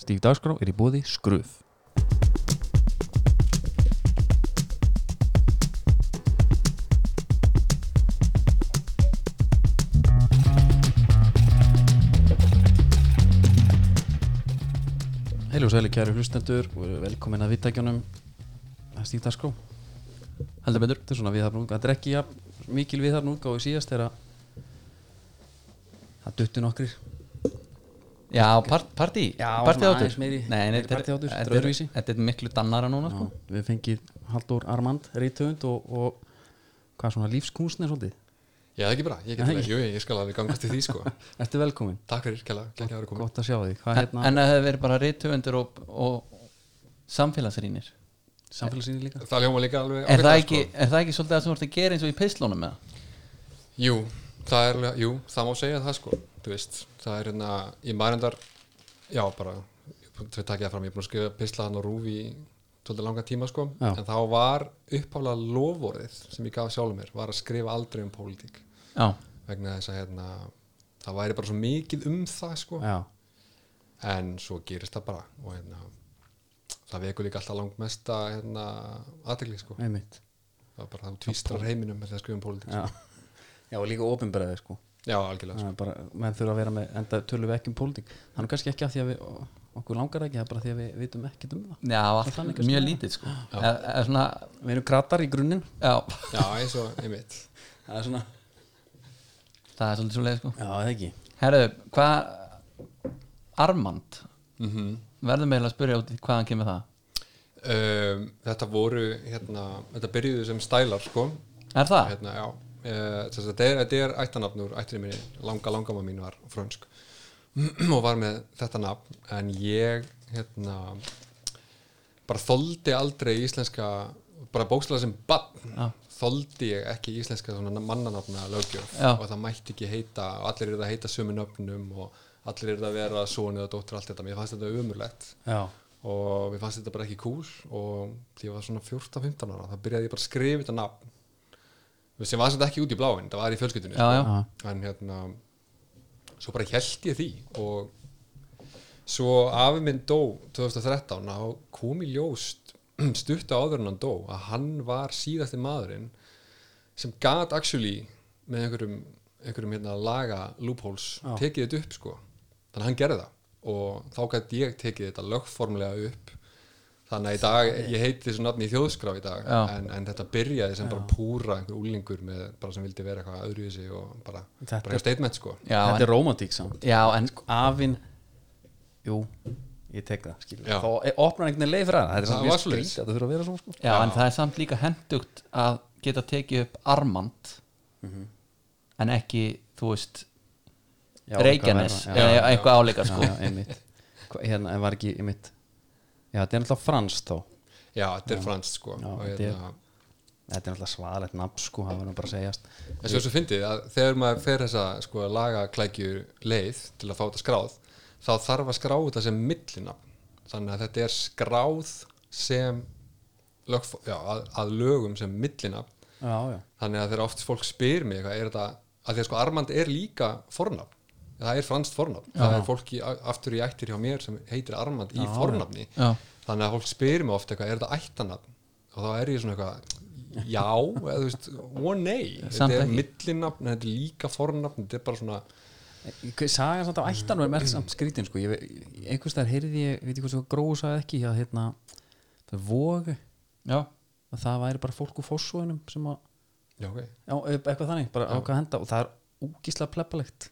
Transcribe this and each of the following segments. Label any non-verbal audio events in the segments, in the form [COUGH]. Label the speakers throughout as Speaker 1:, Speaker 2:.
Speaker 1: Stíf dagskrá er í bóði skröf Heil og sæli kæru hlustendur og verið velkomin að vittækjunum að stíf dagskrá Heldur betur, þetta er svona viðhafnung Þetta er ekki ja, mikil viðhafnung á í síðast þegar að það duttu nokkrir
Speaker 2: Já, part, partí,
Speaker 1: Já,
Speaker 2: partí
Speaker 1: svona
Speaker 2: áttur
Speaker 1: aðeins meiri-
Speaker 2: Nei,
Speaker 1: meiri
Speaker 2: þetta er-
Speaker 1: partíhátur, þetta er
Speaker 2: þetta er-
Speaker 1: öðruvísi.
Speaker 2: Þetta er miklu dannara núna
Speaker 1: Já,
Speaker 2: sko.
Speaker 1: við fengið Halldór Armand reytöfund og, og hvað svona lífskúsnir svolítið
Speaker 3: Já, það er ekki bara, ég get
Speaker 1: Nei.
Speaker 3: alveg, jú, ég skal alveg gangast til því sko
Speaker 1: Ertu velkomin,
Speaker 3: Takk fyrir, kella, kella að vera komin
Speaker 1: gott að sjá þig Hvað er
Speaker 2: En
Speaker 1: hérna
Speaker 2: en það hefur verið bara reytöfundur og, og samfélagsrýnir
Speaker 1: samfélagsinni líka?
Speaker 3: Það ljóma líka alveg sko.
Speaker 2: er, það
Speaker 3: ágætlega,
Speaker 2: ekki,
Speaker 1: sko.
Speaker 2: er það ekki svolítið að sem vorst að gera eins og í pislónum með það?
Speaker 3: sko. Jú, það er alveg, jú, það má segja það sko Þú veist, það er hérna, ég marindar Já, bara, þau takja það fram Ég er búin að skrifa pisla hann og rúfi í Svolítið langa tíma sko
Speaker 1: Já.
Speaker 3: En þá var uppálega lovorðið sem ég gaf sjálfum mér Var að skrifa aldrei um pólitík
Speaker 2: Já,
Speaker 3: Vegna þess að hérna, það væri bara svo mikið um það sko
Speaker 1: Já,
Speaker 3: en svo gerist það bara og hérna það vekur líka alltaf langmesta hérna, aðtegli sko
Speaker 1: einmitt
Speaker 3: það er bara það tvístrar heiminum með það skrifum pólitík
Speaker 1: Já,
Speaker 3: sko.
Speaker 1: Já og líka ofinbreðið sko
Speaker 3: já, algjörlega sko.
Speaker 1: Það er bara, menn þurfa að vera með, enda tölum við ekki um pólitík Það er nú kannski ekki að því að við, okkur langar það ekki það er bara því að við vitum ekkert um það
Speaker 2: já allt,
Speaker 1: þannig kannski
Speaker 2: mjög
Speaker 1: meira.
Speaker 2: lítið sko. er, er svona,
Speaker 1: Við erum kratar í grunninn
Speaker 2: já,
Speaker 3: já, eins og einmitt
Speaker 1: Það er svona
Speaker 2: Það er svolítið svo leið sko.
Speaker 1: Já, eða ekki
Speaker 2: Herðu, hvað Armand
Speaker 3: mm
Speaker 1: Mhm.
Speaker 2: verðum eiginlega að spyrja út í hvaðan kemur það
Speaker 3: um, þetta voru hérna, þetta byrjuðu sem stælar sko
Speaker 2: Er það?
Speaker 3: hérna, já, uh, þess að þetta er, þetta er ættanafnur, ættinni minni, langa langamma mín var frönsk [CLEARS THROAT] og var með þetta nafn, en ég hérna bara þoldi aldrei íslenska bara bókslega sem bann
Speaker 2: Já.
Speaker 3: þoldi ég ekki íslenska svona mannanafna löggjöf
Speaker 2: Já.
Speaker 3: og það mætti ekki heita og allir eru það að heita sömu nöfnum og allir eru það að vera sonu eða dóttir allt þetta, mér fannst þetta umurlegt
Speaker 1: Já,
Speaker 3: og mér fannst þetta bara ekki cool og því ég var svona 14-15 ára þá byrjaði ég bara að skrifa þetta nafn Þú veist, sem var þetta ekki út í bláin, það var í fjölskyldunni
Speaker 2: Já, já,
Speaker 1: já,
Speaker 3: sko. en hérna svo bara held ég því og svo afi minn dó 2013 þá kom í [CLEARS THROAT] ljóst stuttu áður en hann dó að hann var síðasti maðurinn sem gat actually með einhverjum, einhverjum hérna, laga loopholes
Speaker 1: Já.
Speaker 3: tekið þetta upp sko þannig að hann gerði það og þá gæti ég tekið þetta lögformlega upp þannig að í dag, ég heiti þessu nafni í þjóðskrá í dag
Speaker 2: Já.
Speaker 3: en, en þetta byrjaði sem bara púra einhver úlingur með bara sem vildi vera eitthvað öðru í sig og bara,
Speaker 1: Þetta
Speaker 3: bara eitthvað statement sko
Speaker 2: já,
Speaker 1: Þetta
Speaker 2: en,
Speaker 1: er romantík samt
Speaker 2: já en,
Speaker 1: afinn jú, ég tek það skilur.
Speaker 3: Já.
Speaker 1: þá e- opnar einhvern veginn leið fyrir það þetta er
Speaker 3: Það
Speaker 1: samt mjög
Speaker 3: var svoleiðis.
Speaker 1: skrýt að það þurfa að vera svona sko.
Speaker 2: já, en það er samt líka hendugt að geta tekið upp Armand Mhm. en ekki, þú veist
Speaker 1: Já,
Speaker 2: Reykjanes
Speaker 1: eitthvað verra, já.
Speaker 2: eða eitthvað áleika
Speaker 1: Já,
Speaker 2: sko.
Speaker 1: já, einmitt. Hva- hérna, en var ekki einmitt já, þetta er náttúrulega franskt þá
Speaker 3: já, þetta er franskt sko
Speaker 1: Já,
Speaker 3: og
Speaker 1: þetta er-
Speaker 3: hérna,
Speaker 1: þetta er náttúrulega svaðalegt nafn sko, það verður nú bara að segjast
Speaker 3: En svo svo fyndið að þegar maður fer þessa sko, lagaklækju leið til að fá þetta skráð þá þarf að skrá þetta sem millinafn þannig að þetta er skráð sem lög, já, að, að lögum sem millinafn
Speaker 1: já, já,
Speaker 3: þannig að þegar oft fólk spyr mig eitthvað, er þetta, að því að sko Armand er líka fornafn, það er franskt fornafn það er fólki a- aftur í ættir hjá mér sem heitir Armand í fornafni
Speaker 2: Já.
Speaker 3: þannig að fólk spyr mig oft eitthvað, er þetta ættanafn og þá er ég svona eitthvað já, eða þú veist, og nei
Speaker 2: Samt
Speaker 3: þetta er
Speaker 2: ekki.
Speaker 3: millinafn, en þetta er líka fornafn þetta er bara svona,
Speaker 1: Ég- sagan samt á ættan verður merkt samt skrítin sko. Ég ve- einhvers þar heyrði ég, veit ég hvort svo gróðu sagði ekki að hérna, það vogu
Speaker 2: já,
Speaker 1: að það væri bara fólk úr fórsóðunum sem að
Speaker 3: já ok
Speaker 1: Já, eitthvað þannig, bara ákvað að henda og það er úkislega pleppalegt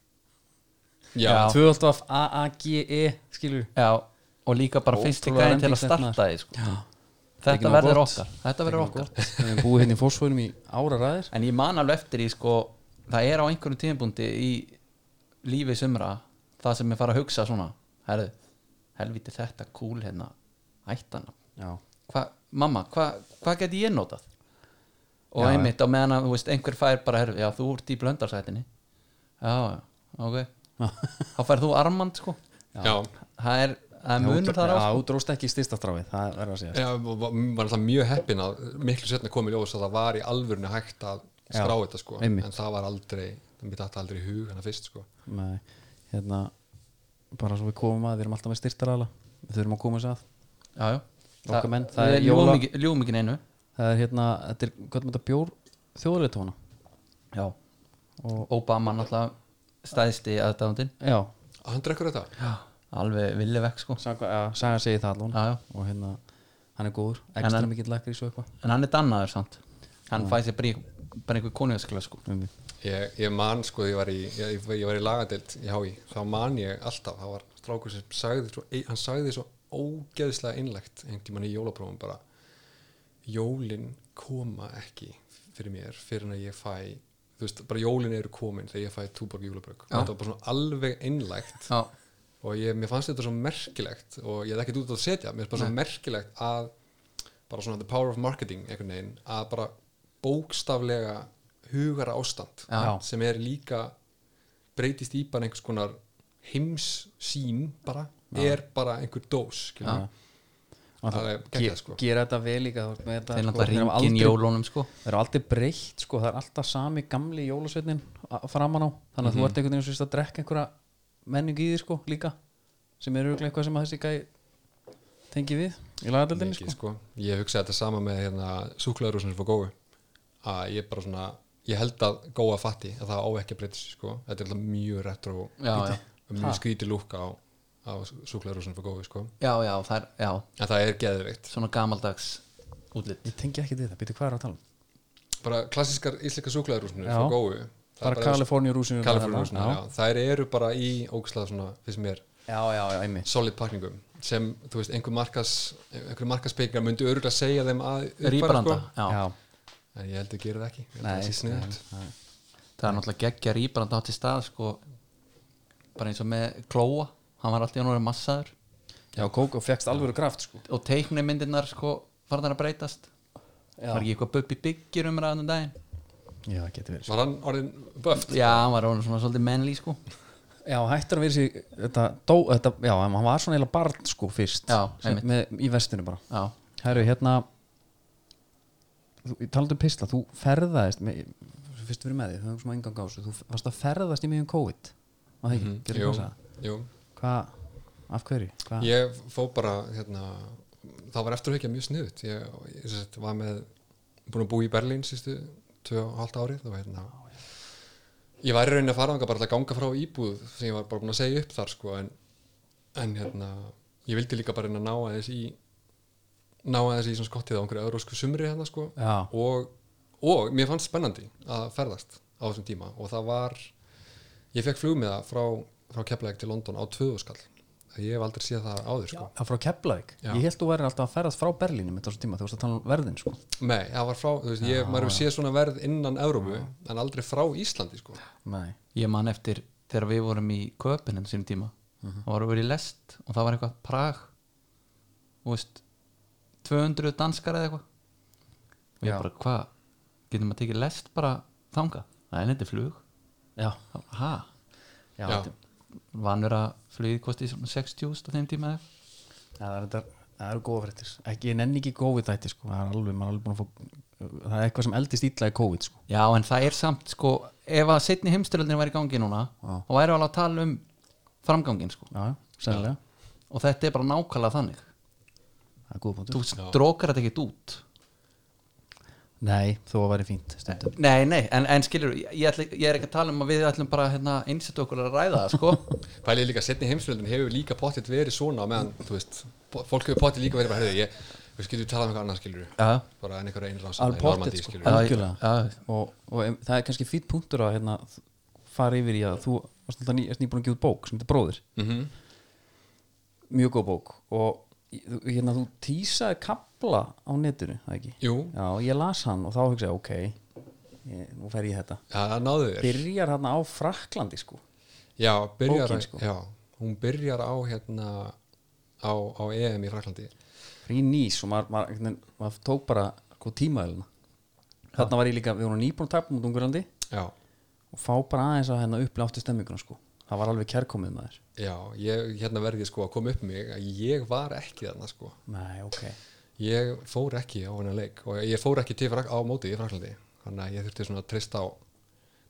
Speaker 3: já,
Speaker 2: Já.
Speaker 1: Tvöldaf A-A-G-E
Speaker 2: E,
Speaker 1: skilur
Speaker 2: já, og líka bara fyrsti
Speaker 1: Ótrúlega
Speaker 2: gæðin til að
Speaker 1: rembingslegt
Speaker 2: starta
Speaker 1: maður.
Speaker 2: því sko.
Speaker 1: Ekki
Speaker 2: þetta
Speaker 1: nóg
Speaker 2: verður
Speaker 1: gott.
Speaker 2: okkar þetta verður okkar
Speaker 1: Við erum búið hérna í fórsvögnum í ára ræðir
Speaker 2: en ég man alveg eftir í sko það er á einhverjum tíðinbúndi í lífi sumra það sem ég fara að hugsa svona herðu, helviti þetta kúl hérna ættana
Speaker 1: Já,
Speaker 2: hva, mamma, hva- hvað geti ég notað og
Speaker 1: Já,
Speaker 2: einmitt á meðan að þú veist, einhver fær bara, herf, já þú ert í blöndarsætinni já, já,
Speaker 1: [LAUGHS]
Speaker 2: ok þá færð þú armand sko
Speaker 3: já.
Speaker 2: það er, það er munur þar á
Speaker 1: Já,
Speaker 2: sko.
Speaker 1: þú dróst ekki í stistastráfið, það verður að segja
Speaker 3: Já, og var var alltaf mjög heppin að miklu setna komið ljós að það var í alvörinu hægt að skrá
Speaker 1: Já,
Speaker 3: þetta sko
Speaker 1: einmitt.
Speaker 3: en það var aldrei, það mitt alltaf aldrei í hug hana fyrst sko
Speaker 1: Nei, hérna bara svo við komum að, við erum alltaf með styrtarala við þurfum að koma þess að
Speaker 2: já, já
Speaker 1: Okkar
Speaker 2: Þa-
Speaker 1: menn, það er
Speaker 2: við
Speaker 1: jóla-
Speaker 2: ljúgum ekki- ljúgum ekki neinu
Speaker 1: það er hérna, þetta er, hvað er þetta bjór þjóðarleitóna
Speaker 2: já, og Obama náttúrulega stæðsti aðdáðundin
Speaker 1: já,
Speaker 3: hann drekkur þetta
Speaker 2: alveg villið vekk sko
Speaker 1: saga, ja, saga segi það allan
Speaker 2: já, já.
Speaker 1: og hérna, hann er góður
Speaker 2: En
Speaker 1: ekstra
Speaker 2: hann-
Speaker 1: mikill lakrís og eitthvað
Speaker 2: en hann er dannaður samt hann fæði sér bara, í- bara einhver konungaskla sko
Speaker 1: Um,
Speaker 3: ég, ég man sko, ég var í, ég, ég var í lagadelt í HÍ, þá man ég alltaf það var strákur sem sagði svo, e, hann sagði svo ógeðslega innlegt einhvern tímann í jólaprófum bara jólin koma ekki fyrir mér, fyrir en að ég fæ þú veist, bara jólin eru komin þegar ég fæ túborg jólabrögg,
Speaker 2: Já.
Speaker 3: þetta var bara svona alveg innlegt
Speaker 2: já,
Speaker 3: og ég, mér fannst þetta svo merkilegt og ég er ekkert út að setja, mér finnst bara svo merkilegt að bara svona the power of marketing einhvern veginn, að bara bókstaflega hugara ástand
Speaker 1: Já.
Speaker 3: sem er líka breytist í bara einhvers konar heimssýn bara, er bara einhver dós skilurðu. Það er geggjað, sko.
Speaker 1: gera þetta vel líka þú ert með þetta,
Speaker 2: þeir
Speaker 1: sko, þeir
Speaker 2: náttúrulega
Speaker 1: hafa
Speaker 2: ringin
Speaker 1: aldrei-
Speaker 2: jólunum sko
Speaker 1: Það er aldrei breytt sko, það er alltaf sami gamli jólasveitnin a- framan á, þannig að þú ert einhvern veginn sem sagt að drekka einhverja menning í því sko líka, sem er auðvitað eitthvað sem að þessi gæ tengi við í lagadeldinni
Speaker 3: Mikið,
Speaker 1: sko.
Speaker 3: sko. ég hugsa þetta sama með hérna, súklaðurúsinu frá góðu að ég bara svona, ég held að góða fatti að það á ekki að breyta sig sko. þetta er alltaf mjög retro
Speaker 2: Já,
Speaker 3: lítið,
Speaker 2: já.
Speaker 3: og mjög skríti lúk á, á súklaðurúsinu frá góðu sko.
Speaker 2: já, já, það er, já,
Speaker 3: en það er geðveikt
Speaker 2: svona gamaldags útlitt
Speaker 1: Ég tengi ekki við það, býtu hvað er að tala um?
Speaker 3: bara klassískar íslika súklaðurúsinu
Speaker 1: Já.
Speaker 3: frá góðu það
Speaker 1: Bara
Speaker 3: er
Speaker 1: Kaliforníu rúsinu hérna.
Speaker 3: Kalifornirúsinu,
Speaker 1: já.
Speaker 3: já. þær eru bara í ógslag svona, finnst mér,
Speaker 1: já, já, já, einmitt
Speaker 3: solid pakningum sem, þú veist, einhver markas einhver markaspekingar myndi örgulega segja þeim að uppfæra,
Speaker 2: rýbranda, já,
Speaker 1: já.
Speaker 3: sko. en ég held að gera það ekki Ég held að
Speaker 1: Nei,
Speaker 3: það sé sniðugt.
Speaker 1: nei,
Speaker 2: það er náttúrulega geggja rýbranda átt í stað sko bara eins og með Klóa hann var alltaf í hann orðið massaður
Speaker 1: nei. já kók og fegst alvöru kraft sko.
Speaker 2: og teiknimyndirnar sko farðan að breytast var ekki eitthvað Bubbi Byggir umræðan um daginn
Speaker 1: já, það getur verið sko.
Speaker 3: Var hann orðin böft?
Speaker 2: já, hann var orðin svona svolítið mennlý sko
Speaker 1: já, hættur að vera sér þetta, dó, þetta, já, hann var svona eiginlega barn sko fyrst
Speaker 2: Já,
Speaker 1: sem,
Speaker 2: einmitt.
Speaker 1: með, í vestinu bara
Speaker 2: já,
Speaker 1: Herru, hérna þú- talandu um pistla, þú ferðaðist með, fyrst fyrir með því, þau höfum smá engang á þessu þú varst að ferðast í miðjum COVID var það ekki, mm
Speaker 3: Mhm, Jú,
Speaker 1: -hmm.
Speaker 3: jú.
Speaker 1: hvað, af hverju hvað,
Speaker 3: Ég fó bara hérna, það var eftir að hekja mjög sniðut ég, ég sem sagt, var með búin að búa í Berlín sístu tvö og halvt árið og hérna ég var í rauninni að fara þangað bara til að ganga frá íbúð sem ég var bara búin að segja upp þar sko en, en hérna ég vildi líka bara reyna að ná aðeins í ná aðeins í svona skottið á einhverju eurósku sumri hérna sko
Speaker 1: já,
Speaker 3: og, og mér fannst spennandi að ferðast á þessum tíma og það var ég fekk flugmiða frá, frá Keflæk til London á tvöðuskall ég hef aldrei séð það áður sko.
Speaker 1: það frá Keflavík
Speaker 3: Já.
Speaker 1: ég held þú væri alltaf að ferðast frá Berlínu með þessum tíma, þú varst að tala um verðin sko.
Speaker 3: nei, það var frá, þú veist, ég, maður hefur séð svona verð innan Európu en aldrei frá Íslandi sko.
Speaker 1: nei,
Speaker 2: ég man eftir þegar við vorum í köpinn sínum tíma, þá vorum við í lest og það var eitthvað Prag og veist 200 danskar eða eitthvað og ég
Speaker 1: Já.
Speaker 2: bara, hvað, getum að tekið lest bara þanga, það er neitt flug
Speaker 1: já,
Speaker 2: ha,
Speaker 1: já,
Speaker 3: Já.
Speaker 1: þetta-
Speaker 2: vanur að flugið kosti svona 60.000 á þeim tíma eða eitthvað.
Speaker 1: já það er þetta það eru góða fréttir, ekki, ég nenni ekki COVID þætti sko, það er alveg, maður er alveg búin að fá það er eitthvað sem eldist illa í COVID sko.
Speaker 2: já, en það er samt, sko ef að setni heimstyröldin væri í gangi núna
Speaker 1: Já.
Speaker 2: og væri alveg að tala um framgangin, sko
Speaker 1: já, já, sennilega,
Speaker 2: og þetta er bara nákvæmlega þannig
Speaker 1: það er góða punktur
Speaker 2: þú strókar þetta ekkert út
Speaker 1: nei, þó að væri fínt stundum
Speaker 2: Nei, nei, en, en skilur, ég, ég ætla, ég er ekki að tala um að við ætlum bara hérna einsett okkur að ræða það, sko
Speaker 3: Pælið líka setni heimsfjöldin hefur líka pottitt verið svona á meðan, þú veist, po- fólk hefur pottitt líka verið bara, heyrðu, ég, við skilum við tala um eitthvað annað skilur
Speaker 2: [LAUGHS] Já,
Speaker 3: bara en einhverja einrás
Speaker 1: Alveg pottet, sko.
Speaker 3: skilur
Speaker 1: Algjörlega.
Speaker 2: Já, já.
Speaker 1: og, og em, það er kannski fýtt punktur að hérna, þ- fara yfir í að þú varst alltaf ný, nýbúin að gefa út bók sem þetta bróðir
Speaker 3: Mhm.
Speaker 1: mjög góð bók og í- þú- hérna, þú tísaði kapla á netinu, það ekki?
Speaker 3: Jú,
Speaker 1: Já, ég las hann og þá hugsaði ok, ég, nú fer ég í þetta
Speaker 3: ja, það náðu þér
Speaker 1: byrjar hann á Fraklandi sko
Speaker 3: Já, byrjar,
Speaker 1: Bókin, sko.
Speaker 3: já, hún byrjar á hérna á, á EM í Fraklandi
Speaker 1: í nýs og maður, maður, einhvern veginn- maður tók bara sko, tímaðilina þarna var ég líka, við vorum nýbúin að tapa mútið Ungurlandi
Speaker 3: Já,
Speaker 1: og fá bara aðeins að hérna upplifa áttu stemminguna sko það var alveg kærkomið maður
Speaker 3: já, ég, hérna verði ég sko að koma upp um mig að ég var ekki þarna sko
Speaker 1: Nei, ok
Speaker 3: ég fór ekki á hennar leik og ég fór ekki til frak, á mótið í Fraklandi þannig að ég þurfti svona að treysta á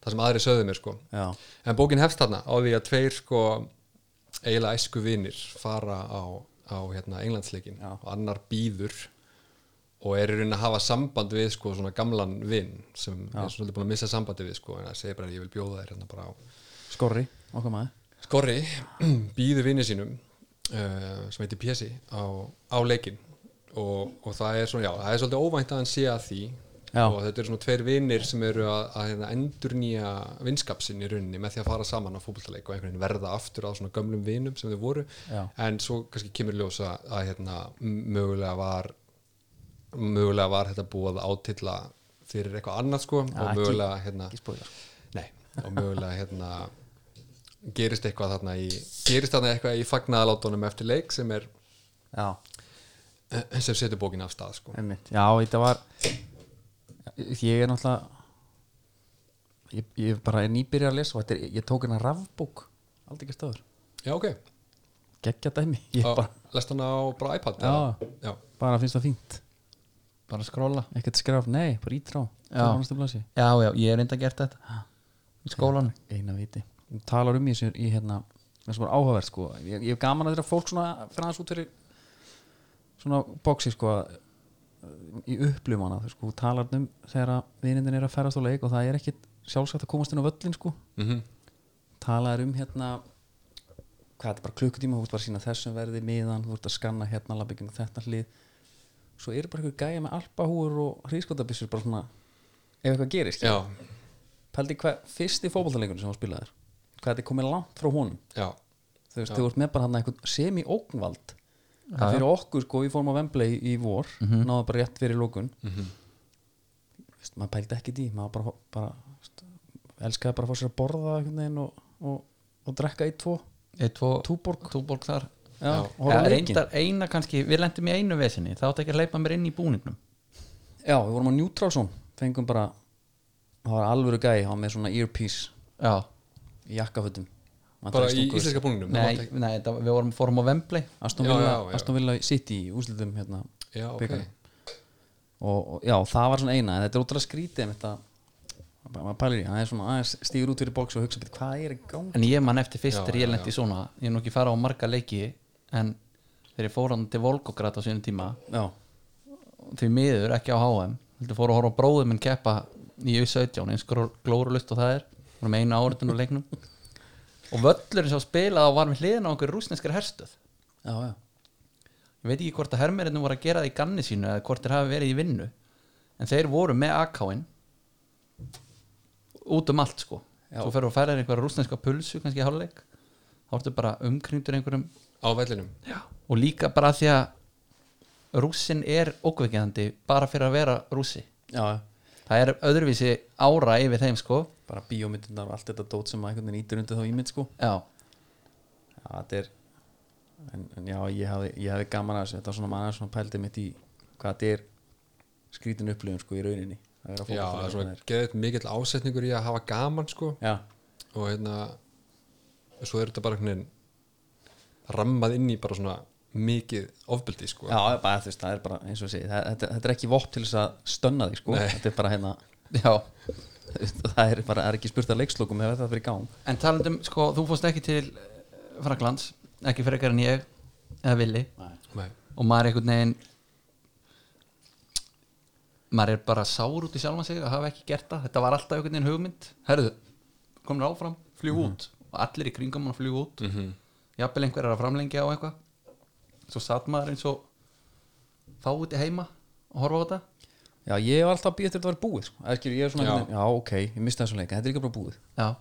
Speaker 3: það sem aðri sögðu mér sko
Speaker 1: Já,
Speaker 3: en bókin hefst þarna á því að tveir sko eiginlega æsku vinir fara á, á hérna, englandsleikin
Speaker 1: Já.
Speaker 3: og annar býður og er í raunin að hafa samband við sko, svona gamlan vinn sem er svona búin að missa sambandi við sko, en það segir bara að ég vil bjóða þér hérna bara á
Speaker 1: Skorri, okkar maður
Speaker 3: Skorri [CLEARS THROAT] býður vinni sínum uh, sem heitir Pési á, á leikin og, og það er svona, já, það er svolítið óvænt að hann sé að því
Speaker 1: Já.
Speaker 3: og þetta eru svona tveir vinnir sem eru að, að hérna, endurnýja vinskapsinn í rauninni með því að fara saman á fótboltaleik og einhvern veginn verða aftur á svona gömlum vinum sem þau voru
Speaker 1: Já.
Speaker 3: en svo kannski kemur ljósa að hérna, m- mögulega var mögulega var þetta búið að átilla fyrir eitthvað annað sko og
Speaker 1: ekki-
Speaker 3: mögulega hérna,
Speaker 1: Ekki spóla
Speaker 3: Nei, og mögulega hérna gerist eitthvað þarna í gerist þarna eitthvað í fagnaðalátunum eftir leik sem er
Speaker 1: Já,
Speaker 3: sem setur bókin af stað sko.
Speaker 1: einmitt Já, þetta var Ég er náttúrulega Ég, ég bara er nýbyrja að lesa og þetta er, ég tók hérna rafbók aldrei ekki stöður,
Speaker 3: Já, ok,
Speaker 1: geggja dæmi ég
Speaker 3: og
Speaker 1: bara,
Speaker 3: lest hana á bara iPad
Speaker 1: Já.
Speaker 3: eða? Já.
Speaker 1: bara finnst það fínt
Speaker 2: bara skróla
Speaker 1: ekkert skraf, nei, bara ítrá
Speaker 2: Já.
Speaker 1: já.
Speaker 2: já, já, ég er enda gert þetta í skólan
Speaker 1: eina viti, þú talar um í þessu í hérna, það sem var áhugavert sko ég, ég hef gaman að þeirra fólk svona fyrir aðeins út fyrir svona boxi sko að- uh, í upplum hana sko, þú talar um þegar að vinindin er að ferast á leik og það er ekkit sjálfsagt að komast inn á völlin sko
Speaker 3: Mm
Speaker 1: talaðir um hérna hvað þetta er bara klukkutíma, þú ert bara að sína þessum verði miðan, þú ert að skanna hérna labbygging þetta hlið, svo eru bara eitthvað gæja með alpahúur og hrískotabissur bara svona, ef eitthvað gerist
Speaker 3: Já,
Speaker 1: pældi hvað, fyrsti fótboltaleikunum sem þú spilaðir hvað þetta er komið langt frá honum
Speaker 3: já,
Speaker 1: þú veist, þú ert með bara hann eitthvað semi-ógnvald
Speaker 2: Já, já.
Speaker 1: það fyrir okkur sko, við fórum á Vembley í vor, náða bara rétt fyrir lókun mm veist, maður pældi ekki því maður bara, bara veist, elskaði bara að fá sér að borða einhvern veginn og, og, og drekka í tvo
Speaker 2: túborg túborg þar
Speaker 1: já,
Speaker 3: Já.
Speaker 1: og
Speaker 2: Já,
Speaker 1: horfa á leikin
Speaker 2: reyndar eina kannski, við lendum í einu vesinni þá átti ekki að leipa mér inn í búningnum
Speaker 1: já, við vorum á Njútrálsson, fengum bara það var alvöru gæi, hann var með svona earpiece
Speaker 2: já,
Speaker 1: í jakkafötum Hann
Speaker 3: bara
Speaker 1: tók
Speaker 3: í
Speaker 1: stungu-
Speaker 3: íslenska búningnum
Speaker 2: nei, nei það, við vorum fórum á Vembley
Speaker 1: Aston
Speaker 3: Já,
Speaker 1: Villa,
Speaker 3: já, já.
Speaker 1: Aston Villa City í úrslitum hérna
Speaker 3: Já, ok,
Speaker 1: bikarnum. og, og já, það var svona eina en þetta er ótrúlega skrítið einmitt að- að- maður pælir í, það er svona aðeins stígur út fyrir bóks og hugsa, "Bíddu, hvað er í gangi
Speaker 2: en ég man eftir fyrst
Speaker 3: Já,
Speaker 2: þegar ég
Speaker 3: já,
Speaker 2: lendi í svona ég er nú ekki fara á marga leiki en þegar ég fór hann til Volgograd á sínum tíma
Speaker 1: já,
Speaker 2: því miður ekki á HM heldur fór að horfa á bróðum minn keppa í U17 eins glórulust og það er vorum eina áriðin úr leiknum og völlurinn sem spilaði á var með hliðin á einhver rúsneskar herstöð
Speaker 1: já, já,
Speaker 2: ég veit ekki hvort að hermerinu voru að gera það í ganni sínu eða hvort þeir hafi verið í vinnu en þeir voru með AK-in út um allt sko
Speaker 1: Já.
Speaker 2: svo ferur að færa einhver rúsneska pulsu kannski í hálfleik þá ertu bara umkringdur einhverjum
Speaker 3: á vellinum
Speaker 2: Já. og líka bara því að rússin er ókveikjandi bara fyrir að vera rússi
Speaker 1: já, já
Speaker 2: það er öðruvísi ára yfir þeim sko
Speaker 1: bara bíómyndunar og allt þetta dót sem maður einhvern veginn ítur undir þá ímynd sko
Speaker 2: já,
Speaker 1: já, þetta er en, en já, ég hafði, ég hafði gaman að þessu þetta var svona maður svona pældið mitt í hvað þetta er skrítin upplifun sko í rauninni að vera
Speaker 3: Já, það er
Speaker 1: fótboltaleikmaður.
Speaker 3: svona geðið mikill ásetningur í að hafa gaman sko
Speaker 1: já,
Speaker 3: og hérna svo er þetta bara einhvern veginn rammað inn í bara svona mikið ofbeldi sko
Speaker 1: já, bara, þú veist, það er bara eins og ég segi, það, þetta, þetta er ekki vopp til þess að stönna því sko,
Speaker 3: Nei.
Speaker 1: þetta er bara hérna
Speaker 2: já.
Speaker 1: [LAUGHS] það er bara, það er ekki spurt að leikslokum ef það fyrir gang
Speaker 2: en talandum sko, þú fórst ekki til eh, Frakklands, ekki frekar en ég eða villi
Speaker 3: Nei.
Speaker 2: og maður er einhvern veginn maður er bara sár út í sjálfan sig að hafa ekki gert það þetta var alltaf einhvern veginn hugmynd herðu, komin áfram, fljú út og allir í kringum hann fljú út mm -hmm. jafnvel einhver er að framlengja á eitthvað svo satt maður eins og fá úti heima og horfa á þetta
Speaker 1: já, ég var alltaf að býja til þetta var búið sko. Eða skilur, ég er svona,
Speaker 3: Já.
Speaker 1: já. já, ok, ég misti þessu leika þetta er ekki bara búið
Speaker 2: já,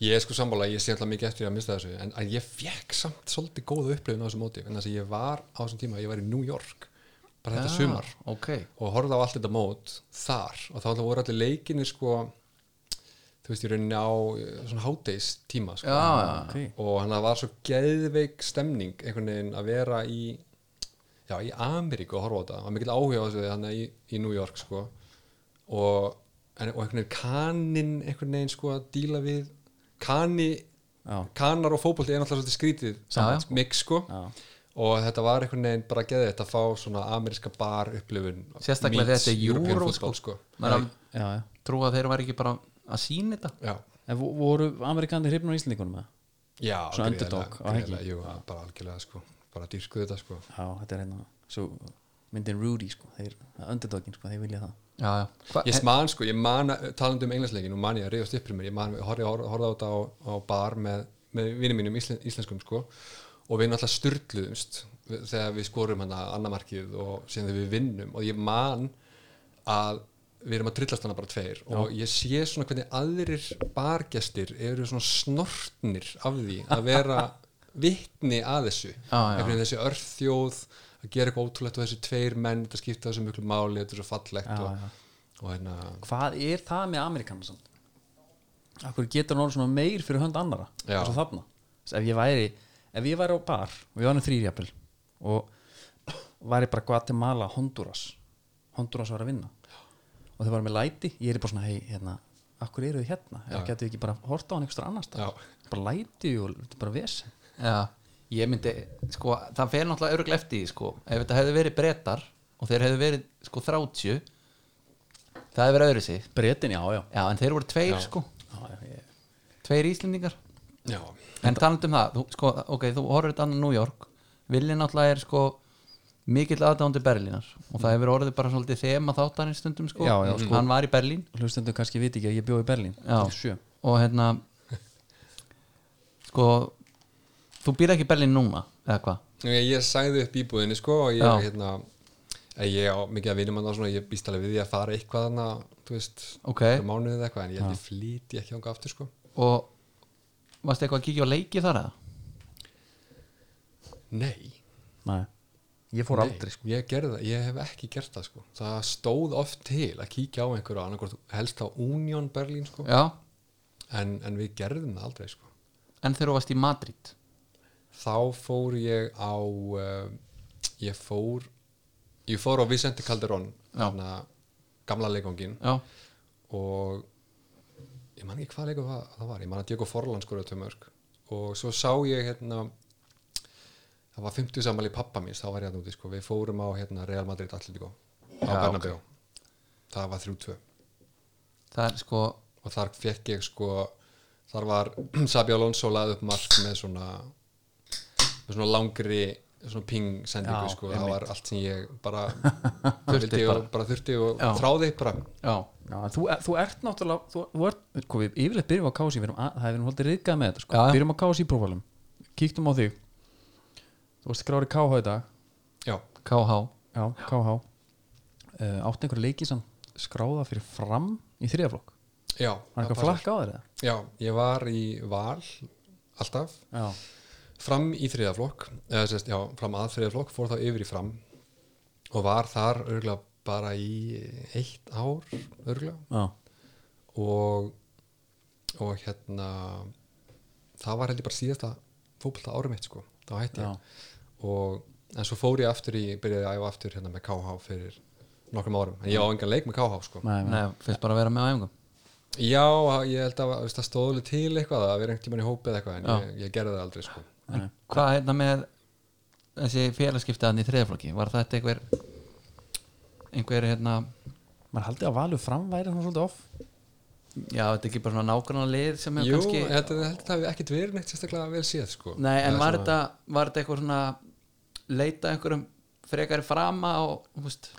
Speaker 3: Ég er sko sammála, ég sé alltaf mikið eftir að mista þessu en að ég fekk samt svolítið góða upplifun á þessu móti en þess að ég var á þessum tíma, ég var í New York bara þetta
Speaker 2: Já,
Speaker 3: sumar
Speaker 2: ok,
Speaker 3: og horfði á allt þetta mót þar og þá alltaf voru allir leikinir sko þú veist, ég rauninni á eh, svona hádeis tíma sko.
Speaker 2: Já,
Speaker 1: okay.
Speaker 3: og hann var svo geðveik stemning einhvern veginn að vera í já, í Ameríku að horfa á þetta var mikill áhuga á þessu þannig í, í New York sko og, en, og einhvern veginn kaninn einhvern veginn sko að díla við kani,
Speaker 1: Já.
Speaker 3: kanar og fótbolti er náttúrulega svolítið skrítið
Speaker 2: Já, já.
Speaker 3: mix sko
Speaker 1: Já.
Speaker 3: og þetta var einhvern veginn bara geðið að fá svona ameríska bar upplifun
Speaker 2: Sérstaklega
Speaker 3: meets
Speaker 2: þetta er
Speaker 3: European
Speaker 2: Euro,
Speaker 3: football,
Speaker 2: sko.
Speaker 3: sko.
Speaker 2: maður er að
Speaker 1: já, já.
Speaker 2: trúa að þeir var ekki bara að sína þetta
Speaker 3: Já,
Speaker 1: En vo- voru amerikanir hrifnur á Íslandíkunum eða?
Speaker 3: já,
Speaker 1: Svona
Speaker 3: greiðlega,
Speaker 1: underdog, á ekki?
Speaker 3: greiðlega, jú, bara algjörlega sko bara dýrskuðu þetta sko
Speaker 1: já, þetta er hérna svo myndin Rudy sko, þeir öndudókin sko, þeir vilja það
Speaker 2: já, já. Hva,
Speaker 3: ég man sko, ég man að- talandi um englandsleikin og man ég að reyðast upp fyrir mér, ég man ég horfði horf, horf á þetta á, á bar með, með vinnum mínum íslen, íslenskum sko og við náttúrulega styrluðumst þegar við skorum hann að annamarkið og síðan þegar við vinnum og ég man að við erum að trillast hana bara tveir og ég sé svona hvernig aðrir bargestir eru svona snortnir af því að vera vitni að þessu
Speaker 2: Já, já.
Speaker 3: Einhvern veginn þessi örþjóð að gera eitthvað ótrúlegt og þessi tveir menn þetta skipta þessu miklu máli, þetta er svo fallegt
Speaker 1: Já,
Speaker 3: og,
Speaker 1: já.
Speaker 3: og hérna
Speaker 1: hvað er það með Amerikanar samt? Akkur getur hann orðið svona meir fyrir hönd annara
Speaker 3: Já.
Speaker 1: eins og þarna Þess, ef ég væri, ef ég væri á bar og ég var nú þrýrjapil og væri bara Guatemala, Honduras Honduras var að vinna og þau varum með læti, ég er bara svona hei, hérna, akkur eru þau hérna eða getur við ekki bara horta á hann einhverstað annars
Speaker 3: Já.
Speaker 1: bara læti og þetta er bara vesen
Speaker 2: já, ég myndi sko, það fer náttúrulega öruglega eftir því, sko. ef þetta hefði verið brettar og þeir hefði verið sko 30 það hefði verið öðru sig
Speaker 1: breytin, já, já,
Speaker 2: já, en þeir voru tveir
Speaker 3: Já.
Speaker 2: sko,
Speaker 1: já, já, ég,
Speaker 2: tveir íslendingar
Speaker 3: já,
Speaker 2: En talandum það, þú, sko, ok, þú horfður þetta annað New York Vilja náttúrulega er sko mikill aðdándi Berlínar og það hefur orðið bara svolítið þema þáttarins stundum sko.
Speaker 1: Já, já, sko.
Speaker 2: hann var í Berlín
Speaker 1: hlustendur kannski viti ekki að ég bjó í Berlín
Speaker 2: Já.
Speaker 1: 87.
Speaker 2: og hérna sko þú býr ekki í Berlín núna eða hvað,
Speaker 3: ég, ég sagði upp íbúðinni sko og ég,
Speaker 2: Já.
Speaker 3: hérna, að ég á mikið að vinum hann og svona, ég býst alveg við því að fara eitthvað hann þú veist,
Speaker 2: ok
Speaker 3: fyrir mánuðið eða eitthvað en ég, held ég flýti ekki ánga aftur sko
Speaker 2: og varstu eitthvað að kíkja á leiki þar eða?
Speaker 3: nei,
Speaker 1: Nei. ég fór
Speaker 3: nei,
Speaker 1: aldrei sko.
Speaker 3: ég, gerði, það- ég hef ekki gert það sko það stóð oft til að kíkja á einhverju annarkort, helst á Union Berlin sko
Speaker 2: Já,
Speaker 3: en, en við gerðum það aldrei sko
Speaker 2: en þegar þú varst í Madrid
Speaker 3: þá fór ég á uh, ég fór ég fór á Vicente Calderón
Speaker 2: Já.
Speaker 3: hana, gamla leikongin
Speaker 2: Já,
Speaker 3: og ég man ekki hvað leikur það, það var ég man að Diego Forlan skoraði tvö mörg og svo sá ég hérna það var 50 sammæli pappa míns þá var ég að núti sko, við fórum á hérna Real Madrid Atletico á
Speaker 2: Já,
Speaker 3: Bernabeu það var 3-2
Speaker 2: það er sko
Speaker 3: og þar fekk ég sko þar var [CLEARS THROAT] Sabi Alonso lagði upp mark með svona með svona langri svona ping sendingu
Speaker 1: Já,
Speaker 3: sko, það
Speaker 1: einmitt.
Speaker 3: var allt sem ég
Speaker 1: [LAUGHS]
Speaker 3: bara þurfti og bara þurfti og
Speaker 2: Já.
Speaker 3: þráði bara
Speaker 2: Já,
Speaker 1: Já, en þú, þú ert náttúrulega þú, þú ert, sko, við yfirleitt byrjum á kási við erum, að, það er verið haldið riðgað með þetta sko.
Speaker 2: Já, já.
Speaker 1: byrjum á kási í prófálum, kíktum á þig þú varst skrári KH í dag
Speaker 3: já,
Speaker 2: KH
Speaker 1: já, KH uh, átti einhverja leiki sem skráða fyrir fram í þriðaflokk,
Speaker 3: já,
Speaker 1: var
Speaker 3: það
Speaker 1: eitthvað
Speaker 3: passar.
Speaker 1: flakka á þér eða?
Speaker 3: já, ég var í val alltaf,
Speaker 1: já,
Speaker 3: fram í þriða flokk eða sérst, já, fram að þriða flokk fór þá yfir í fram og var þar örgulega bara í eitt ár örgulega
Speaker 1: já,
Speaker 3: og og hérna það var heldur bara síðasta fótbolta árum mitt sko, þá hætti
Speaker 1: já,
Speaker 3: ég og, en svo fór ég aftur í, byrjaði að æfa aftur hérna með KH fyrir nokkrum árum, en ég á engan leik með KH sko
Speaker 1: nei, nei.
Speaker 2: Nei, finnst bara að vera með á æfingum
Speaker 3: já, ég held að veist, það stóðuleg til eitthvað að vera einhvern tímann í hópið eða eitthvað, en
Speaker 2: Já.
Speaker 3: ég, ég gerði það aldrei sko
Speaker 1: Nei.
Speaker 2: Hvað er þetta með þessi félagskiptaðan í þriðaflokki? Var þetta einhver einhver hérna
Speaker 1: maður haldið að valu fram væri hann svolítið off
Speaker 2: já, þetta er ekki bara svona nákvæmna lið sem hefur
Speaker 3: Jú,
Speaker 2: kannski
Speaker 3: ég held að þetta hefði ekkit verið neitt sérstaklega vel séð sko
Speaker 2: Nei, en
Speaker 3: Eða
Speaker 2: var
Speaker 3: svona-
Speaker 2: þetta, var þetta eitthvað svona leita einhverjum frekari frama og, þú veist,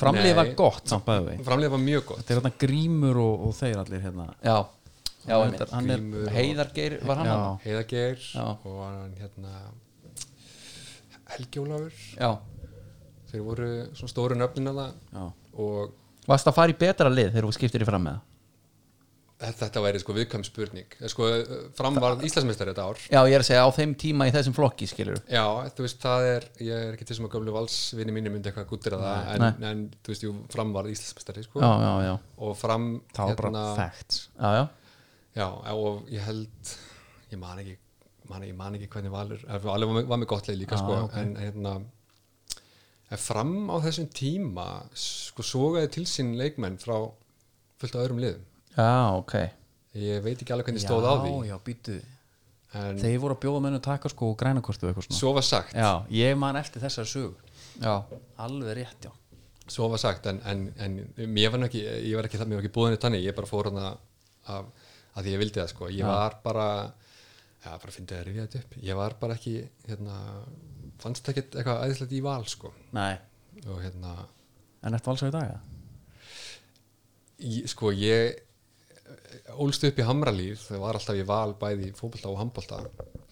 Speaker 1: framlið var
Speaker 3: Nei.
Speaker 1: gott samt bæði við
Speaker 3: Framlega var mjög gott
Speaker 1: þetta er hérna grímur og, og þeir allir hérna
Speaker 2: já, já,
Speaker 1: hann,
Speaker 2: einmitt.
Speaker 1: er, hann er,
Speaker 3: Grímur og-
Speaker 2: Heiðargeir var hann
Speaker 1: Já.
Speaker 2: þarna?
Speaker 3: Heiðageir
Speaker 2: Já.
Speaker 3: og hann hérna Helgi Ólafur
Speaker 2: Já,
Speaker 3: þeir voru svona stóru nöfnin að það
Speaker 1: já,
Speaker 3: og
Speaker 2: varst að fara í betra lið þegar þú skiptir í fram með það?
Speaker 3: þetta, þetta væri sko viðkvæm spurning Eh, sko, eh, fram var Íslandsmeistar þetta ár
Speaker 2: Já, ég er að segja á þeim tíma í þessum flokki skilur
Speaker 3: já, þú veist, það er, ég er ekki til sem að gömlu valsvinni mínu myndi eitthvað gúttir að það en, en þú veist, jú, fram var Íslandsmeistari sko,
Speaker 2: Já, já, já,
Speaker 3: og fram
Speaker 1: það var
Speaker 3: Hérna,
Speaker 1: bara facts
Speaker 2: já, já.
Speaker 3: já, og ég held ég man ekki, man, ég man ekki hvernig valur eh, valur var, með- var með gott leið líka
Speaker 1: Já,
Speaker 3: sko,
Speaker 1: ok.
Speaker 3: en hérna en fram á þessum tíma sko, sogaði til sín leikmenn frá fullt af öðrum liðum
Speaker 2: já, ok
Speaker 3: ég veit ekki alveg hvernig stóð á því
Speaker 1: já, já, býtu
Speaker 3: en
Speaker 1: Þeir voru að bjóða mennu takkarskó og grænakostu og eitthvað svona
Speaker 3: svo var sagt
Speaker 1: Já, ég man eftir þessar sög
Speaker 2: Já,
Speaker 1: Alveg rétt, já
Speaker 3: svo var sagt en, en, en mér var nú ekki, ég var ekki það mér var ekki búðinni þannig, ég bara fór hana af, af því ég vildi það sko, ég var bara Já, bara fyndi að rifja þetta upp. Ég var bara ekki, hérna, fannst ekkert eitthvað æðislegt í val, sko.
Speaker 1: Nei,
Speaker 3: Og hérna,
Speaker 1: en eftir valsar í dag eða?
Speaker 3: ég, sko, ég ólst upp í Hamralíf, það var alltaf í val bæði í fótbolta og handbolta.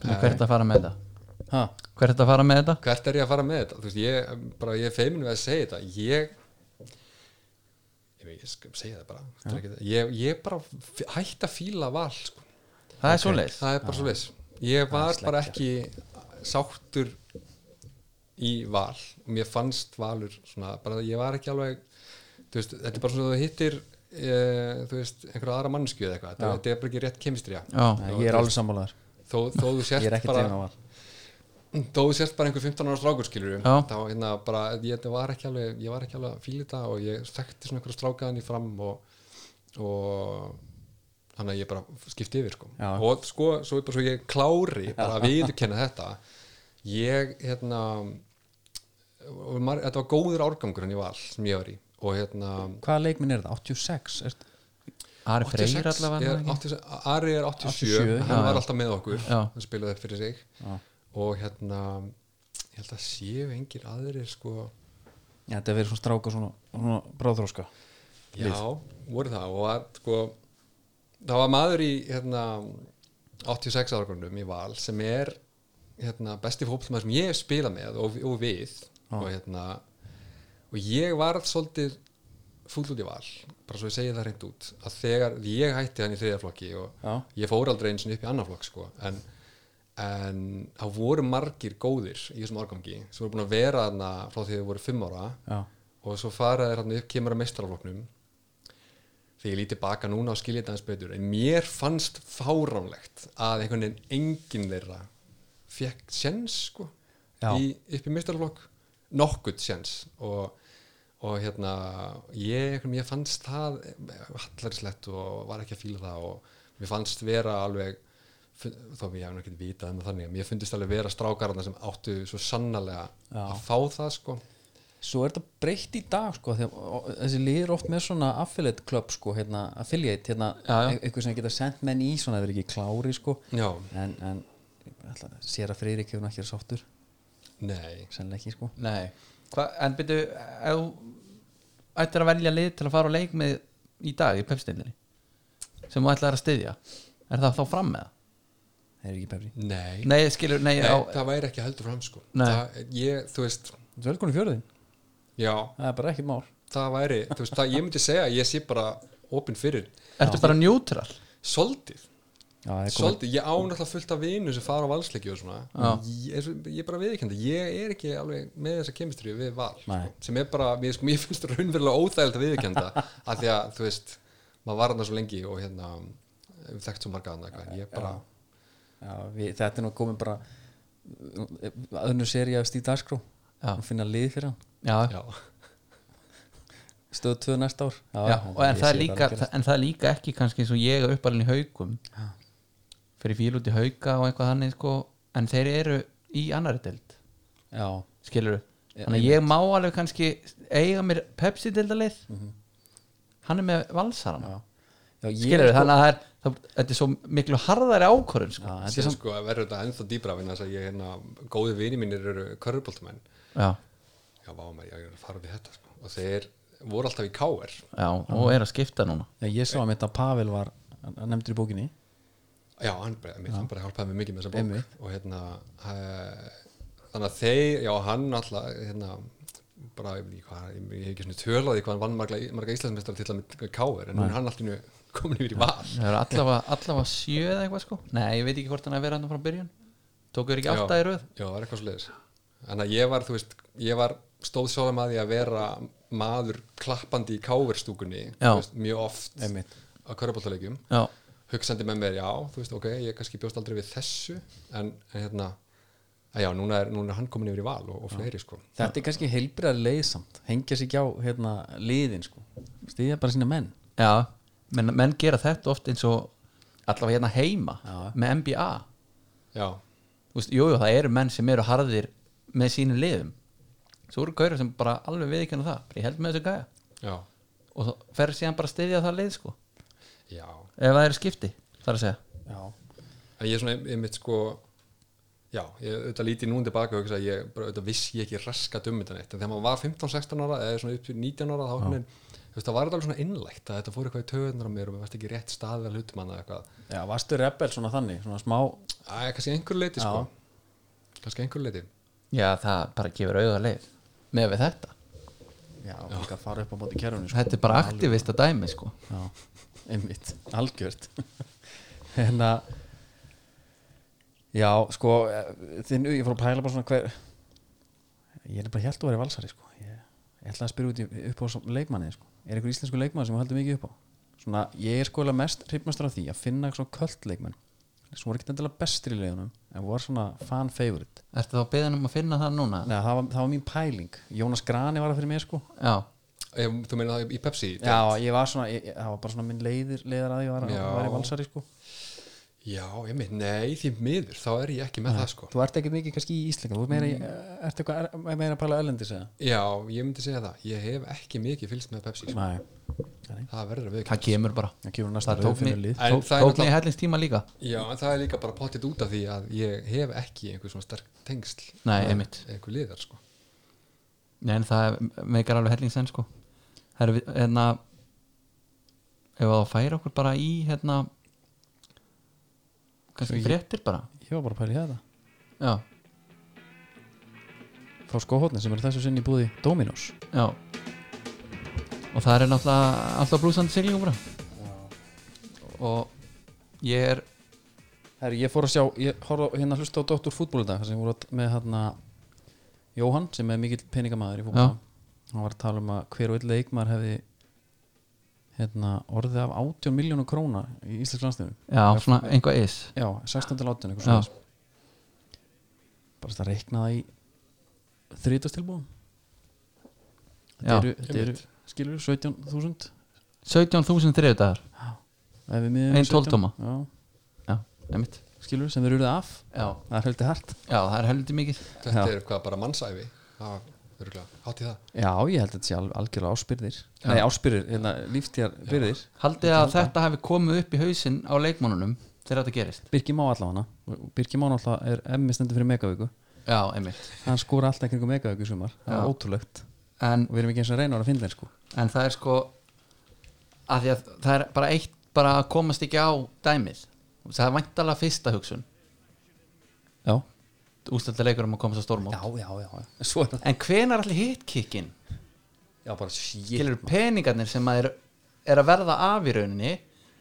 Speaker 2: hvert að fara með þetta
Speaker 1: Ha?
Speaker 2: hvert að fara með þetta
Speaker 3: Hvert er ég að fara með þetta? Þú veist, ég, bara, ég er feiminn við að segja þetta. Ég, ég, veit, ég skal segja það bara. Þetta er ekkert- Ég, ég bara f- hætti að fíla val, sko.
Speaker 2: það er svoleiðis
Speaker 3: það er bara svo leis ég var bara ekki sáttur í val og mér fannst valur svona, bara ég var ekki alveg þú veist, þetta er bara svona að þú hittir e, þú veist, einhverja aðra mannsku eða eitthvað þetta, þetta er bara ekki rétt kemistrija
Speaker 2: já,
Speaker 1: Nei, ég er alveg sammálaður
Speaker 3: þó, þó þú
Speaker 1: Ég er
Speaker 3: sért
Speaker 1: ekki tegna
Speaker 3: bara
Speaker 1: val
Speaker 3: þó þú sért bara einhver 15 ára strákur skilur
Speaker 2: Já.
Speaker 3: þá hérna bara, ég þetta var ekki alveg ég var ekki alveg að fíla þetta og ég þekkti svona einhverja strákaðan í fram og, og þannig að ég bara skipti yfir sko
Speaker 1: Já.
Speaker 3: og sko, svo, bara, svo ég klári bara að viðurkenna þetta ég hérna og mar, þetta var góður árgangur en ég var sem ég var í og hérna
Speaker 1: Hvaða leikminn er þetta? 86? Er,
Speaker 2: Ari Freyr
Speaker 3: 86
Speaker 2: allavega
Speaker 3: er
Speaker 2: er,
Speaker 3: 86 Ari er 87,
Speaker 1: 87,
Speaker 3: hann
Speaker 2: já.
Speaker 3: var alltaf með okkur
Speaker 2: Já.
Speaker 3: hann spilaði upp fyrir sig
Speaker 1: Já.
Speaker 3: og hérna ég held að séu engir aðrir sko
Speaker 1: já, þetta verður svona stráka svona, svona bráðþróska
Speaker 3: já, voru það og var, sko, það var maður í hérna 86 árgrunnum í val sem er hérna, besti fótbolmaður sem ég hef spilað með og, og við
Speaker 1: Já.
Speaker 3: og hérna og ég varð svolítið fúll út í val bara svo ég segi það reynd út að þegar ég hætti hann í þriðaflokki og
Speaker 1: Já.
Speaker 3: ég fór aldrei eins og upp í annan flokk sko en, en það voru margir góðir í þessum árgangi sem voru búin að vera þarna frá því þau voru fimm ára
Speaker 1: Já,
Speaker 3: og svo fara þér hann upp kemur að meistarafloknum þegar ég líti baka núna og skilja þetta aðeins betur en mér fannst fáránlegt að einhvern veginn enginn þeirra fekk sjens sko
Speaker 1: Já.
Speaker 3: í, upp í meistaraflokk nokkuð sjens og, og hérna ég, einhvern- mér fannst það hallarislegt og var ekki að fíla það og mér fannst vera alveg fun- þó að ég hef nú ekki vitað um það þannig en mér fundist alveg vera strákarna sem áttu svo sannarlega
Speaker 1: Já.
Speaker 3: að fá það sko
Speaker 1: svo er þetta breytt í dag sko, því að og- þessi liður oft með svona affiliate club sko, hérna, affiliate, hérna
Speaker 2: Já, já.
Speaker 1: e- eitthvað sem geta sendt menn í svona þeir eru ekki klári sko,
Speaker 3: Já,
Speaker 1: en, en ætla, sér að Friðrik hefur nú ekki verið sáttur
Speaker 3: nei
Speaker 1: sennilega ekki sko
Speaker 2: Nei, Hva, en byrju ef þú ættir að velja lið til að fara á leik með í dag í pepstildinni sem þú ætlar að styðja er það þá fram með það?
Speaker 1: það er ekki pefri
Speaker 3: Nei,
Speaker 2: Nei, skilur, nei,
Speaker 3: Nei,
Speaker 2: á,
Speaker 3: það væri ekki heldur fram sko
Speaker 2: Nei.
Speaker 3: það, ég, þú veist,
Speaker 1: þú er velkonu fjörðin
Speaker 3: já
Speaker 1: það er bara ekkert mál
Speaker 3: það væri, þú veist, það, ég myndi segja að ég sé bara opinn fyrir,
Speaker 2: ertu bara njútral
Speaker 3: soldið
Speaker 1: já, það er komið-
Speaker 3: soldið, ég án alltaf fullt af vinu sem fara á valsleiki og svona ég, ég bara viðkjönda, ég er ekki alveg með þessa kemistri við val sko,
Speaker 1: Nei.
Speaker 3: sem er bara, mér, sko, mér finnst það raunverulega óþægild að viðkjönda, af því að þú veist, maður var hana svo lengi og hérna við þekkt svo marga annað eitthvað, ég bara
Speaker 1: já, við, þetta er nú komið bara öðnu seri af Stíð Dagskró
Speaker 2: Já.
Speaker 1: að finna lið fyrir hann
Speaker 2: já, já,
Speaker 3: já,
Speaker 1: stöðu 2 næsta ár já,
Speaker 2: og en
Speaker 1: ég
Speaker 2: það, er
Speaker 1: sé
Speaker 2: líka,
Speaker 1: alveg gerast.
Speaker 2: en það er líka ekki kannski eins og ég er uppalinn í haukum
Speaker 1: Já.
Speaker 2: fyrir fíl út í hauka og eitthvað þannig sko, en þeir eru í annari deild
Speaker 1: já,
Speaker 2: skilur þannig að ég má alveg kannski eiga mér pepsi deildalið
Speaker 1: Mhm.
Speaker 2: hann er með valsarana
Speaker 1: já. já ég- sko-
Speaker 2: skilur þannig að það er það, þetta er svo miklu harðari ákvörðun sko.
Speaker 1: já, þetta er
Speaker 3: síðan sko að verður þetta ennþá dýbra vegna þess að ég hérna, góði vini mínir eru körfuboltamenn
Speaker 2: já,
Speaker 3: já, vá maður, ég er að fara við þetta sko. og þeir voru alltaf í káer
Speaker 2: já, og er að skipta núna
Speaker 1: Já, ég sá að mitt að Pavel var hann- hann nefndur í bókinni
Speaker 3: já, hann bara, einmitt, hann bara hjálpaði mig mikið með þessa bók
Speaker 1: Einmitt.
Speaker 3: og hérna he, þannig að þeir, já, hann alltaf hérna, bara, ég, veit ekki hvað, ég, ég hef ekki svona tölaði hvað hann vann marga, marga íslensmestrar til að með káer, en nú er hann alltaf komin yfir í val
Speaker 2: það eru allavega, allavega sjö eða eitthvað sko nei, ég veit ekki hvort hann er að vera hann frá byrjun tókuður ekki
Speaker 3: Já.
Speaker 2: átta í röð
Speaker 3: Já, það var eitthvað svo leiðis Þannig að ég var, þú veist, ég var stóð svolum að því að vera maður klappandi í káverstúkunni
Speaker 2: Já.
Speaker 3: mjög oft
Speaker 1: Einmitt.
Speaker 3: á körfabóttalegjum
Speaker 2: já,
Speaker 3: hugsandi með mér, já, þú veist, ok, ég kannski bjóst aldrei við þessu en, en hérna, að já, núna er, núna er hann komin yfir í val og, og fleiri, sko
Speaker 1: þetta er kannski heilbriðar leiðsamt hengja sig ekki á hérna, liðin sko. stíða bara sína menn
Speaker 2: já, menn, menn gera þetta oft eins og allavega hérna heima
Speaker 1: Já.
Speaker 2: með NBA
Speaker 3: Já,
Speaker 2: Þú veist, jú, jú, það eru menn sem eru harðir með sínum liðum svo eru gauður sem bara alveg við ekki hann það bara ég held með þessu gæja
Speaker 3: já,
Speaker 2: og þá fer síðan bara að styðja það lið sko
Speaker 3: já
Speaker 2: ef það eru skipti, þar að segja
Speaker 1: já.
Speaker 3: að ég er svona ein- einmitt sko já, ég auðvitað lítið núna tilbaka og hugsa að ég bara auðvitað vissi ég ekki raskat um þetta neitt en þegar maður var 15-16 ára eða svona upp til 19 ára þá hvernig, þú veist, það var þetta alveg svona innlægt að þetta fór eitthvað í töðunar á mér og mér varst ekki rétt staðið að hlutum annað eitthvað
Speaker 1: Já, varstu rebel svona þannig, svona smá
Speaker 3: Æ, kannski einhver leiti sko kannski einhver leiti
Speaker 2: Já, það bara gefur auða leið með við þetta
Speaker 1: Sko, Já, líka að fara upp á móti kerfinu sko.
Speaker 2: Þetta er bara aktivista dæmi sko
Speaker 1: Já, einmitt, algjört [LAUGHS] En að Já, sko eh, þinn, ég fór að pæla bara svona hver Ég er bara hjælt að vera valsari sko Ég, ég ætla að spyrja út í, upp á svo- leikmanni sko. Er einhver íslensku leikmann sem þú heldur mikið upp á? Svona, ég er sko eiginlega mest hrypmastur af því að finna svona köld leikmann sem voru ekki endilega bestir í leiðunum en voru svona fan favorite
Speaker 2: Ertu þá beðin um að finna það núna?
Speaker 1: Nei, það, var, það var mín pæling Jónas Grani var það fyrir mig sko
Speaker 2: Já,
Speaker 3: Ef, þú meina það í Pepsi í dag?
Speaker 1: Já, ég var svona, ég, ég- það var bara svona minn leiðir, leiðar að ég var,
Speaker 3: Já.
Speaker 1: var í valsari sko
Speaker 3: já, ég meina, nei, því miður þá er ég ekki með það sko
Speaker 1: Þú ert ekkert mikið kannski í Íslinga, þú ert meira, mm. ert eitthvað er, meira að pæla ellendis eða?
Speaker 3: já, ég myndi segja það, ég hef ekki mikið fylgst með Pepsi sko.
Speaker 1: Nei,
Speaker 3: það verður að við
Speaker 2: það kemur bara
Speaker 1: það kemur næsta
Speaker 2: Það tók mig,
Speaker 1: rauðfinnulið
Speaker 3: En
Speaker 2: tók,
Speaker 3: það er
Speaker 2: tók mig
Speaker 3: náttúrulega-
Speaker 2: hellins tíma líka
Speaker 3: Já, en það er líka bara pottit út af því að ég hef ekki einhver svona sterk tengsl
Speaker 2: Nei,
Speaker 3: með
Speaker 2: einmitt.
Speaker 3: einhver liðar sko.
Speaker 2: Nei, en það meikar alveg hellins enn sko Herru, við- hérna Ef það færi okkur bara í hérna Kannski fréttir bara
Speaker 1: Ég var bara að pæla í þetta
Speaker 2: Já,
Speaker 1: Frá skóhóttni sem er þessu sinni í búði Dominos
Speaker 2: já Og það er náttúrulega alltaf blúsandi siglingu bara Og ég er
Speaker 1: Herri, ég fór að sjá, ég horfði á- hérna að hlusta á Dóttur fútból í dag þar sem voru að- með hérna Jóhann sem er mikill peningamæður í fútból Hann var að tala um að hver og einn leikmaður hefði hérna, orðið af 18 miljónum króna í Íslensk landsliðinu
Speaker 2: Já, svona einhvað is
Speaker 1: Já, 16 til 18
Speaker 2: Já.
Speaker 1: eitthvað svona Bara þetta reikna það í þrítastilbúðum
Speaker 2: Já,
Speaker 1: Þetta eru, þetta eru skilur 17.000
Speaker 2: 17.000 þriðdagar
Speaker 1: ef við miðum við
Speaker 2: Ein
Speaker 1: 17.
Speaker 2: tólftóma.
Speaker 1: Já,
Speaker 2: Já, einmitt
Speaker 1: skilur sem þeir eru af
Speaker 2: Já,
Speaker 1: Það er höldið hart
Speaker 2: já það er helviti mikið
Speaker 3: Þetta
Speaker 1: Já.
Speaker 3: er eitthvað bara mannsæfi Hátti það
Speaker 1: Já, ég held að þetta sé al- algjörlega áspyrðir Nei, áspyrðir, hérna, líftíðarbyrðir
Speaker 2: Haldið að þetta hafi komið upp í hausinn á leikmannunum þegar þetta gerist
Speaker 1: Birki Má allavega Birki Má allavega er emmi stendur fyrir megavíku
Speaker 2: Já, einmitt
Speaker 1: Hann skora alltaf einhverjum megavíku í sumar Það er ótrúlegt
Speaker 2: En,
Speaker 1: Og við erum ekki eins og að reyna að vera að finna þeir sko
Speaker 2: en það er sko að því að það er bara eitt bara að komast ekki á dæmið það er væntalega fyrsta hugsun
Speaker 1: Já,
Speaker 2: ústölda leikur um að komast
Speaker 1: já,
Speaker 2: á stórmót
Speaker 1: já, já, já. Svo er það
Speaker 2: En hvenar allir hittkikkin
Speaker 1: Já, bara shit
Speaker 2: gilur peningarnir sem að er, er að verða af í rauninni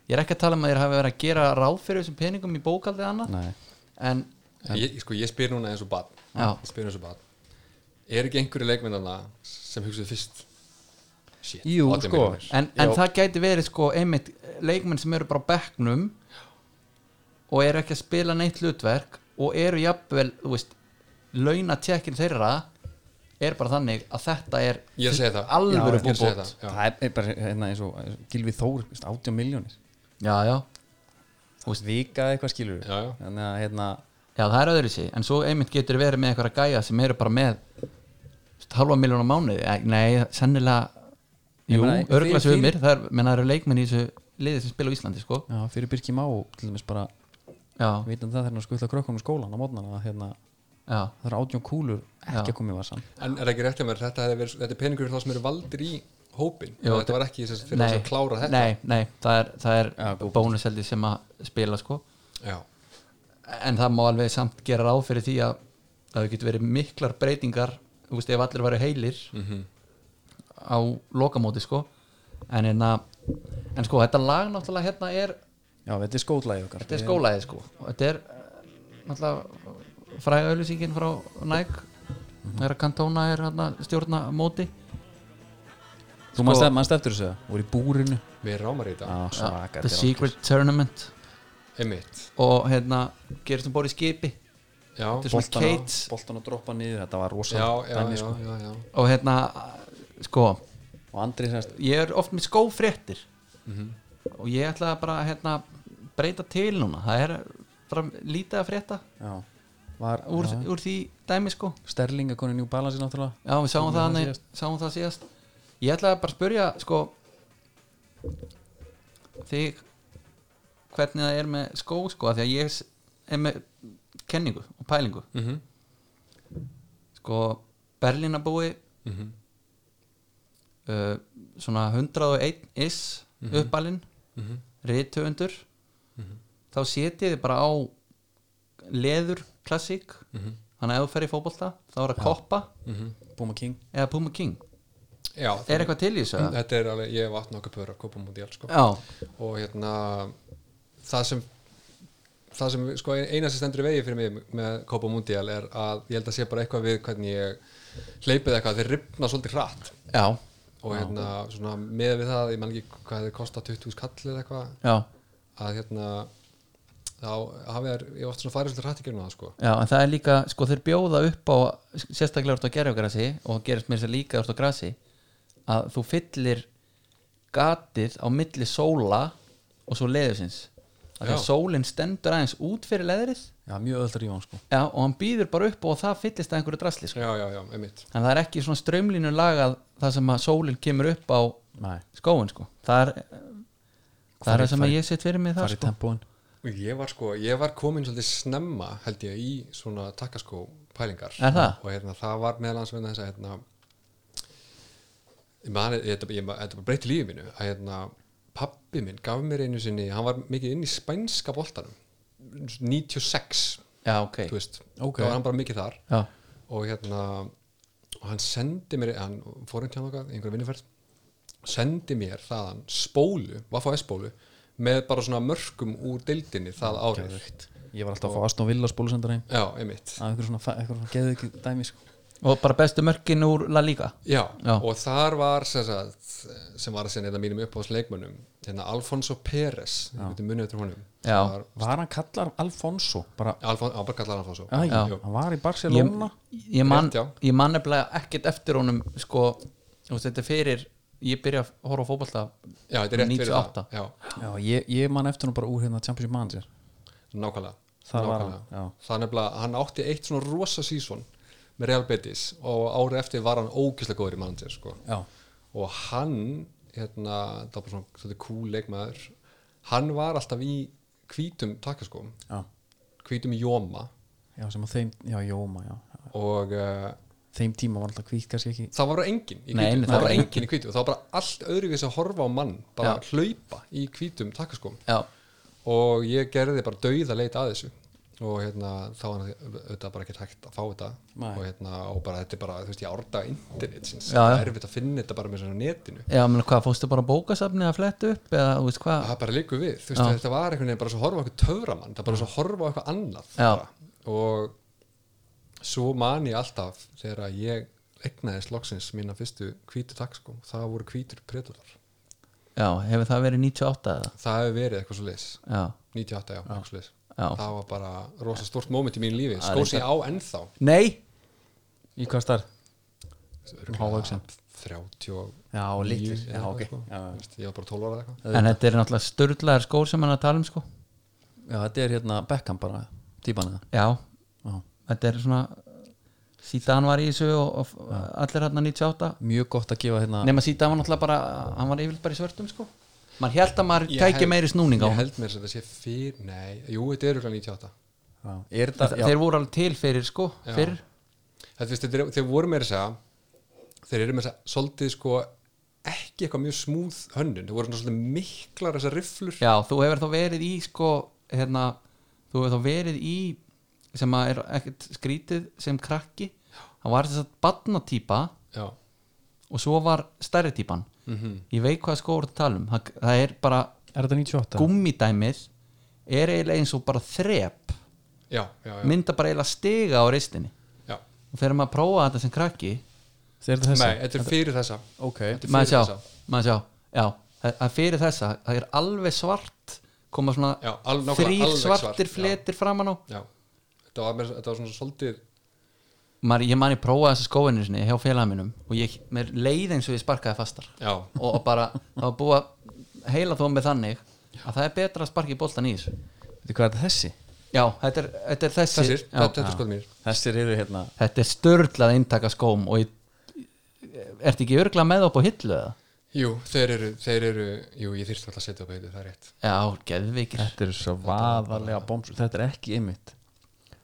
Speaker 2: ég er ekki að tala um að þeir hafi verið að gera ráð fyrir þessum peningum í bókaldið annað
Speaker 1: Nei,
Speaker 2: en
Speaker 3: ég, sko, ég spyr núna eins og bad
Speaker 2: Já.
Speaker 3: Ég spyr eins og bad Er ekki einhverju leikmyndana sem hugsaðu fyrst Shit,
Speaker 1: Jú,
Speaker 3: 18
Speaker 1: sko.
Speaker 3: milljónir.
Speaker 2: en, en það gæti verið sko einmitt leikmenn sem eru bara á bekknum og eru ekki að spila neitt hlutverk og eru jafnvel, þú veist launatjekkin þeirra er bara þannig að þetta er
Speaker 3: Ég segi það.
Speaker 2: alvöru
Speaker 3: Já, ég segi
Speaker 2: búbót
Speaker 3: það. Já.
Speaker 1: það er- er bara hérna, eins og eins og Gylfi Þór, veist, 18 miljónir
Speaker 2: já, já,
Speaker 1: vika eitthvað skilur
Speaker 3: Já, já.
Speaker 1: þannig að hérna
Speaker 2: já, það er öðru sig en svo einmitt getur verið með eitthvað gæja sem eru bara með þú veist, halva miljón á mánuði Eh, nei, sennilega
Speaker 1: Ég
Speaker 2: jú,
Speaker 1: meina,
Speaker 2: örgla
Speaker 1: fyrir-
Speaker 2: sumir, það er, menn það eru leikmenn í þessu liði sem spila á Íslandi, sko
Speaker 1: já, fyrir Birki Má til dæmis bara
Speaker 2: já,
Speaker 1: vitum það þegar hann skutla krökkunum í skólan á mótnana að hérna
Speaker 2: já,
Speaker 1: það eru 18 kúlur ekki að koma í vassan
Speaker 3: En er ekki rétt að mér þetta, hefði verið, þetta er peningur fyrir þá sem eru valdir í hópin
Speaker 2: Jú,
Speaker 3: Þetta var ekki sem sagt fyrir þess að klára þetta
Speaker 2: nei, nei, það er, það er
Speaker 1: Já, bónus.
Speaker 2: bónuseldi sem að spila sko
Speaker 3: Já,
Speaker 2: en það má alveg samt gera ráð fyrir því að að það getur verið miklar breytingar þú veist, ef allir væri heilir á lokamóti sko en, en, en sko, þetta lag náttúrulega hérna er,
Speaker 1: já, þetta er skóðlæði okkar
Speaker 2: þetta er skólaðið sko og þetta er eh, náttúrulega fræga auðlýsingin frá Nike það er að Cantona er hérna, stjórna móti
Speaker 1: þú mannst eftir, mannst eftir þessu það voru í búrinu
Speaker 3: við rámar í þetta
Speaker 1: Sko- já, svaka þetta
Speaker 2: The
Speaker 1: er
Speaker 2: Secret Tournament
Speaker 3: Einmitt
Speaker 2: og hérna, gerist um bóri skipi
Speaker 3: Já,
Speaker 2: Þetta er
Speaker 1: ágætt.
Speaker 2: svona
Speaker 1: Boltan að-
Speaker 2: Kate.
Speaker 1: boltan að droppa niður þetta var rosa
Speaker 3: já, já,
Speaker 1: dæmi,
Speaker 3: já,
Speaker 1: sko.
Speaker 3: já, já.
Speaker 2: og hérna sko,
Speaker 1: og Andri sérst
Speaker 2: ég er oft með skófréttir
Speaker 1: Mhm.
Speaker 2: og ég ætla að bara hérna, breyta til núna það er bara lítið að frétta
Speaker 1: já, var
Speaker 2: úr,
Speaker 1: já,
Speaker 2: úr því dæmi sko
Speaker 1: Sterling að konu New Balance í náttúrulega
Speaker 2: já, við sáum það,
Speaker 1: það
Speaker 2: það,
Speaker 1: síðast.
Speaker 2: sáum það síðast ég ætla að bara spyrja sko þig hvernig það er með skó sko, af því að ég s- er með kenningu og pælingu
Speaker 3: Mhm.
Speaker 2: sko Berlínabúi
Speaker 3: mhm,
Speaker 2: uh, svona 101 is mm -hmm. uppalinn rithöfundur þá setið þið bara á leður klassík þannig að ef þú fer í fótbolta þá er að koppa
Speaker 1: Búma King
Speaker 2: eða Puma King
Speaker 3: mhm. Já,
Speaker 2: er eitthvað til í þessu? eða?
Speaker 3: þetta er alveg, ég hef vatn okkur pöður að kopa múti alls sko.
Speaker 2: Já,
Speaker 3: og hérna það sem það sem sko eina sem stendur í vegi fyrir mig með Copa Mundial er að ég held að sé bara eitthvað við hvernig ég hleypið eitthvað, þeir ripna svolítið hratt
Speaker 2: já,
Speaker 3: og hérna svona með við það, ég man ekki hvað þeir kosta 20.000 kall eða eitthvað
Speaker 2: já,
Speaker 3: að hérna þá hafið þær, ég hef oft svona farið svolítið hratt í gegnum það sko
Speaker 2: já en það er líka, sko þeir bjóða upp á sérstaklega úr þetta gerfugrasi og gerist mér sér líka úr þetta grasi að þú fyllir gatið á milli sóla og svo leðusins
Speaker 3: Já.
Speaker 2: þegar sólinn stendur aðeins út fyrir leðrið
Speaker 1: Já, mjög öll rífan sko
Speaker 2: já, og hann býður bara upp á og það fyllist að einhverju drasli sko.
Speaker 3: já, já, já, einmitt
Speaker 2: en það er ekki svona strömlínu lagað það sem að sólinn kemur upp á
Speaker 1: Nei,
Speaker 2: skóin sko. það er það er það sem að ég set fyrir mig það
Speaker 1: farið
Speaker 2: sko.
Speaker 1: tempóin
Speaker 3: og ég var sko, ég var komin svolítið snemma held ég í svona takkaskó pælingar
Speaker 2: Er það?
Speaker 3: og hérna það var meðal hans vegna þess að hérna ég mani, þetta, ég, ma- þetta bara breyti lífið mínu að hérna pappi minn gaf mér einu sinni, hann var mikið inn í spænska boltanum 96,
Speaker 2: já, ok
Speaker 3: þú veist
Speaker 1: Ok.
Speaker 3: þá var hann bara mikið þar
Speaker 2: já,
Speaker 3: og hérna og hann sendi mér, hann fór hann hjá nokkað einhverjum vinnuferð, sendi mér þaðan spólu, Vaffa S-spólu með bara svona mörkum úr deildinni það árið
Speaker 1: Ég var alltaf að fá Aston Villa spólusendar heim
Speaker 3: já, einmitt
Speaker 1: að einhver svona, fa- einhver svona geðu ekki dæmi sko
Speaker 2: og bara bestu mörkin úr La Liga
Speaker 3: já,
Speaker 2: Já.
Speaker 3: og þar var sem, sagt, sem var að segja þetta mínum uppáðsleikmönnum hérna Alfonso Pérez munið eftir honum
Speaker 2: Já.
Speaker 3: Var,
Speaker 1: Var hann kallar Alfonso bara
Speaker 3: Alfon, hann bara kallar Alfonso
Speaker 1: Æ,
Speaker 3: Jú.
Speaker 1: hann var í Barcelona
Speaker 2: ég man,
Speaker 3: Rétt, já.
Speaker 2: ég man nefnilega ekkert eftir honum sko, þú veist, þetta er fyrir ég byrja að horfa á fótbolta
Speaker 3: já, þetta er rétt fyrir
Speaker 2: 98.
Speaker 3: það já,
Speaker 1: Já, ég, ég man eftir hann bara úr hérna Champions League Manager
Speaker 3: nákvæmlega
Speaker 1: Það var
Speaker 3: Nákvæmlega.
Speaker 1: hann, já.
Speaker 3: það er nefnilega, hann átti eitt svona rosa sísón með Real Betis og árið eftir var hann ógislega góður í manager sko.
Speaker 1: Já,
Speaker 3: og hann hérna, það var svona svolítið cool leikmaður hann var alltaf í hvítum takkaskóm,
Speaker 1: já,
Speaker 3: hvítum jóma
Speaker 1: já sem að þeim, já, Jóma, já, já
Speaker 3: og uh,
Speaker 1: Þeim tíma var alltaf hvít, kannski ekki
Speaker 3: það var bara engin í
Speaker 2: Nei,
Speaker 3: hvítum,
Speaker 2: nei,
Speaker 3: það var engin í hvítum það var bara allt öðruvísi að horfa á mann bara hlaupa í hvítum sko. takkaskóm
Speaker 2: já,
Speaker 3: og ég gerði bara dauða leita að þessu og hérna þá var þetta bara ekki hægt að fá þetta
Speaker 1: Nei.
Speaker 3: og hérna og bara þetta er bara þú veist ég árda internet sinns,
Speaker 2: Já, já.
Speaker 3: það er erfitt að finna þetta bara með svona netinu
Speaker 2: já menn, hvað, fórstu bara á bókasafni að fletta upp eða, þú veist, hvað,
Speaker 3: það bara líku við, þú veist þetta var einhvern veginn bara svo að horfa á eitthvað töframann, það er bara svo að horfa á eitthvað annað
Speaker 2: Já.
Speaker 3: bara. og svo man ég alltaf þegar að ég egnaði slokksins mína fyrstu hvítu takk sko, það voru hvítur predular,
Speaker 2: já, hefur það verið 98 eða,
Speaker 3: það hefur verið eitthvað svo leis
Speaker 2: já,
Speaker 3: 98 já, eitthvað svo leis
Speaker 2: Já.
Speaker 3: það var bara rosa stort moment í mínu lífi,
Speaker 2: Það er
Speaker 3: skó sem ég á ennþá
Speaker 2: nei
Speaker 1: Í hvað starf? Hávaxinn.
Speaker 3: 30 og-
Speaker 1: Já, og litlir,
Speaker 3: Níu,
Speaker 1: já,
Speaker 3: eða
Speaker 1: ok
Speaker 3: eitthvað, sko.
Speaker 1: já, já.
Speaker 3: Þú veist, ég var bara 12 ára eða eitthvað
Speaker 2: en þetta er náttúrulega störðlegar skór sem hann er að tala um sko,
Speaker 1: já, þetta er hérna Beckham bara, típan eða
Speaker 2: já
Speaker 1: Já.
Speaker 2: þetta er svona Sítan var í þessu og, og allir hann 98
Speaker 1: Mjög gott að gefa hérna
Speaker 2: nema Sítan var náttúrulega bara, hann var yfirleitt bara í svörtum sko, maður held að maður
Speaker 3: Ég
Speaker 2: tæki
Speaker 3: held-
Speaker 2: meiri snúning á
Speaker 3: ég
Speaker 2: honum.
Speaker 3: held mér sem þetta sé fyrir, nei, jú, þetta er örugglega 98
Speaker 1: já, Er
Speaker 2: Þa,
Speaker 1: þetta, já,
Speaker 2: þeir voru alveg til fyrir sko fyrir,
Speaker 3: þetta, veist, þetta er, þeir voru meira að segja þeir eru meira að segja svolítið sko ekki eitthvað mjög smúð hönnun þeir voru svona svolítið miklar þessar rifflur
Speaker 2: já þú hefur þá verið í sko hérna, þú hefur þá verið í sem að er ekkert skrítið sem krakki hann var þess að batnatýpa
Speaker 3: já,
Speaker 2: og svo var stærri týpan
Speaker 3: Mhm.
Speaker 2: ég veit hvað sko voru að tala um það, það er bara
Speaker 1: er þetta 98?
Speaker 2: gummidæmið er eiginlega eins og bara þrep
Speaker 3: já, já, já,
Speaker 2: mynda bara eiginlega stiga á ristinni
Speaker 3: já.
Speaker 2: og þegar maður prófa þetta sem krakki
Speaker 1: Er þetta
Speaker 3: nei,
Speaker 1: þessi?
Speaker 3: þetta er fyrir þessa
Speaker 1: Ok,
Speaker 3: þetta er
Speaker 2: maður
Speaker 3: fyrir
Speaker 2: sjá,
Speaker 3: þessa
Speaker 2: maður sjá já, það það fyrir þessa, það er alveg svart koma svona
Speaker 3: Já, alveg- nákvæmlega,
Speaker 2: þrýr
Speaker 3: alveg svart,
Speaker 2: svartir
Speaker 3: já.
Speaker 2: fletir framan á
Speaker 3: já, þetta var, meira- þetta var svona svolítið
Speaker 2: maður, ég mani prófaði þessa skóinu sinni hjá félagaminum og ég, mér leið eins og ég sparkaði fastar
Speaker 3: já,
Speaker 2: og og bara, það var búið að heila þó með þannig að það er betra að sparka í boltan í þessu
Speaker 1: Veitu hvað er þetta þessi?
Speaker 2: já, þetta er, þetta er þessi
Speaker 3: þessir,
Speaker 2: já,
Speaker 3: þetta, þetta er skoðum mér
Speaker 1: Þessir eru hérna
Speaker 2: þetta er störlað inntaka skóm og ég, ertu ekki örgla með upp á hillu eða?
Speaker 3: Jú, þeir eru, þeir eru Jú, ég þyrst alltaf að setja upp heitið, það er rétt
Speaker 2: Já, geðveikir
Speaker 1: Þetta eru svo vaðalega bóms Þetta er ekki ymmit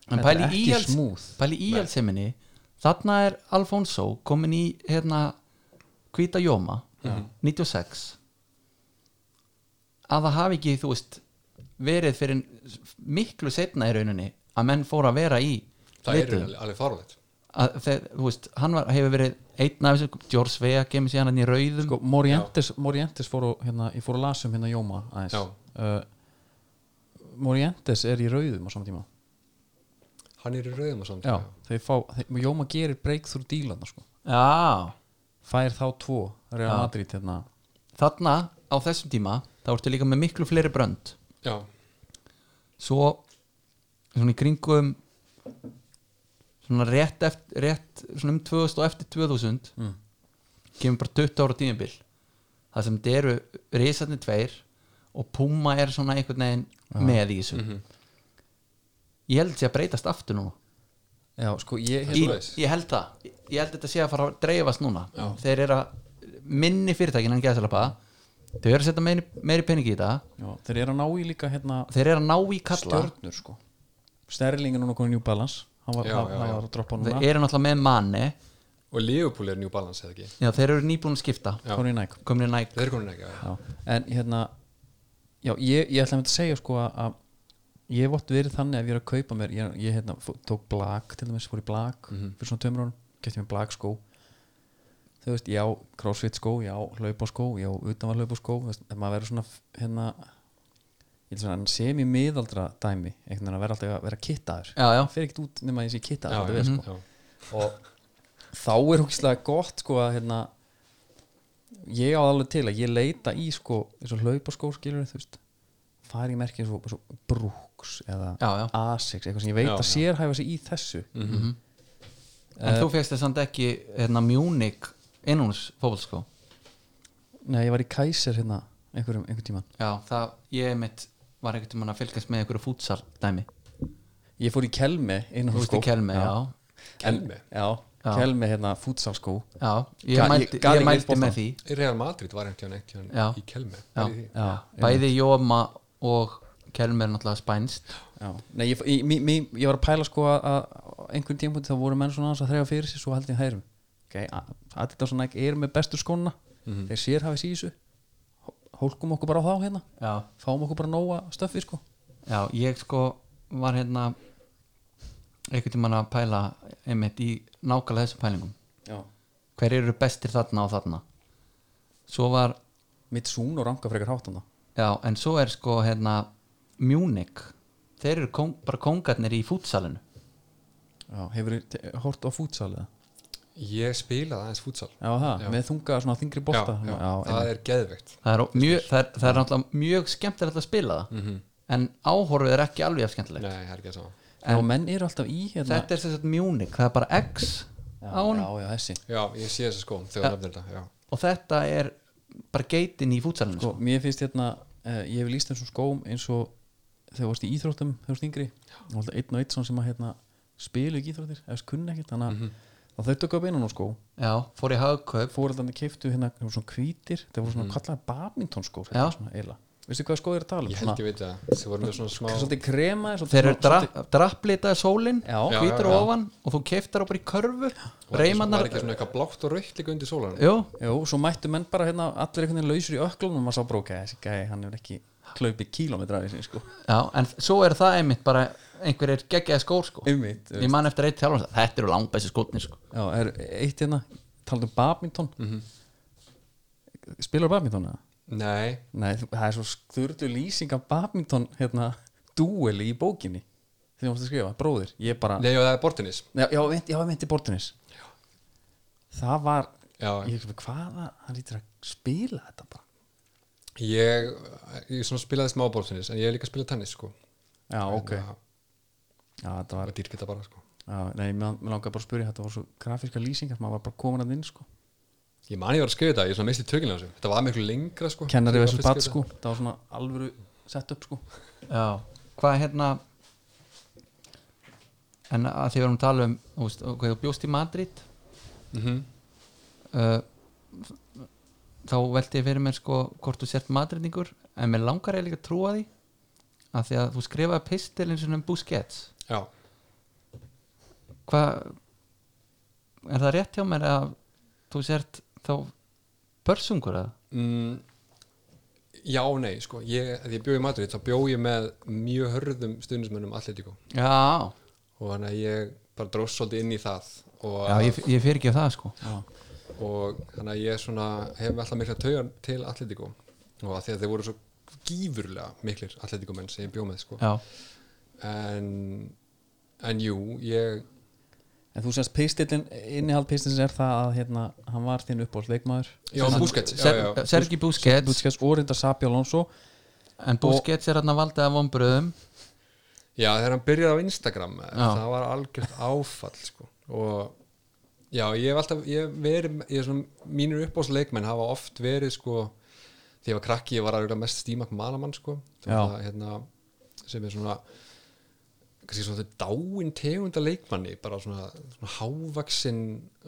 Speaker 2: En
Speaker 1: Þetta
Speaker 2: pæli
Speaker 1: er
Speaker 2: í
Speaker 1: ekki
Speaker 2: alls-
Speaker 1: smooth.
Speaker 2: Pæli í íhjálpseminni Þarna er Alfonso komin í hérna Hvita Jóma
Speaker 1: Mhm.
Speaker 2: 96 að það hafi ekki þú veist verið fyrir miklu setna í rauninni að menn fóru að vera í
Speaker 3: Það er
Speaker 2: litum.
Speaker 3: alveg, alveg farulegt
Speaker 2: að þeir, þú veist, hann var, hefur verið einn af þessu, George Vea kemur síðan hann í rauðum
Speaker 1: sko, Morientes, Morientes fór og, hérna, ég fór að lasa um hérna Jóma aðeins
Speaker 3: Já.
Speaker 1: uh, Morientes er í rauðum á sama tíma
Speaker 3: Hann er í rauðum og samt
Speaker 1: Já, þeir fá, þeir, Jóma gerir breakthrough dílarna sko.
Speaker 2: já,
Speaker 1: fær þá tvo Real Madrid hérna.
Speaker 2: þarna á þessum tíma þá ertu líka með miklu fleiri brönd
Speaker 3: Já,
Speaker 2: svo svona í kringum svona rétt, eftir, rétt svona um 2000 og eftir 2000
Speaker 1: Mm.
Speaker 2: kemur bara 20 ára tímabil það sem þetta eru risarnir tveir og Puma er svona einhvern veginn með í þessu
Speaker 1: Mhm.
Speaker 2: ég held sé að breytast aftur núna
Speaker 1: Já, sko, ég,
Speaker 3: Það er
Speaker 2: Í,
Speaker 3: svoleiðis.
Speaker 2: ég held það, ég held þetta sé að fara að dreifast núna þeir eru að minni fyrirtækin en gæðsalapa þau eru að setja meiri, meiri pening í þetta
Speaker 1: já, þeir eru að ná í líka hérna,
Speaker 2: þeir eru að ná í kalla
Speaker 1: stjörnur sko. Sterling er núna konið New Balance hann var,
Speaker 3: Já,
Speaker 1: hann,
Speaker 3: já,
Speaker 1: hann
Speaker 3: já.
Speaker 1: var að droppa
Speaker 2: þeir
Speaker 1: núna
Speaker 2: eru náttúrulega með manni
Speaker 3: og Liverpool er New Balance eða ekki
Speaker 2: já, þeir eru nýbúin að skipta
Speaker 3: Já.
Speaker 1: konið Nike
Speaker 2: komin í næk
Speaker 3: Þeir eru komin ekki, já
Speaker 1: já. en hérna já, ég, ég ætla að mynda að segja sko að- að ég hef oft verið þannig að ég er að kaupa mér ég, ég hérna, fó- tók blak til dæmis, fór í blak
Speaker 3: Mhm.
Speaker 1: fyrir svona tömur árum, kefti mér blak skó þú veist, já, crossfit skó já, hlaupa skó, já, utan var hlaupa skó veist, ef maður verður svona f- hérna ég er svona semi-miðaldra dæmi, einhvern veginn að vera alltaf að vera kittaður
Speaker 2: já, já,
Speaker 1: fer ekkert út nema að ég sé kittaður
Speaker 3: Já,
Speaker 1: alltaf
Speaker 3: já,
Speaker 1: vel, sko
Speaker 3: já.
Speaker 1: og þá er húkslega gott sko að hérna ég á það alveg til að ég leita í sko eins og hlaupa skóskilur þú veist fari í merki eins og, eins og Brooks eða
Speaker 2: já, já.
Speaker 1: Asics, eitthvað sem ég veit
Speaker 3: Já,
Speaker 1: að
Speaker 3: Mhm. já.
Speaker 1: sérhæfa sig í þessu
Speaker 2: en þú fegst þess að ekki hérna Munich sko? innúns fótbolskó
Speaker 1: Nei, ég var í Kaiser hérna einhverjum, einhver tíman
Speaker 2: já, það, ég mitt var ekkert um að fylgast með einhverju fútsal dæmi,
Speaker 1: ég fór í Kelme innan
Speaker 2: þú veist í kelmi já,
Speaker 3: Kelme?
Speaker 1: já,
Speaker 2: Já.
Speaker 1: Kelme hérna futsalskó
Speaker 2: já, ég
Speaker 1: Ga- ég-
Speaker 2: mælti,
Speaker 1: gat
Speaker 2: ég
Speaker 1: ekki
Speaker 2: mælti
Speaker 1: uppbótt
Speaker 2: með
Speaker 1: það.
Speaker 2: því
Speaker 3: Real Madrid var einhvern veginn
Speaker 2: Já.
Speaker 3: í Kelme
Speaker 2: Já.
Speaker 3: Pælið í því.
Speaker 1: já,
Speaker 2: bæði Jóma og Kelmi er náttúrulega spænst
Speaker 1: já. Nei, ég, ég, ég, ég, ég var að pæla sko að, að einhvern tímpúti þá voru menn svona aðeins að þreja fyrir sér svo held ég hærum okay, Adidas og Nike eru með bestu skóna þeir sér hafið sísu hólkum okkur bara á þá hérna
Speaker 2: já.
Speaker 1: fáum okkur bara nóga stöffi sko
Speaker 2: já, ég sko var hérna einhvern tímann að pæla einmitt í nákvæmlega þessum pælingum
Speaker 1: já.
Speaker 2: hver eru bestir þarna og þarna svo var,
Speaker 1: mitt sún og ranga frekar hátan þá
Speaker 2: já, en svo er sko hérna Munich þeir eru kong, bara kongarnir í fútsalinu
Speaker 1: já, hefur hort á fútsal eða
Speaker 3: Ég spilaði aðeins fútsal
Speaker 1: já það,
Speaker 3: Já.
Speaker 1: með þunga svona þingri bolta hérna.
Speaker 3: já,
Speaker 1: já,
Speaker 3: það er geðveikt
Speaker 2: það er, ó- mjög, það er, það er náttúrulega mjög skemmtilegt að spila það en áhorfið er ekki alveg af skemmtilegt
Speaker 3: Mhm. Nei, það er ekki að sama
Speaker 1: já, og menn eru alltaf í hérna
Speaker 2: þetta er sem sagt Munich, það er bara X
Speaker 1: já,
Speaker 2: á honum
Speaker 1: já, já, þessi
Speaker 3: Já, ég sé þess að sko þegar nefnir þetta já.
Speaker 2: og þetta er bara geitin í fútsalinu
Speaker 1: sko,
Speaker 2: sko.
Speaker 1: mér finnst hérna uh, ég hef líst þessum skóm eins og þegar þú varst í íþróttum, þegar þú varst yngri og alltaf einn og einn svona sem að hérna, spilu ekki íþróttir, eða þess kunni ekkert þannig að mm -hmm. þau tökka upp innan og skó
Speaker 2: já, fór í hagkaup
Speaker 1: fóreldarnir keiftu hérna þeir voru svona hvítir, þeir voru svona mm. kallaði badmintonskó
Speaker 2: Já.
Speaker 1: svona eila, veistu hvað skó þeir eru að tala um
Speaker 3: Ég held ég veit að þið voru með svona smá
Speaker 1: svona, svolítið krema svolítið,
Speaker 2: þeir eru
Speaker 1: svona-
Speaker 2: dra drapplitaði sólin
Speaker 1: Já.
Speaker 3: Já,
Speaker 2: hvítur
Speaker 3: já, já.
Speaker 2: ofan og þú keiftar á bara í körfu
Speaker 3: Var ekki- Var
Speaker 2: reymannar
Speaker 3: ekki svona eitthvað blátt og rautt líka undir sólanum
Speaker 2: jú,
Speaker 1: Jú, svo mættu menn bara hérna allir einhvern veginn lausur í öklunum og maður sá bróka þessi gæði, hann hefur ekki hlaupið kílómetra af þessi sko
Speaker 2: já, en f- svo er það einmitt bara einhverjir geggjaði skór sko.
Speaker 1: Einmitt,
Speaker 2: ég man eftir eitt þjálfum þetta eru langbæsi skótnir sko.
Speaker 1: Já, er eitt hérna, talaðu um badminton mm -hmm. Spilar badminton eða?
Speaker 3: Nei,
Speaker 1: Nei, þú- það er svo skurdu lýsing af badminton hérna, dúeli í bókinni þegar þú mást að skrifa, bróðir ég bara,
Speaker 3: nei, já, það er bortinis
Speaker 1: já, já, veit- já, ég meinti bortinis það var
Speaker 3: Já.
Speaker 1: ég ekki hvaða, hann lítur að spila þetta bara
Speaker 3: Ég, ég svona spilaði smá bortinis en ég hef líka spilað tennis sko
Speaker 1: Já, ok,
Speaker 3: Það
Speaker 1: já, þetta var
Speaker 3: var dýrkita bara sko
Speaker 1: já, nei, mér mér langaði bara að spyrja, þetta var svo grafíska lýsingar, maður var bara komin að inn sko
Speaker 3: Ég man ég var að skrifa þetta, ég svona misti tökina á þessu Þetta var miklu lengra sko
Speaker 1: kennari
Speaker 3: Sem ég
Speaker 1: versus
Speaker 3: var fyrst
Speaker 1: bat
Speaker 3: skrifaði.
Speaker 1: sko, það var svona alvöru sett upp sko
Speaker 2: já, hvað hérna en að því við erum að tala um þú veist, hvað þú bjóst í Madrid
Speaker 3: Mhm.
Speaker 2: uh, þá velti ég fyrir mér sko hvort þú sért madrendingur en mér langar ég líka að trúa því að því að þú skrifaði pistil eins og um Busquets
Speaker 3: já,
Speaker 2: hvað er það rétt hjá mér að þú sért þá börsungur að
Speaker 3: mm, já, og nei sko, ég, þegar ég bjó í Madrid þá bjó ég með mjög hörðum stundismönnum Atletico
Speaker 2: já,
Speaker 3: og þannig að ég bara dróst svolítið inn í það og,
Speaker 2: já ég, ég fyrir ekki það sko já,
Speaker 3: og þannig að ég svona hef alltaf mikla taugan til Atletico og að því að þeir voru svo gífurlega miklir Atletico menn sem ég bjó með sko.
Speaker 2: já,
Speaker 3: en, en jú, ég
Speaker 1: En þú semst pistillin, innihald pistillins er það að hérna, hann var þinn uppáhalds leikmaður
Speaker 3: Já,
Speaker 2: Sem-
Speaker 3: Busquets, já,
Speaker 2: Ser,
Speaker 3: já, já.
Speaker 2: Sergi Busquets
Speaker 1: Bútskjæs og reynda Sabi Alonso
Speaker 2: en Busquets er hann að valda af vonbröðum
Speaker 3: Já, þegar hann byrjaði á Instagram
Speaker 2: Já.
Speaker 3: það var algjört áfall sko. og já, ég hef alltaf ég hef verið, ég er svona, mínir uppáðsleikmenn hafa oft verið sko þegar ég var krakki, ég var að mest stímak malamann sko,
Speaker 1: Já.
Speaker 3: það, hérna, sem er svona kannski svona dáin tegunda leikmanni bara svona, svona hávaksin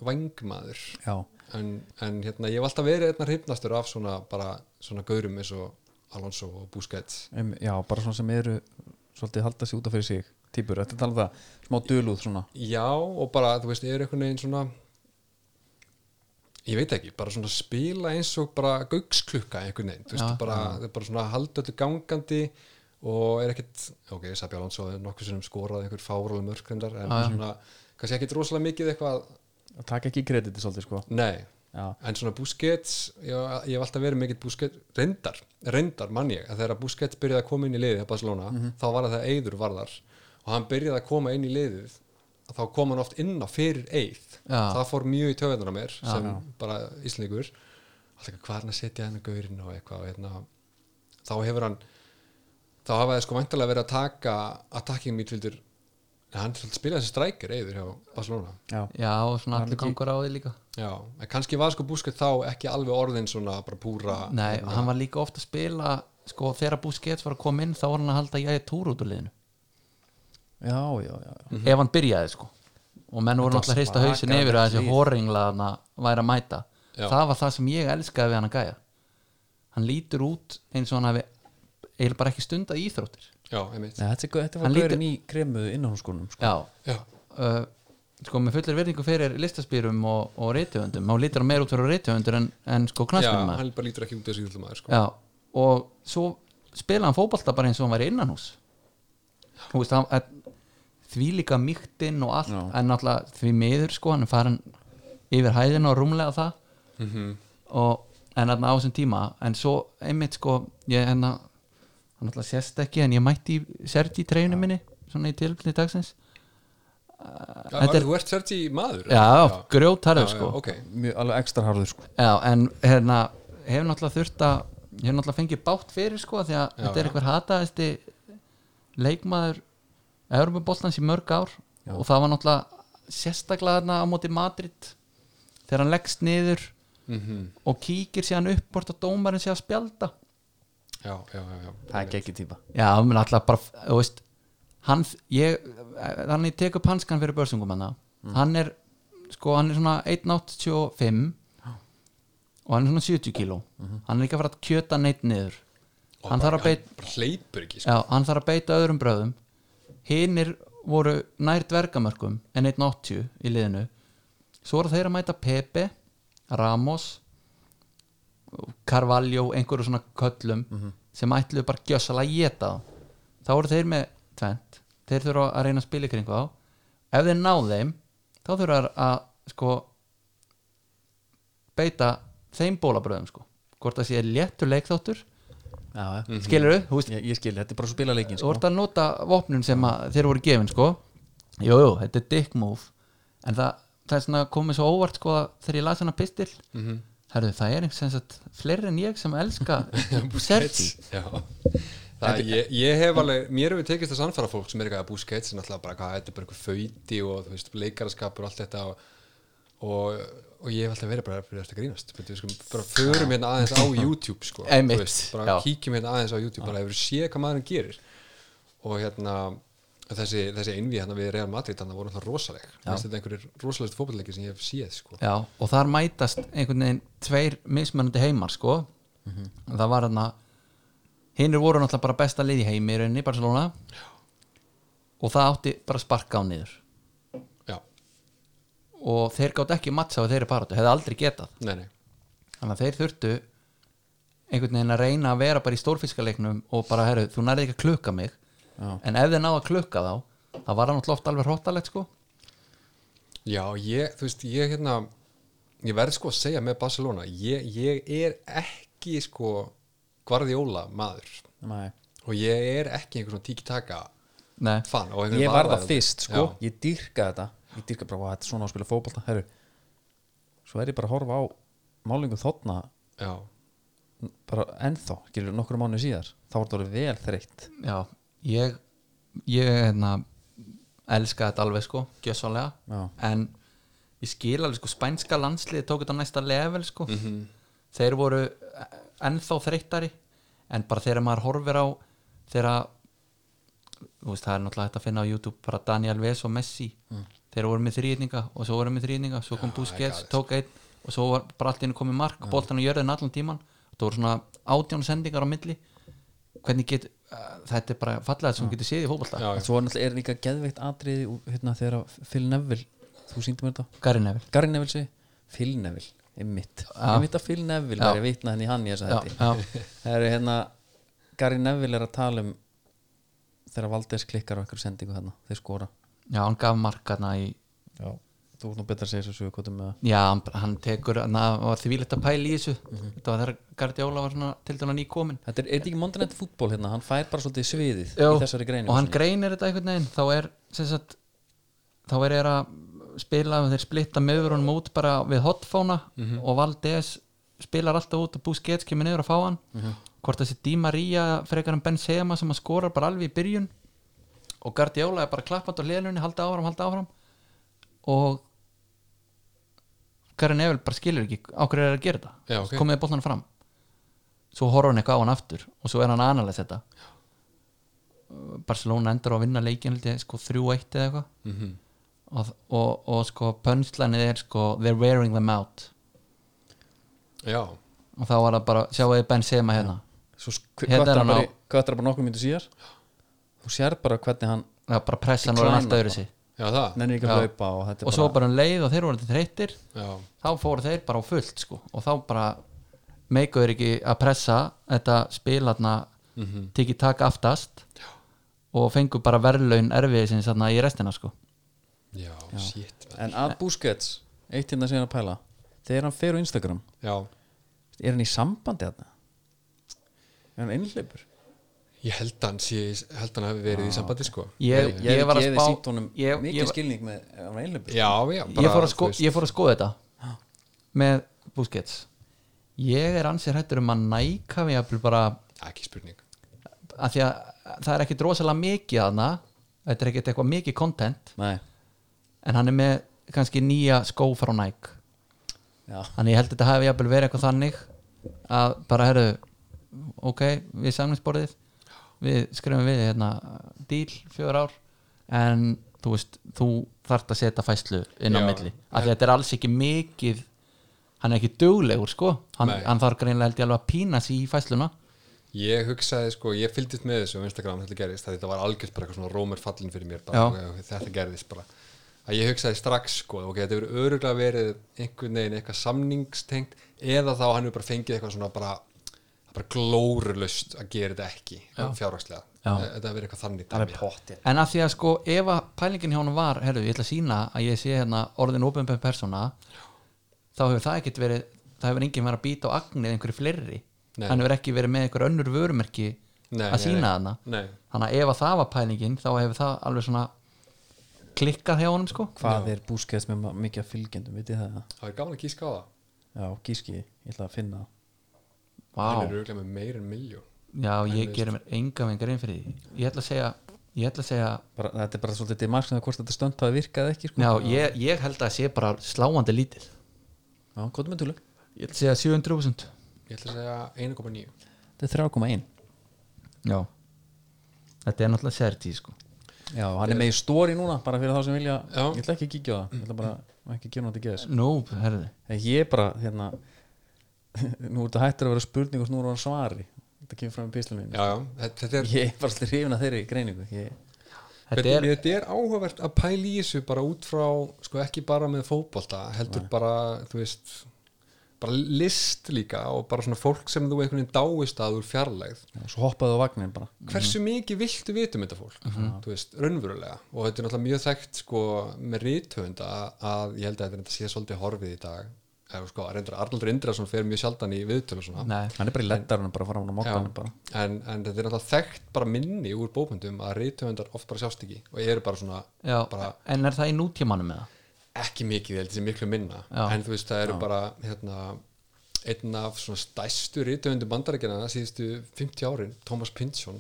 Speaker 3: vangmaður
Speaker 1: Já,
Speaker 3: en, en hérna, ég hef alltaf verið einna hrifnastur af svona bara svona gaurum eins og Alonso og Busquets
Speaker 1: um, já bara svona sem eru svolítið halda sig út af fyrir sig típur, þetta er talað um það, smá dölúð svona
Speaker 3: Já, og bara, þú veist, er einhvern veginn svona ég veit ekki, bara svona spila eins og bara gauksklukka einhvern veginn, þú veist,
Speaker 2: Já,
Speaker 3: bara, það er bara svona halda öllu gangandi og er ekkit ok, Sabi Alonso er nokkuð sinnum skorað einhver fáraleg mörkrendar, en svona kannski ekkit rosalega mikið eitthvað,
Speaker 1: að taka ekki krediti svolítið sko
Speaker 3: nei
Speaker 1: Já,
Speaker 3: en svona Busquets, ég, ég hef alltaf verið mikill Busquets, reyndar, reyndar mann ég að þegar Busquets byrjaði að koma inn í liðið hjá Barcelona, þá var það Eiður varðar og hann byrjaði að koma inn í liðið þá kom hann oft inn á fyrir Eið
Speaker 2: Já.
Speaker 3: það fór mjög í töðunar á mér sem bara íslendingur alltaf eitthvað, hvað er hann að setja hennar gaurinn og eitthvað og hérna, þá hefur hann þá hafa það sko væntalega verið að taka attacking midfieldur en hann svolítið spilaði þessi strækir Eiður hjá Barcelona
Speaker 1: já,
Speaker 2: já, og svona
Speaker 1: Hann
Speaker 2: allir
Speaker 1: ekki-
Speaker 2: gangur á því líka
Speaker 3: Já, en kannski var sko Busquets þá ekki alveg orðin svona bara púra
Speaker 2: Nei, og hann var líka ofta að spila sko þegar Busquets var að koma inn þá var hann að halda jæja túr út úr liðinu
Speaker 1: já, já, já, já.
Speaker 2: ef hann byrjaði sko og menn voru náttúrulega að hrista hausin yfir að þessi hóringla hann væri að mæta
Speaker 3: Já.
Speaker 2: það var það sem ég elskaði við hann að gæja hann lítur út eins og hann hafi eiginlega bara ekki stundað íþróttir
Speaker 3: Já, einmitt
Speaker 1: Nei, þetta, er, þetta var
Speaker 2: Hann lítur-
Speaker 1: gaurinn í kremuðu innanhússkónum sko.
Speaker 2: já,
Speaker 3: Já,
Speaker 2: uh, sko með fullir verðingu fyrir listaspýrum og, og reytöfundum hann lítur hann meir út fyrir reytöfundur en, en sko
Speaker 3: já
Speaker 2: knaspinum
Speaker 3: hann bara lítur ekki út þessi íþjóðum aður sko
Speaker 2: Já, og svo spilaði hann fótbolta bara eins og hann væri innanhús Þú veist, hann, að, því líka mýktinn og allt
Speaker 1: Já.
Speaker 2: en náttúrulega því miður sko hann er farin yfir hæðina og rúmlega það
Speaker 3: Mhm.
Speaker 2: og en þarna á þessum tíma en svo einmitt sko ég hennar hann náttúrulega sést ekki en ég mætti í Sergi treyjunum minni svona í tilfni dagsins
Speaker 3: Já,
Speaker 2: Þetta er-
Speaker 3: Þú ert sérti maður
Speaker 2: já, já.
Speaker 3: já, já,
Speaker 2: grjótarður
Speaker 3: já,
Speaker 2: sko
Speaker 3: ok
Speaker 1: Mjög alveg ekstra harður sko
Speaker 2: Já, en hérna hefur náttúrulega þurft að hefur náttúrulega fengið bátt fyrir sko því að þetta er
Speaker 3: já.
Speaker 2: einhver hataðasti leikmaður Európa-bóltans í mörg ár og það var náttúrulega sérstaklega þarna á móti Madrid þegar hann leggst niður
Speaker 3: Mhm.
Speaker 2: -hmm. og kíkir síðan upp hvort að dómarinn sé að spjalda
Speaker 3: Já, já, já, já
Speaker 1: Það er ekki ekki típa
Speaker 2: Já, menn alltaf bara, þú veist hann, ég, þannig ég tek upp hanskan fyrir börsungum hann hann er, sko, hann er svona 1.85 og hann er svona 70 kíló hann er ekki að fara að kjöta neitt niður
Speaker 3: Og
Speaker 2: hann
Speaker 3: bara-
Speaker 2: þarf að beita
Speaker 3: Bara hleypur ekki sko
Speaker 2: já, hann þarf að beita öðrum bröðum hinnir voru nær dvergamörkum en 1.80 í liðinu svo eru þeir að mæta Pepe Ramos Carvalho, einhverju svona köllum sem ætluðu bara gjössalega að geta þá þá eru þeir með tvent þeir þurfa að reyna að spila í kringu þá ef þeir ná þeim þá þurfa þeir að sko beita þeim bólabröðum sko hvort það sé léttur leikþáttur
Speaker 1: Já, já
Speaker 2: mm -hmm. skilur þú veist
Speaker 1: Ég, ég skil, þetta er bara svo spila leikin
Speaker 2: þú
Speaker 1: sko.
Speaker 2: ert að nota vopnum sem að þeir voru gefin sko jújú, jú, þetta er dick move en það, það er svona komið svo óvart sko að þegar ég las hana pistil herðu, það er einhvers að fleiri en ég sem elska [LAUGHS] Sergi
Speaker 3: Já Það, ég, ég hef alveg, mér hefur tekist að sannfæra fólk sem er eitthvað að Busquets er náttúrulega bara hvað, þetta er bara eitthvað föyti og þú veist, leikaraskapur og allt þetta og, og, og ég hef alltaf verið bara fyrir þetta grínast, Bíddu, við skulum bara förum hérna aðeins
Speaker 2: [LAUGHS]
Speaker 3: á YouTube sko, Þú
Speaker 2: Einmitt,
Speaker 3: bara
Speaker 2: já.
Speaker 3: kíkjum hérna aðeins á YouTube, bara hefur séð hvað maðurinn gerir og hérna En þessi, þessi einvið hann við Real Madrid hann voru alltaf rosaleg Mér finnst þetta einhverjir rosalegst fótballleiki sem ég hef séð sko.
Speaker 2: Já, og þar mætast einhvern veginn tveir mismunandi heimar sko það var hann að hinnur voru náttúrulega bara besta lið í heimi í rauninni, Barcelona og það átti bara sparka á niður
Speaker 3: já,
Speaker 2: og þeir gátt ekki mattsa á þeirri paratu, hefði aldrei getað
Speaker 3: nei, nei,
Speaker 2: þannig að þeir þurftu einhvern veginn að reyna að vera bara í stórfiskaleiknum og bara, herru, þú nærði ekki að klukka mig
Speaker 1: Já.
Speaker 2: en ef þeir náðu að klukka þá það var hann alltaf alveg hróttalegt sko
Speaker 3: já, ég þú veist, ég hérna ég verð sko að segja með Barcelona ég, ég er ekki sko Guardiola maður
Speaker 1: Nei.
Speaker 3: og ég er ekki einhver svona tiki-taka
Speaker 2: Nei,
Speaker 3: fan og einhver
Speaker 1: ég var það
Speaker 3: aðræðandi.
Speaker 1: fyrst sko,
Speaker 3: já,
Speaker 1: ég dýrka þetta ég dýrka bara, "Vá, þetta er svona að spila fótbolta Heru. svo er ég bara að horfa á málingu þotna
Speaker 3: já,
Speaker 1: bara ennþá, skilur nokkru mánu síðar þá var þetta orðið vel þreytt
Speaker 2: já, ég ég hérna elska þetta alveg sko, gjössalega
Speaker 1: Já.
Speaker 2: en ég skil alveg sko spænska landsliði tók þetta á næsta level sko
Speaker 1: Mhm.
Speaker 2: þeir voru e, ennþá þreyttari en bara þegar maður horfir á þegar þú veist það er náttúrulega hægt að finna á YouTube bara Daniel Ves og Messi þeir voru með þrýðninga og svo voru með þrýðninga svo kom Busquets, tók einn og svo var bara allt í henni komið mark, boltan og jörðin allan tíman það voru svona átján sendingar á milli hvernig get uh, þetta er bara fallega sem getur séð í fótbolta
Speaker 3: já,
Speaker 1: en svo er náttúrulega er líka geðveikt atriði úr, hérna, þegar að Phil Neville, þú síndi mér þetta
Speaker 2: Gary Neville
Speaker 1: Gary Neville segi, Phil Neville einmitt, einmitt að Phil Neville
Speaker 2: Já.
Speaker 1: væri vitna henni í hann í þess að
Speaker 2: já,
Speaker 1: þetta
Speaker 2: já,
Speaker 1: það eru hérna, Gary Neville er að tala um þegar Valdes klikkar á einhverju sendingu hérna, þeir skora
Speaker 2: já, hann gaf markana í
Speaker 1: já. þú ert nú betra að segja þessu sögukotum með
Speaker 2: Já, hann, hann tekur, hann var því vilegt að pæla í þessu þetta var þegar Gardiola var svona til dæna nýkomin
Speaker 1: Þetta er, er þetta ekki Mondanet fútból hérna, hann fær bara svolítið sviðið í þessari greinu.
Speaker 2: og hann greinir þetta einhvern veginn þá er, sem sagt þá er er að spila, þeir splitta meður honum út bara við hotfóna og Valdes spilar alltaf út og Busquets kemur niður að fá hann hvort þessi Di Maria frekar en Benzema sem hann skorar bara alveg í byrjun og Guardiola er bara klappand á hliðlunni, halda áfram, halda áfram og Karin Evel bara skilur ekki á hverju er að gera þetta
Speaker 3: Já, ok.
Speaker 2: komiði boltan fram svo horfa hann eitthvað á hann aftur og svo er hann að analysa þetta Barcelona endur á að vinna leikin held ég, sko 3-1 eða eitthvað
Speaker 3: mhm.
Speaker 2: og, og, og sko pönslanið er sko they're wearing them out
Speaker 3: já,
Speaker 2: og þá var það bara, sjáu þið Benzema hérna
Speaker 1: Svo
Speaker 2: Hérna er
Speaker 1: kvættar
Speaker 2: hann
Speaker 1: bara,
Speaker 2: á-
Speaker 1: kvartar bara nokkur myndu síðar Þú sér bara hvernig hann
Speaker 2: það var bara pressan og hann
Speaker 1: Decline
Speaker 2: alltaf öðru sig
Speaker 3: já það
Speaker 1: nennir ekki að
Speaker 2: Já.
Speaker 1: hlaupa og þetta
Speaker 2: og
Speaker 1: er
Speaker 2: svo
Speaker 1: bara,
Speaker 2: bara um leið og þeir voru þreyttir
Speaker 3: já,
Speaker 2: þá fóru þeir bara á fullt sko og þá bara meiku þeir ekki að pressa þetta spilarna mm
Speaker 3: Mhm.
Speaker 2: -hmm. tiki taka aftast Já. og fengu bara verðlaun erfiði sinni þarna í restina sko
Speaker 3: já, shit man.
Speaker 1: En að Busquets, eitt hérna síðan að pæla Þegar hann fer á Instagram,
Speaker 3: já,
Speaker 1: er hann í sambandi hérna? Er hann innleipur?
Speaker 3: ég held hann sé, held hann hafi verið í sambandi sko
Speaker 2: ég, ég, var að
Speaker 1: gefið
Speaker 2: spá
Speaker 1: sýnt honum
Speaker 2: ég,
Speaker 1: mikið
Speaker 2: ég,
Speaker 1: skilning með er hann innleipur
Speaker 3: já, já,
Speaker 2: ég, fór að
Speaker 3: þú
Speaker 2: sko,
Speaker 3: veist,
Speaker 2: ég fór að skoða þetta með Busquets ég er ansið hættur um að næka við jafnvel bara
Speaker 3: ekki spurning
Speaker 2: að því að það er ekkit rosalega mikið aðna þetta er ekkit eitthvað mikið content
Speaker 1: Nei,
Speaker 2: en hann er með kannski nýja skó frá Nike
Speaker 1: já,
Speaker 2: þannig ég held að þetta hafi jafnvel verið eitthvað þannig að bara herðu ok, við samlingsborðið við skrifum við hérna díl, fjör ár en þú veist, þú þarft að setja fæslu inn á
Speaker 3: Já.
Speaker 2: milli, af því að þetta er alls ekki mikið hann er ekki duglegur sko hann,
Speaker 3: Nei.
Speaker 2: hann þarf greinlega held ég alveg að pína sig í fæsluna
Speaker 3: Ég hugsaði sko, ég fylgdist með þessu á Instagram þetta gerðist, að þetta var algjörst bara eitthvað svona rómur fallin fyrir mér, bara, ok, þetta gerðist bara að ég hugsaði strax sko ok, þetta hefur öruglega verið einhvern veginn eitthvað samningstengt eða þá hann hefur bara fengið eitthvað svona bara bara glórulaust að gera þetta ekki fjárhagslega, Eh,
Speaker 2: Já.
Speaker 3: þetta hefur verið eitthvað þannig dæmi.
Speaker 1: pottið
Speaker 2: en af því að sko ef að pælingin hjá hann var herru, ég ætla að sína að ég sé hérna orðin ofinbjörn persóna þá hefur það ekkert verið það hefur enginn verið að býta á agnið einhverju fleiri
Speaker 3: Nei.
Speaker 2: hann hefur ekki verið með einhver önnur vörumerki
Speaker 3: Nei,
Speaker 2: að
Speaker 3: nei,
Speaker 2: sína
Speaker 3: nei.
Speaker 2: hana
Speaker 3: Nei.
Speaker 2: þannig að ef að það var pælingin þá hefur það alveg svona klikkað hjá honum sko
Speaker 1: Hvað er Busquets með ma- mikið af fylgjendum, vitið það?
Speaker 3: það er gaman að kíska á það,
Speaker 1: Já, gíski, ég ætla að finna það
Speaker 3: hann
Speaker 2: Vá.
Speaker 3: er öruglega með meir en miljón
Speaker 2: já ég gerir mér enga vengar einn fyrir því ég ætla að segja ég ætla að segja
Speaker 1: bara, þetta er bara svolítið til margstum hvort þetta stönd hafi virkað eða ekki sko.
Speaker 2: já, ég, ég held að það sé bara sláandi lítið
Speaker 1: já hvað er með tölug?
Speaker 2: ég ætla að segja 700.000
Speaker 3: ég ætla að segja 1,9
Speaker 1: Þetta er 3,1
Speaker 2: já þetta er náttúrulega sértí sko
Speaker 1: Já, hann er með í stóri núna bara fyrir þá sem vilja,
Speaker 3: Já.
Speaker 1: ég ætla ekki að kíkja á það ég ætla bara ekki að gefa hann til geðis
Speaker 2: Nú, herðu
Speaker 1: En ég er bara, hérna [LAUGHS] nú er þetta hættur að vera spurning og nú er hann svari þetta kemur fram í pislunum
Speaker 3: já, já, þetta- þetta er,
Speaker 1: ég er bara slir hrifin að þeirri greiningu ég,
Speaker 2: Þetta
Speaker 3: þetta,
Speaker 2: er,
Speaker 3: er, þetta er áhugavert að pæla í þessu bara út frá, sko ekki bara með fótbolta, heldur bara, þú veist bara list líka og bara svona fólk sem þú einhvern veginn dáist að úr fjarlægð
Speaker 2: Mhm.
Speaker 1: svo hoppaði á vagnin bara
Speaker 3: hversu mikið viltu vitum þetta fólk
Speaker 2: Mhm.
Speaker 3: þú veist, raunverulega og þetta er náttúrulega mjög þekkt sko með rithöfunda að, að ég held að þetta sé svolítið horfið í dag eða sko, reyndar Arnaldur Indrason fer mjög sjaldan í viðtölu svona
Speaker 2: nei,
Speaker 1: hann er bara í lettarunum bara fram á
Speaker 3: Já,
Speaker 1: mokkanum bara
Speaker 3: en, en þetta er alltaf þekkt bara minni úr bókmyndum að rithöfundar oft bara sjást ekki og eru bara svona
Speaker 2: já,
Speaker 3: bara
Speaker 2: en er það í nútímanum með það?
Speaker 3: ekki mikið, ég held þessi miklu minna
Speaker 2: Já.
Speaker 3: en þú veist það eru bara hérna, einn af svona stæstu rithöfundum bandarækjana síðustu 50 árin Thomas Pynchon,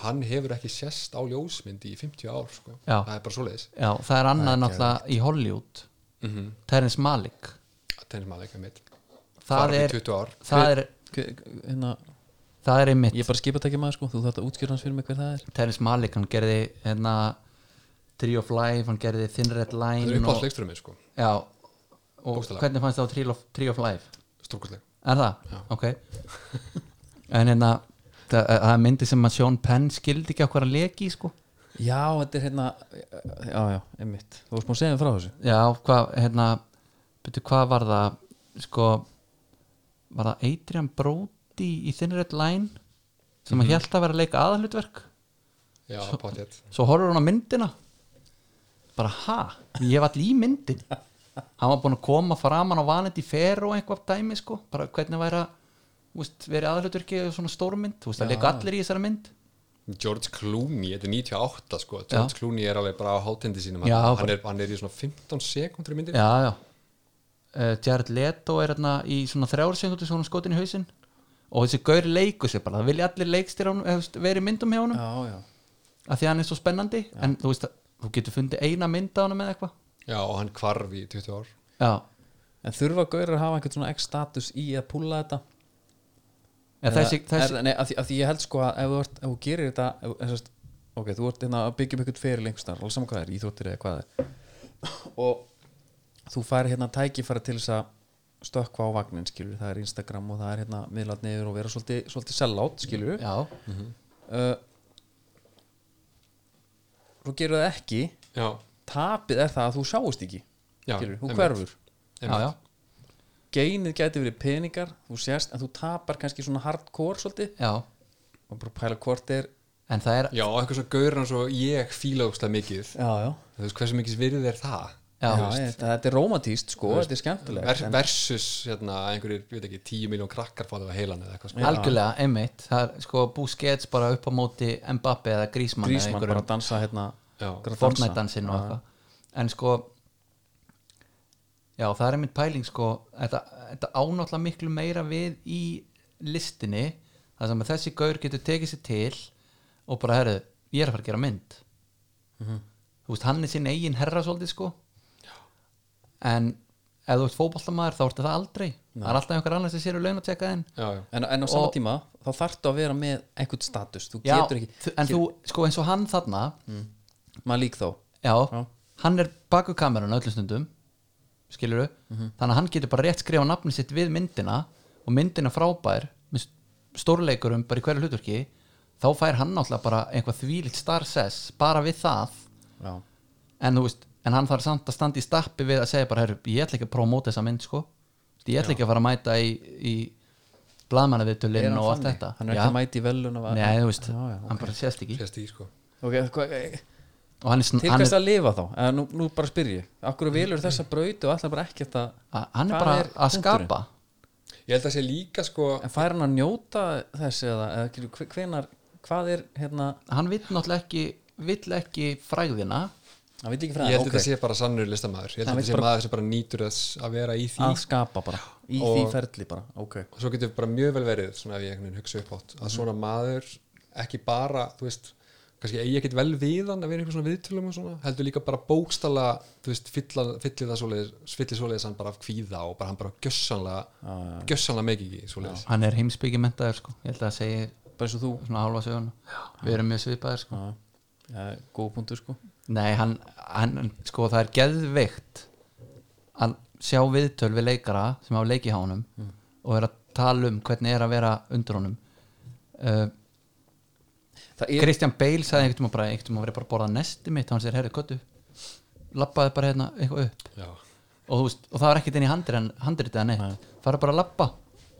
Speaker 3: hann hefur ekki sérst á ljósmynd í 50 ár sko.
Speaker 2: Já.
Speaker 3: það er bara svoleiðis
Speaker 2: Já, það er annað náttúrulega í Hollywood mm -hmm. Terence Malick
Speaker 3: að tennir maður eitthvað mitt
Speaker 2: Það
Speaker 3: Farið í
Speaker 2: er,
Speaker 3: 20 ár.
Speaker 2: það er,
Speaker 1: Hver- hérna,
Speaker 2: það er einmitt
Speaker 1: ég er bara skipatækja maður sko, þú þarft að útskýra hans fyrir mig hver það er
Speaker 2: Terence Malick, hann gerði hérna, Tree of Life, hann gerði Thin Red
Speaker 3: það er
Speaker 2: Line og,
Speaker 3: uppáðslegsturum minn sko,
Speaker 2: já, og
Speaker 3: Bókstaflega.
Speaker 2: hvernig fannst það á Tree of, Tree of Life?
Speaker 3: stórkostleg
Speaker 2: Er það? Ok En hérna, það, það er myndi sem að Sean Penn skildi ekki okkur að leki sko.
Speaker 1: já, þetta er hérna já, já, einmitt, þú varst búin að segja mér frá þessu
Speaker 2: Já, hvað, hérna betur hvað var það sko, var það Adrian Brody í Thin Red Line sem mm hélt að vera að leika aðalutverk [LAUGHS]
Speaker 3: já, potið
Speaker 2: svo horfur hún á myndina bara ha, ég var allir í myndin hann var búin að koma framan á vanandi fer og einhvað dæmi sko, bara hvernig væri að þú veist, verið aðalutverki og svona stórmynd þú veist, það leika allir í þessari mynd
Speaker 3: George Clooney, þetta er 98 sko George Clooney er alveg bara á hátindi sínum
Speaker 2: Já,
Speaker 3: hann, hann,
Speaker 2: bara-
Speaker 3: er, hann er í svona 15 sekundur í myndin
Speaker 2: já, já uh, Jared Leto er hérna í svona þrjársengundu sem hún er skotin í hausinn og þessi gaur leiku sér bara, það vilja allir eh, leikstir hún, verið í myndum hjá honum
Speaker 1: já, já,
Speaker 2: af því að hann er svo spennandi en þú veist, þú getur fundið eina mynd á honum eða eitthvað
Speaker 3: já, og hann kvarf í 20 ár
Speaker 2: já,
Speaker 1: en þurfa gaurar að hafa einhvern svona x-status í að púla þetta
Speaker 2: ja, þessi,
Speaker 1: Eða-
Speaker 2: þessi
Speaker 1: er, nei, að, því, að því ég held sko að ef þú, ert, ef þú gerir þetta ef, ef, sest, ok, þú ert hérna að byggja um einhvern feril einhvers þar, alveg saman hvað það er, íþróttir eða hvað það er og þú fær hérna tækifæra til þess að stökkva á vagnin, skilur, það er Instagram og það er hérna miðlát niður og vera svolítið, svolítið sellátt, skilur
Speaker 2: já,
Speaker 1: uh, svo gerur það ekki
Speaker 3: já,
Speaker 1: tapið er það að þú sjáist ekki
Speaker 3: Já,
Speaker 1: skilur, þú
Speaker 3: einmitt.
Speaker 1: hverfur
Speaker 2: já, já
Speaker 1: geinið gæti verið peningar, þú sést en þú tapar kannski svona hardcore svolítið
Speaker 2: Já,
Speaker 1: og bara pæla hvort er
Speaker 2: en það er
Speaker 3: já, og eitthvað svona gaur hann svo ég fíla ógstlega mikið
Speaker 1: já, já
Speaker 3: þú veist hversu mikið virðið er það
Speaker 2: Já,
Speaker 1: Já, ég, þetta, þetta er romantíst sko, þetta er
Speaker 3: Ver,
Speaker 1: skemmtilegt en,
Speaker 3: versus hérna, einhverjir, ég veit ekki, 10 miljón krakkar fá það heilan eða eitthvað sko.
Speaker 2: algjörlega einmitt það er sko Busquets bara upp á móti Mbappe eða Griezmann eða
Speaker 1: Grísmann
Speaker 2: einhverjum
Speaker 1: bara að dansa hérna
Speaker 3: Já.
Speaker 1: bara að dansa.
Speaker 2: Fortnite-dansinn og eitthvað en sko já það er einmitt pæling sko þetta, þetta ánáttúrulega miklu meira við í listinni þar sem að þessi gaur getur tekið sér til og bara herðu, ég er að fara að gera mynd
Speaker 1: Mhm.
Speaker 2: þú veist hann er sinn eigin herra svolítið sko en ef þú ert fótboltamaður þá ertu það aldrei það er alltaf einhver annar sem sér að laun að tjekka þinn
Speaker 3: Já, já.
Speaker 1: en, en á sama tíma, þá þarftu að vera með einhvern status, þú
Speaker 2: já,
Speaker 1: getur ekki
Speaker 2: þ- en þú sko eins og hann þarna
Speaker 1: maður lík þá
Speaker 2: já,
Speaker 1: Já.
Speaker 2: hann er baku kamerun öllum stundum skilur
Speaker 1: Mhm.
Speaker 2: þannig að hann getur bara rétt skrifa nafni sitt við myndina og myndina frábær með stórleikurum bara í hverju hlutverki þá fær hann náttúrulega bara einhvað þvílitt star sess bara við það
Speaker 1: já.
Speaker 2: en þú veist, en hann þarf samt að standa í stappi við að segja bara, herru, ég ætla ekki að prómóta þessa mynd sko, ég ætla ekki að fara að mæta í, í
Speaker 1: Er
Speaker 2: blaðmannaviðtölinn
Speaker 1: hann
Speaker 2: og allt
Speaker 1: þannig?
Speaker 2: þetta
Speaker 1: hann er
Speaker 2: Já.
Speaker 1: ekki að mæti velun
Speaker 2: Nei, þú veist,
Speaker 1: já, já,
Speaker 2: hann bara sést ekki
Speaker 3: Sést í, sko.
Speaker 1: okay, hva, eh,
Speaker 2: og hann er, sn-
Speaker 1: til
Speaker 2: hann
Speaker 1: hvers
Speaker 2: er,
Speaker 1: að lifa þá Eða nú, nú bara spyr ég, akkur velur þessa brauti og ætlar bara ekkert að Hvað
Speaker 2: hann er bara
Speaker 1: er
Speaker 2: að
Speaker 1: punkturinn?
Speaker 2: skapa
Speaker 3: Ég held að sé líka sko,
Speaker 1: en fær hann að njóta þess eða, eða hve- hvenar, hvað er hérna,
Speaker 2: hann vill náttúrulega ekki vill ekki fræðina
Speaker 1: hann vil ekki
Speaker 3: ég
Speaker 1: fræða
Speaker 3: held að þetta
Speaker 1: okay,
Speaker 3: sé bara sannur listamaður ég held
Speaker 1: Hann
Speaker 3: að þetta
Speaker 1: vill
Speaker 3: sé
Speaker 1: bara-
Speaker 3: maður sem bara nýtur þess að vera í því sko.
Speaker 1: að skapa bara, í því
Speaker 3: Og-
Speaker 1: ferli bara, ok
Speaker 3: og svo getur bara mjög vel verið svona ef ég einhvern veginn hugsa upp átt að svona maður ekki bara, þú veist kannski eigi ekkert vel við hann að vera einhver svona viðtölum og svona, heldur líka bara bókstala þú veist, fylla, fyllir það svoleiðis fyllir svoleiðis hann bara af kvíða og bara hann bara gjössanlega, gjössanlega mikið ekki svoleiðis,
Speaker 2: hann er heimsbyggi mentaður sko ég held að það segir
Speaker 1: bara eins og þú
Speaker 2: svona hálfa söguna við erum mjög svipaðir sko
Speaker 1: ja, góð punktur sko
Speaker 2: Nei, hann, hann sko það er geðveikt að sjá viðtöl við leikara sem hafa leikið hjá honum
Speaker 1: Mm.
Speaker 2: og er að tala um hvernig er að vera undir honum uh,
Speaker 1: það er,
Speaker 2: Kristján Bale sagði einhvern tímann bara einhvern tímann verið bara að borða nesti mitt hann sér herri köttu labbaði bara hérna eitthvað upp
Speaker 3: já,
Speaker 2: og, þú veist, og það var ekkert inn í handrit, handritið hann
Speaker 1: Nei.
Speaker 2: eitt fara bara að labba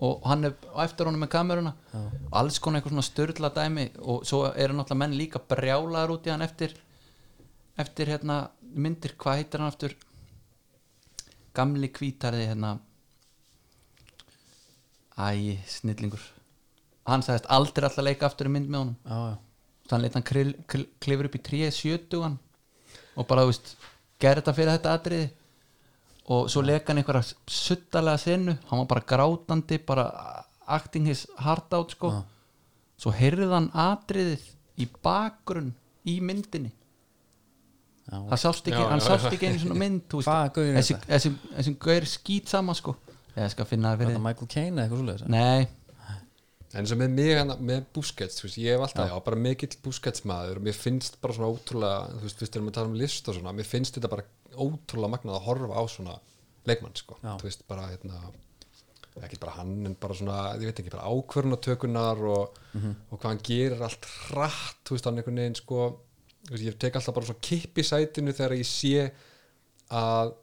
Speaker 2: og hann er á eftir honum með kameruna og alls konar eitthvað svona störla dæmi og svo eru náttúrulega menn líka brjálaðar út í hann eftir eftir hérna myndir, hvað heitir hann aftur gamli kvítarði hérna æ, snillingur hann sagðist aldrei alltaf leika aftur í mynd með honum
Speaker 1: á, já,
Speaker 2: þannig að hann krill, krill, klifur upp í 370 og bara, þú veist gerði þetta fyrir þetta atriði og svo leika hann einhverja suttalega senu, hann var bara grátandi bara acting his heart out sko. svo heyrði hann atriðið í bakgrunn í myndinni
Speaker 1: já,
Speaker 2: það sást ekki,
Speaker 3: Já,
Speaker 2: hann
Speaker 3: já,
Speaker 2: sást
Speaker 3: já.
Speaker 2: ekki einu svona mynd þú veist.
Speaker 1: Hvaða gaur er
Speaker 2: þessi,
Speaker 1: þetta?
Speaker 2: þessi, þessi gaur skýt sama sko. ég skal finna það
Speaker 1: var
Speaker 2: fyrir
Speaker 1: það
Speaker 2: þig.
Speaker 1: Michael Caine eða eitthvað svoleiðis
Speaker 2: nei,
Speaker 3: En eins og með mig hana, með Busquets, þú veist, ég hef alltaf, já, bara mikill Busquets maður og mér finnst bara svona ótrúlega, þú veist, fyrst erum við að tala um list og svona, mér finnst þetta bara ótrúlega magnað að horfa á svona leikmann, sko,
Speaker 1: Já.
Speaker 3: þú veist, bara, hérna, ekki bara hann, en bara svona, ég veit ekki, bara ákvörunatökunar og, og hvað hann gerir allt hratt, þú veist, hann einhvern veginn, sko, þú veist, ég tek alltaf bara svona kipp í sætinu þegar ég sé að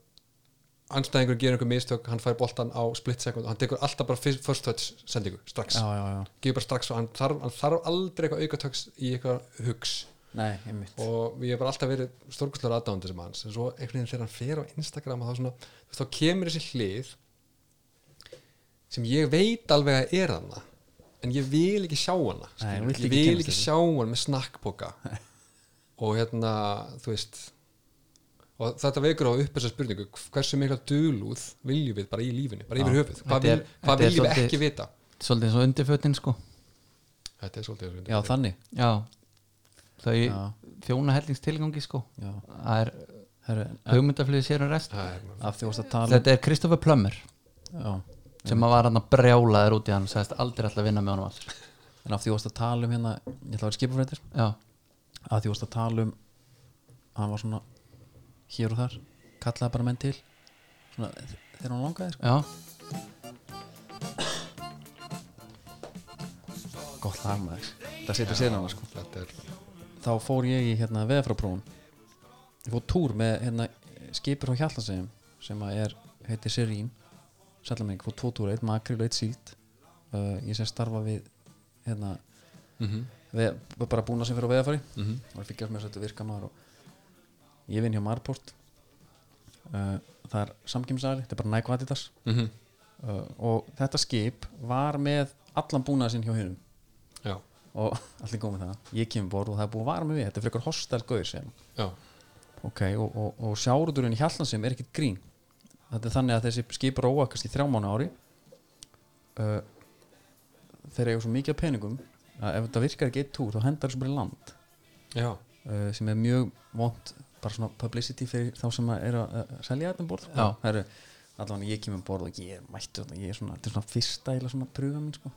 Speaker 3: anstæðingur gerir einhver mistök, hann fær boltan á split second og hann tekur alltaf bara fyrst- first touch sendingu strax
Speaker 1: já, já, já,
Speaker 3: gefur bara strax og hann þarf, hann þarf aldrei eitthvað aukatöks í eitthvað hugs
Speaker 1: nei, einmitt
Speaker 3: og ég hef bara alltaf verið stórkustlega aðdándi sem hans en svo einhvern veginn þegar hann fer á Instagram og þá, svona, þú veist, þá kemur þessi hlið sem ég veit alveg að er hana en ég vil ekki sjá hana
Speaker 1: Nei,
Speaker 3: skilur.
Speaker 1: þú vilt ekki
Speaker 3: ég vil
Speaker 1: kynnast
Speaker 3: ekki
Speaker 1: þessu.
Speaker 3: sjá hana með
Speaker 2: [LAUGHS]
Speaker 3: snakkboka og hérna þú veist og þetta veikur á upp þessa spurningu hversu mikla dulúð viljum við bara í lífinu bara yfir
Speaker 2: Já.
Speaker 3: höfuð, hvað,
Speaker 2: Þetta er-
Speaker 3: vil, hvað
Speaker 2: þetta er
Speaker 3: viljum við
Speaker 2: svolítið-
Speaker 3: ekki vita
Speaker 2: svolítið eins og undirfötin sko.
Speaker 3: þetta er svolítið
Speaker 1: já, þannig
Speaker 2: já, þau
Speaker 1: Já.
Speaker 2: þjóna hellingstilgangi sko.
Speaker 1: já,
Speaker 2: það er
Speaker 1: herru,
Speaker 2: hugmyndaflöðu sér um rest
Speaker 3: það er
Speaker 1: af því varst að tala um-
Speaker 2: þetta er Kristoffer Plömmur
Speaker 1: já,
Speaker 2: sem að var hann að brjálaður út í hann og sagðist aldrei alltaf vinna með honum aftur
Speaker 1: en af því varst að tala um hérna ég ætla að vera skipafrættir
Speaker 2: já,
Speaker 1: af því varst að tala um hann var svona hér og þar kallaði bara menn til svona, þegar hann langaði sko.
Speaker 2: já,
Speaker 1: gott lag maður það setur sér hann sko.
Speaker 3: þetta er
Speaker 1: þá fór ég í hérna veðfraprófum ég fór túr með hérna skipur á Hjallasegum sem að er, heitir Serín sællamengi, fór tvo túra, eitt makril og eitt síld uh, ég sem starfa við hérna
Speaker 3: Mhm.
Speaker 1: veð, bara búna sem fyrir á veðafari og ég fylgjast með þess að þetta virka maður og ég vinn hjá Marport uh, það er samkjömsari þetta er bara Nike og Adidas uh, og þetta skip var með allan búnað sinn hjá hinnum
Speaker 3: já,
Speaker 1: og [LAUGHS] allir góð með það ég kemur borð og það er búið að vara með við þetta er frekar hostel gauðir sem
Speaker 3: já,
Speaker 1: ok, og, og, og sjáruðurinn í Hjallansum er ekkit grín þetta er þannig að þessi skip róa kannski þrjá mánu ári uh, þeir eiga svo mikið af peningum að ef þetta virkar ekki eitt túr þá hendar þessu bara í land
Speaker 3: já,
Speaker 1: uh, sem er mjög vond bara svona publicity fyrir þá sem að eru að uh, selja þetta um borð
Speaker 2: Já.
Speaker 1: það eru allan ég kemur um borð og ég er mættur þarna, ég er svona, þetta er svona fyrsta eila svona prufa mín sko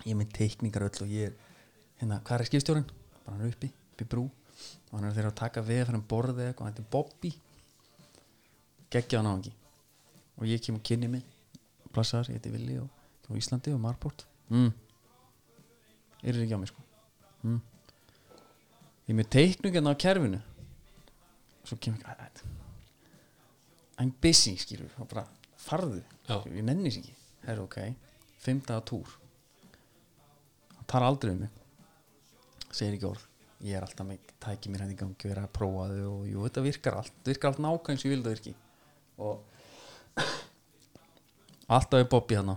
Speaker 1: ég er með teikningar öll og ég er hérna, hvað er skipstjórinn? bara hann er uppi, uppi í brú og hann er þeirra að taka veða fyrir um borð eða eitthvað, hann heitir Bobby geggja hann á ekki og ég kemur kynni mig plassar, ég heiti Vili og kemur Íslandi og Marport mm. er ekki á mig sko mm. ég er með teiknum hérna á kerfinu svo kemur ekki "Æ, æ, I'm busy skilur og bara farðu
Speaker 3: Já.
Speaker 1: Skilur, ég nenni sér ekki, það er ok fimmtaða túr hann tar aldrei um mig segir ekki orð ég er alltaf með tæki mér hætti gangi vera að prófa þau og jú, þetta virkar allt þetta virkar allt nákvæm sem ég vil það virki og alltaf er Bobby hann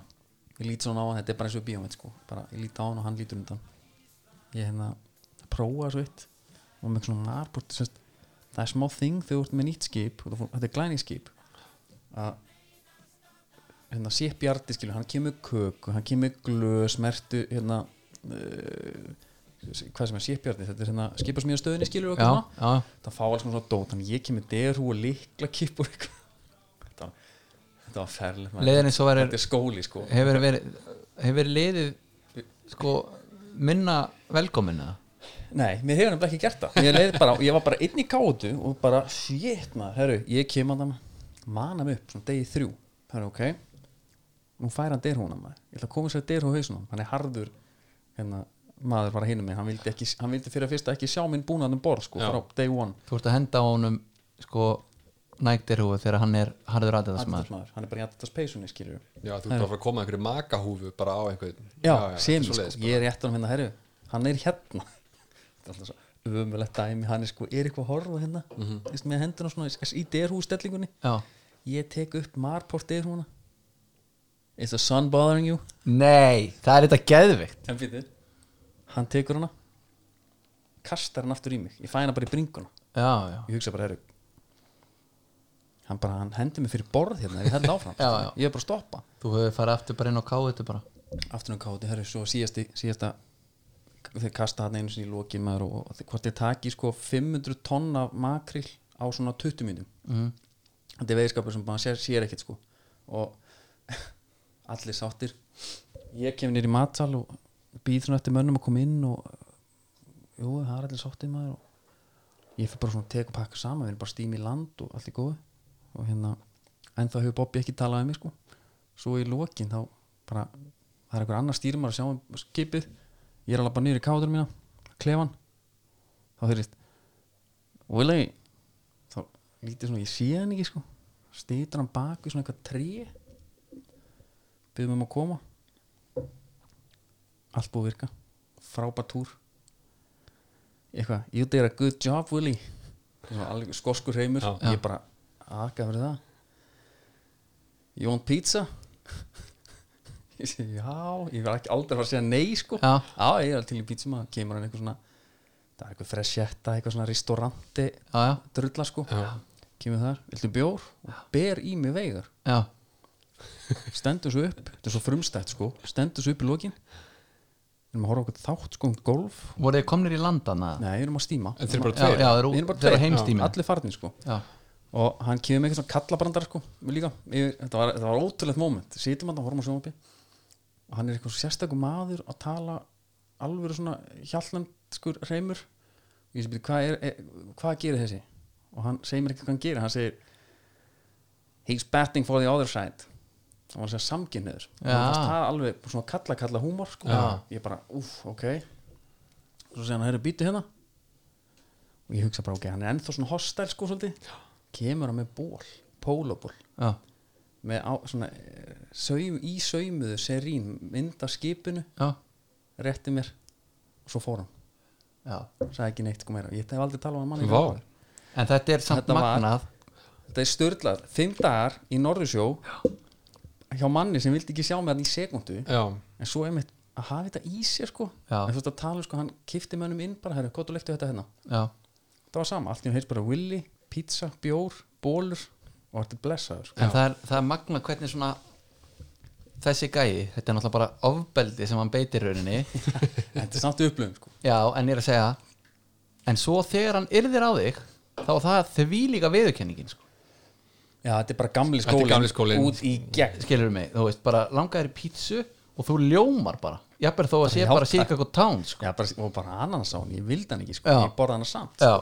Speaker 1: ég lít svona á hann, þetta er bara eins og bíómið sko bara, ég lít á hann og hann lítur undan ég hérna að prófa svo eitt og með svona narbort sérst, það er smá þing þegar þú ert með nýtt skip og þú fór- þetta er glæningsskip að hérna Sepp Jardi skilur, hann kemur köku hann kemur glöð, smertu hérna uh, hvað sem er Sepp Jardi, þetta er hérna skipasmíðastöðinni skilur og
Speaker 2: já,
Speaker 1: eitthvað svona
Speaker 2: já,
Speaker 1: það fá alls konar svona dót þannig ég kemur derhú og líkla kippur [LAUGHS] þetta, var- þetta var ferlegt maður.
Speaker 2: leiðin eins og verið
Speaker 1: þetta er skóli sko
Speaker 2: hefur verið hefur verið liðið sko minna velkominna
Speaker 1: Nei, mér hefur nefnilega ekki gert það Mér leið bara, ég var bara inn í gátu og bara, shit maður, herru, ég kem að það manam upp, svona degi þrjú herru, ok, nú fær hann derhúna maður, ég ætla að koma sér derhú hausunum hann er harður, hérna maður var að hinum mig, hann vildi, ekki, hann vildi fyrir að fyrsta ekki sjá minn búnaðan um borð, sko,
Speaker 3: Já.
Speaker 1: frá day one
Speaker 2: Þú ert að henda á honum sko nægdirhúfu þegar hann er harður aðeðasmaður
Speaker 1: Adidas-maður, hann er bara í Adidas peysunni, skilur
Speaker 3: Já, þú ert bara að fara að koma einhverju makahúfu bara á einhvern
Speaker 1: já,
Speaker 3: þetta er
Speaker 1: sem, sko,
Speaker 3: svoleiðis.
Speaker 1: ég er rétt á hann hérna, herru hann er hérna [LAUGHS] þetta er alltaf svo umulegt dæmi, hann er sko, er eitthvað að horfa hérna, mm -hmm. með hendurna svona í- í derhú stellingunni
Speaker 2: Já
Speaker 1: ég tek upp marport yfir húnna is the sun bothering you
Speaker 2: Nei, það er þetta geðvikt
Speaker 1: en fyrir hann tekur hana kastar hann aftur í mig ég fæ hana bara í bringuna
Speaker 2: Já, já
Speaker 1: ég hugsa bara herru hann bara hann hendi mig fyrir borð hérna ef ég held áfram
Speaker 2: Já, já.
Speaker 1: ég er bara að stoppa
Speaker 2: Þú hefur farið aftur bara inn og káðu þetta bara
Speaker 1: aftur um káti herru svo síðasti síðasta þeir kasta hann einu sinni í lokin maður og, og þeir- hvort ég taki sko 500 tonna makrill á svona 20 minnum
Speaker 2: mm.
Speaker 1: þetta er veiðskapur sem bara sér, sér ekkert sko og [LAUGHS] allir sáttir ég kem nýr í matsal og býð svona eftir mönnum að koma inn og jú, það er allir sáttir maður og ég fyrir bara svona að teka og pakka saman við erum bara stým í land og allt er góð og hérna, en það hefur Bobby ekki talað um mig sko, svo í lokin þá bara, það er einhver annar stýrumar að sjá um skipið, ég er alveg bara nýr í kátur mína, klefan þá þurrist Willi, þá lítið svona, ég sé hann ekki sko stýtur hann bak við svona eitthvað tré byggðum um að koma allt búið að virka frábært túr eitthvað, you did a good job Willy svona alveg skoskur heimur
Speaker 3: Já.
Speaker 1: ég bara aðgaf fyrir það you want pizza [LAUGHS] ég segi já ég var ekki aldrei að fara að segja nei sko
Speaker 2: Já.
Speaker 1: ég er alveg til í pizza maður kemur hann eitthvað svona það er eitthvað freshetta, eitthvað svona ristoranti
Speaker 2: Já, já,
Speaker 1: drulla sko kemur þar, viltu bjór og ber í mig veigar
Speaker 2: já
Speaker 1: stendur svo upp, þetta er svo frumstætt sko stendur svo upp í lokin við erum að horfa okkur þátt sko um golf
Speaker 2: Voruð þið komnir í landana?
Speaker 1: nei, við erum að stíma
Speaker 3: En þeir eru bara
Speaker 2: Já,
Speaker 3: tveir
Speaker 2: já, þeir
Speaker 1: Við erum
Speaker 2: eru
Speaker 1: bara
Speaker 2: þeir eru
Speaker 1: tveir.
Speaker 2: heimstími Já,
Speaker 1: allir farnir sko
Speaker 2: já,
Speaker 1: og hann kemur með eitthvað svona kallabrandar sko líka, yfir, þetta, var, þetta var ótrúlegt moment situm hann og horfum á sjónvarpi og hann er eitthvað sérstakur maður að tala alvöru svona hjallnend skur reymur ég sem byrja, hvað, er, er, hvað gerir þessi og hann segir mér ekki hvað hann gerir hann segir he's batting for the other side og hann segir samkynniður og
Speaker 2: Já.
Speaker 1: hann fannst það alveg svona kalla kalla húmor sko.
Speaker 2: Já.
Speaker 1: ég bara, uff, ok svo segir hann, herru, býtu hérna og ég hugsa bara, ok, hann er ennþá svona hostile sko svolítið, kemur hann með ból pólaból,
Speaker 2: já,
Speaker 1: með á, svona eh, saum, í saumuðu serín mynd af skipinu,
Speaker 2: já,
Speaker 1: rétti mér og svo fór hann,
Speaker 2: já.
Speaker 1: sagði ekki neitt sko meira, ég hef aldrei talað um hann mann í
Speaker 3: Vá.
Speaker 1: dag.
Speaker 2: En þetta er samt
Speaker 1: Þetta var-
Speaker 2: magnað
Speaker 1: þetta er störlað, fimm dagar í Norðursjó hjá manni sem vildi ekki sjá mig hann í sekundu
Speaker 3: Já,
Speaker 1: en svo einmitt að hafa þetta í sér sko
Speaker 2: Já.
Speaker 1: en þú veist að tala sko, hann kifti mönnum inn bara, herru, hvað þú leiftu þetta hérna
Speaker 2: Já,
Speaker 1: það var sama, allt í hún heist bara Willy, pizza, bjór, bólur og þetta er blessaður
Speaker 3: [LAUGHS]
Speaker 1: sko.
Speaker 2: en það er, það er magnað hvernig svona þessi gæi, þetta er náttúrulega bara ofbeldi sem hann beitir
Speaker 1: [LAUGHS]
Speaker 2: rauninni
Speaker 1: en þetta er samt upplöfum sko.
Speaker 2: Já, en ég er að segja En svo þegar hann yrðir á þig þá er það því líka viðurkenningin sko.
Speaker 1: já, þetta er bara gamli
Speaker 3: Þetta er
Speaker 1: skólinn
Speaker 3: gamli skólinn.
Speaker 1: út í gegn
Speaker 2: Skilur mig, þú veist, bara langaðir í pítsu og þú ljómar bara Jafnir þó að sé
Speaker 1: Já,
Speaker 2: bara
Speaker 1: takk.
Speaker 2: síka eitthvað tán sko.
Speaker 1: já, bara, og bara ananas á hann, ég vildi hann ekki sko.
Speaker 2: Já.
Speaker 1: ég borða hann samt
Speaker 2: Já,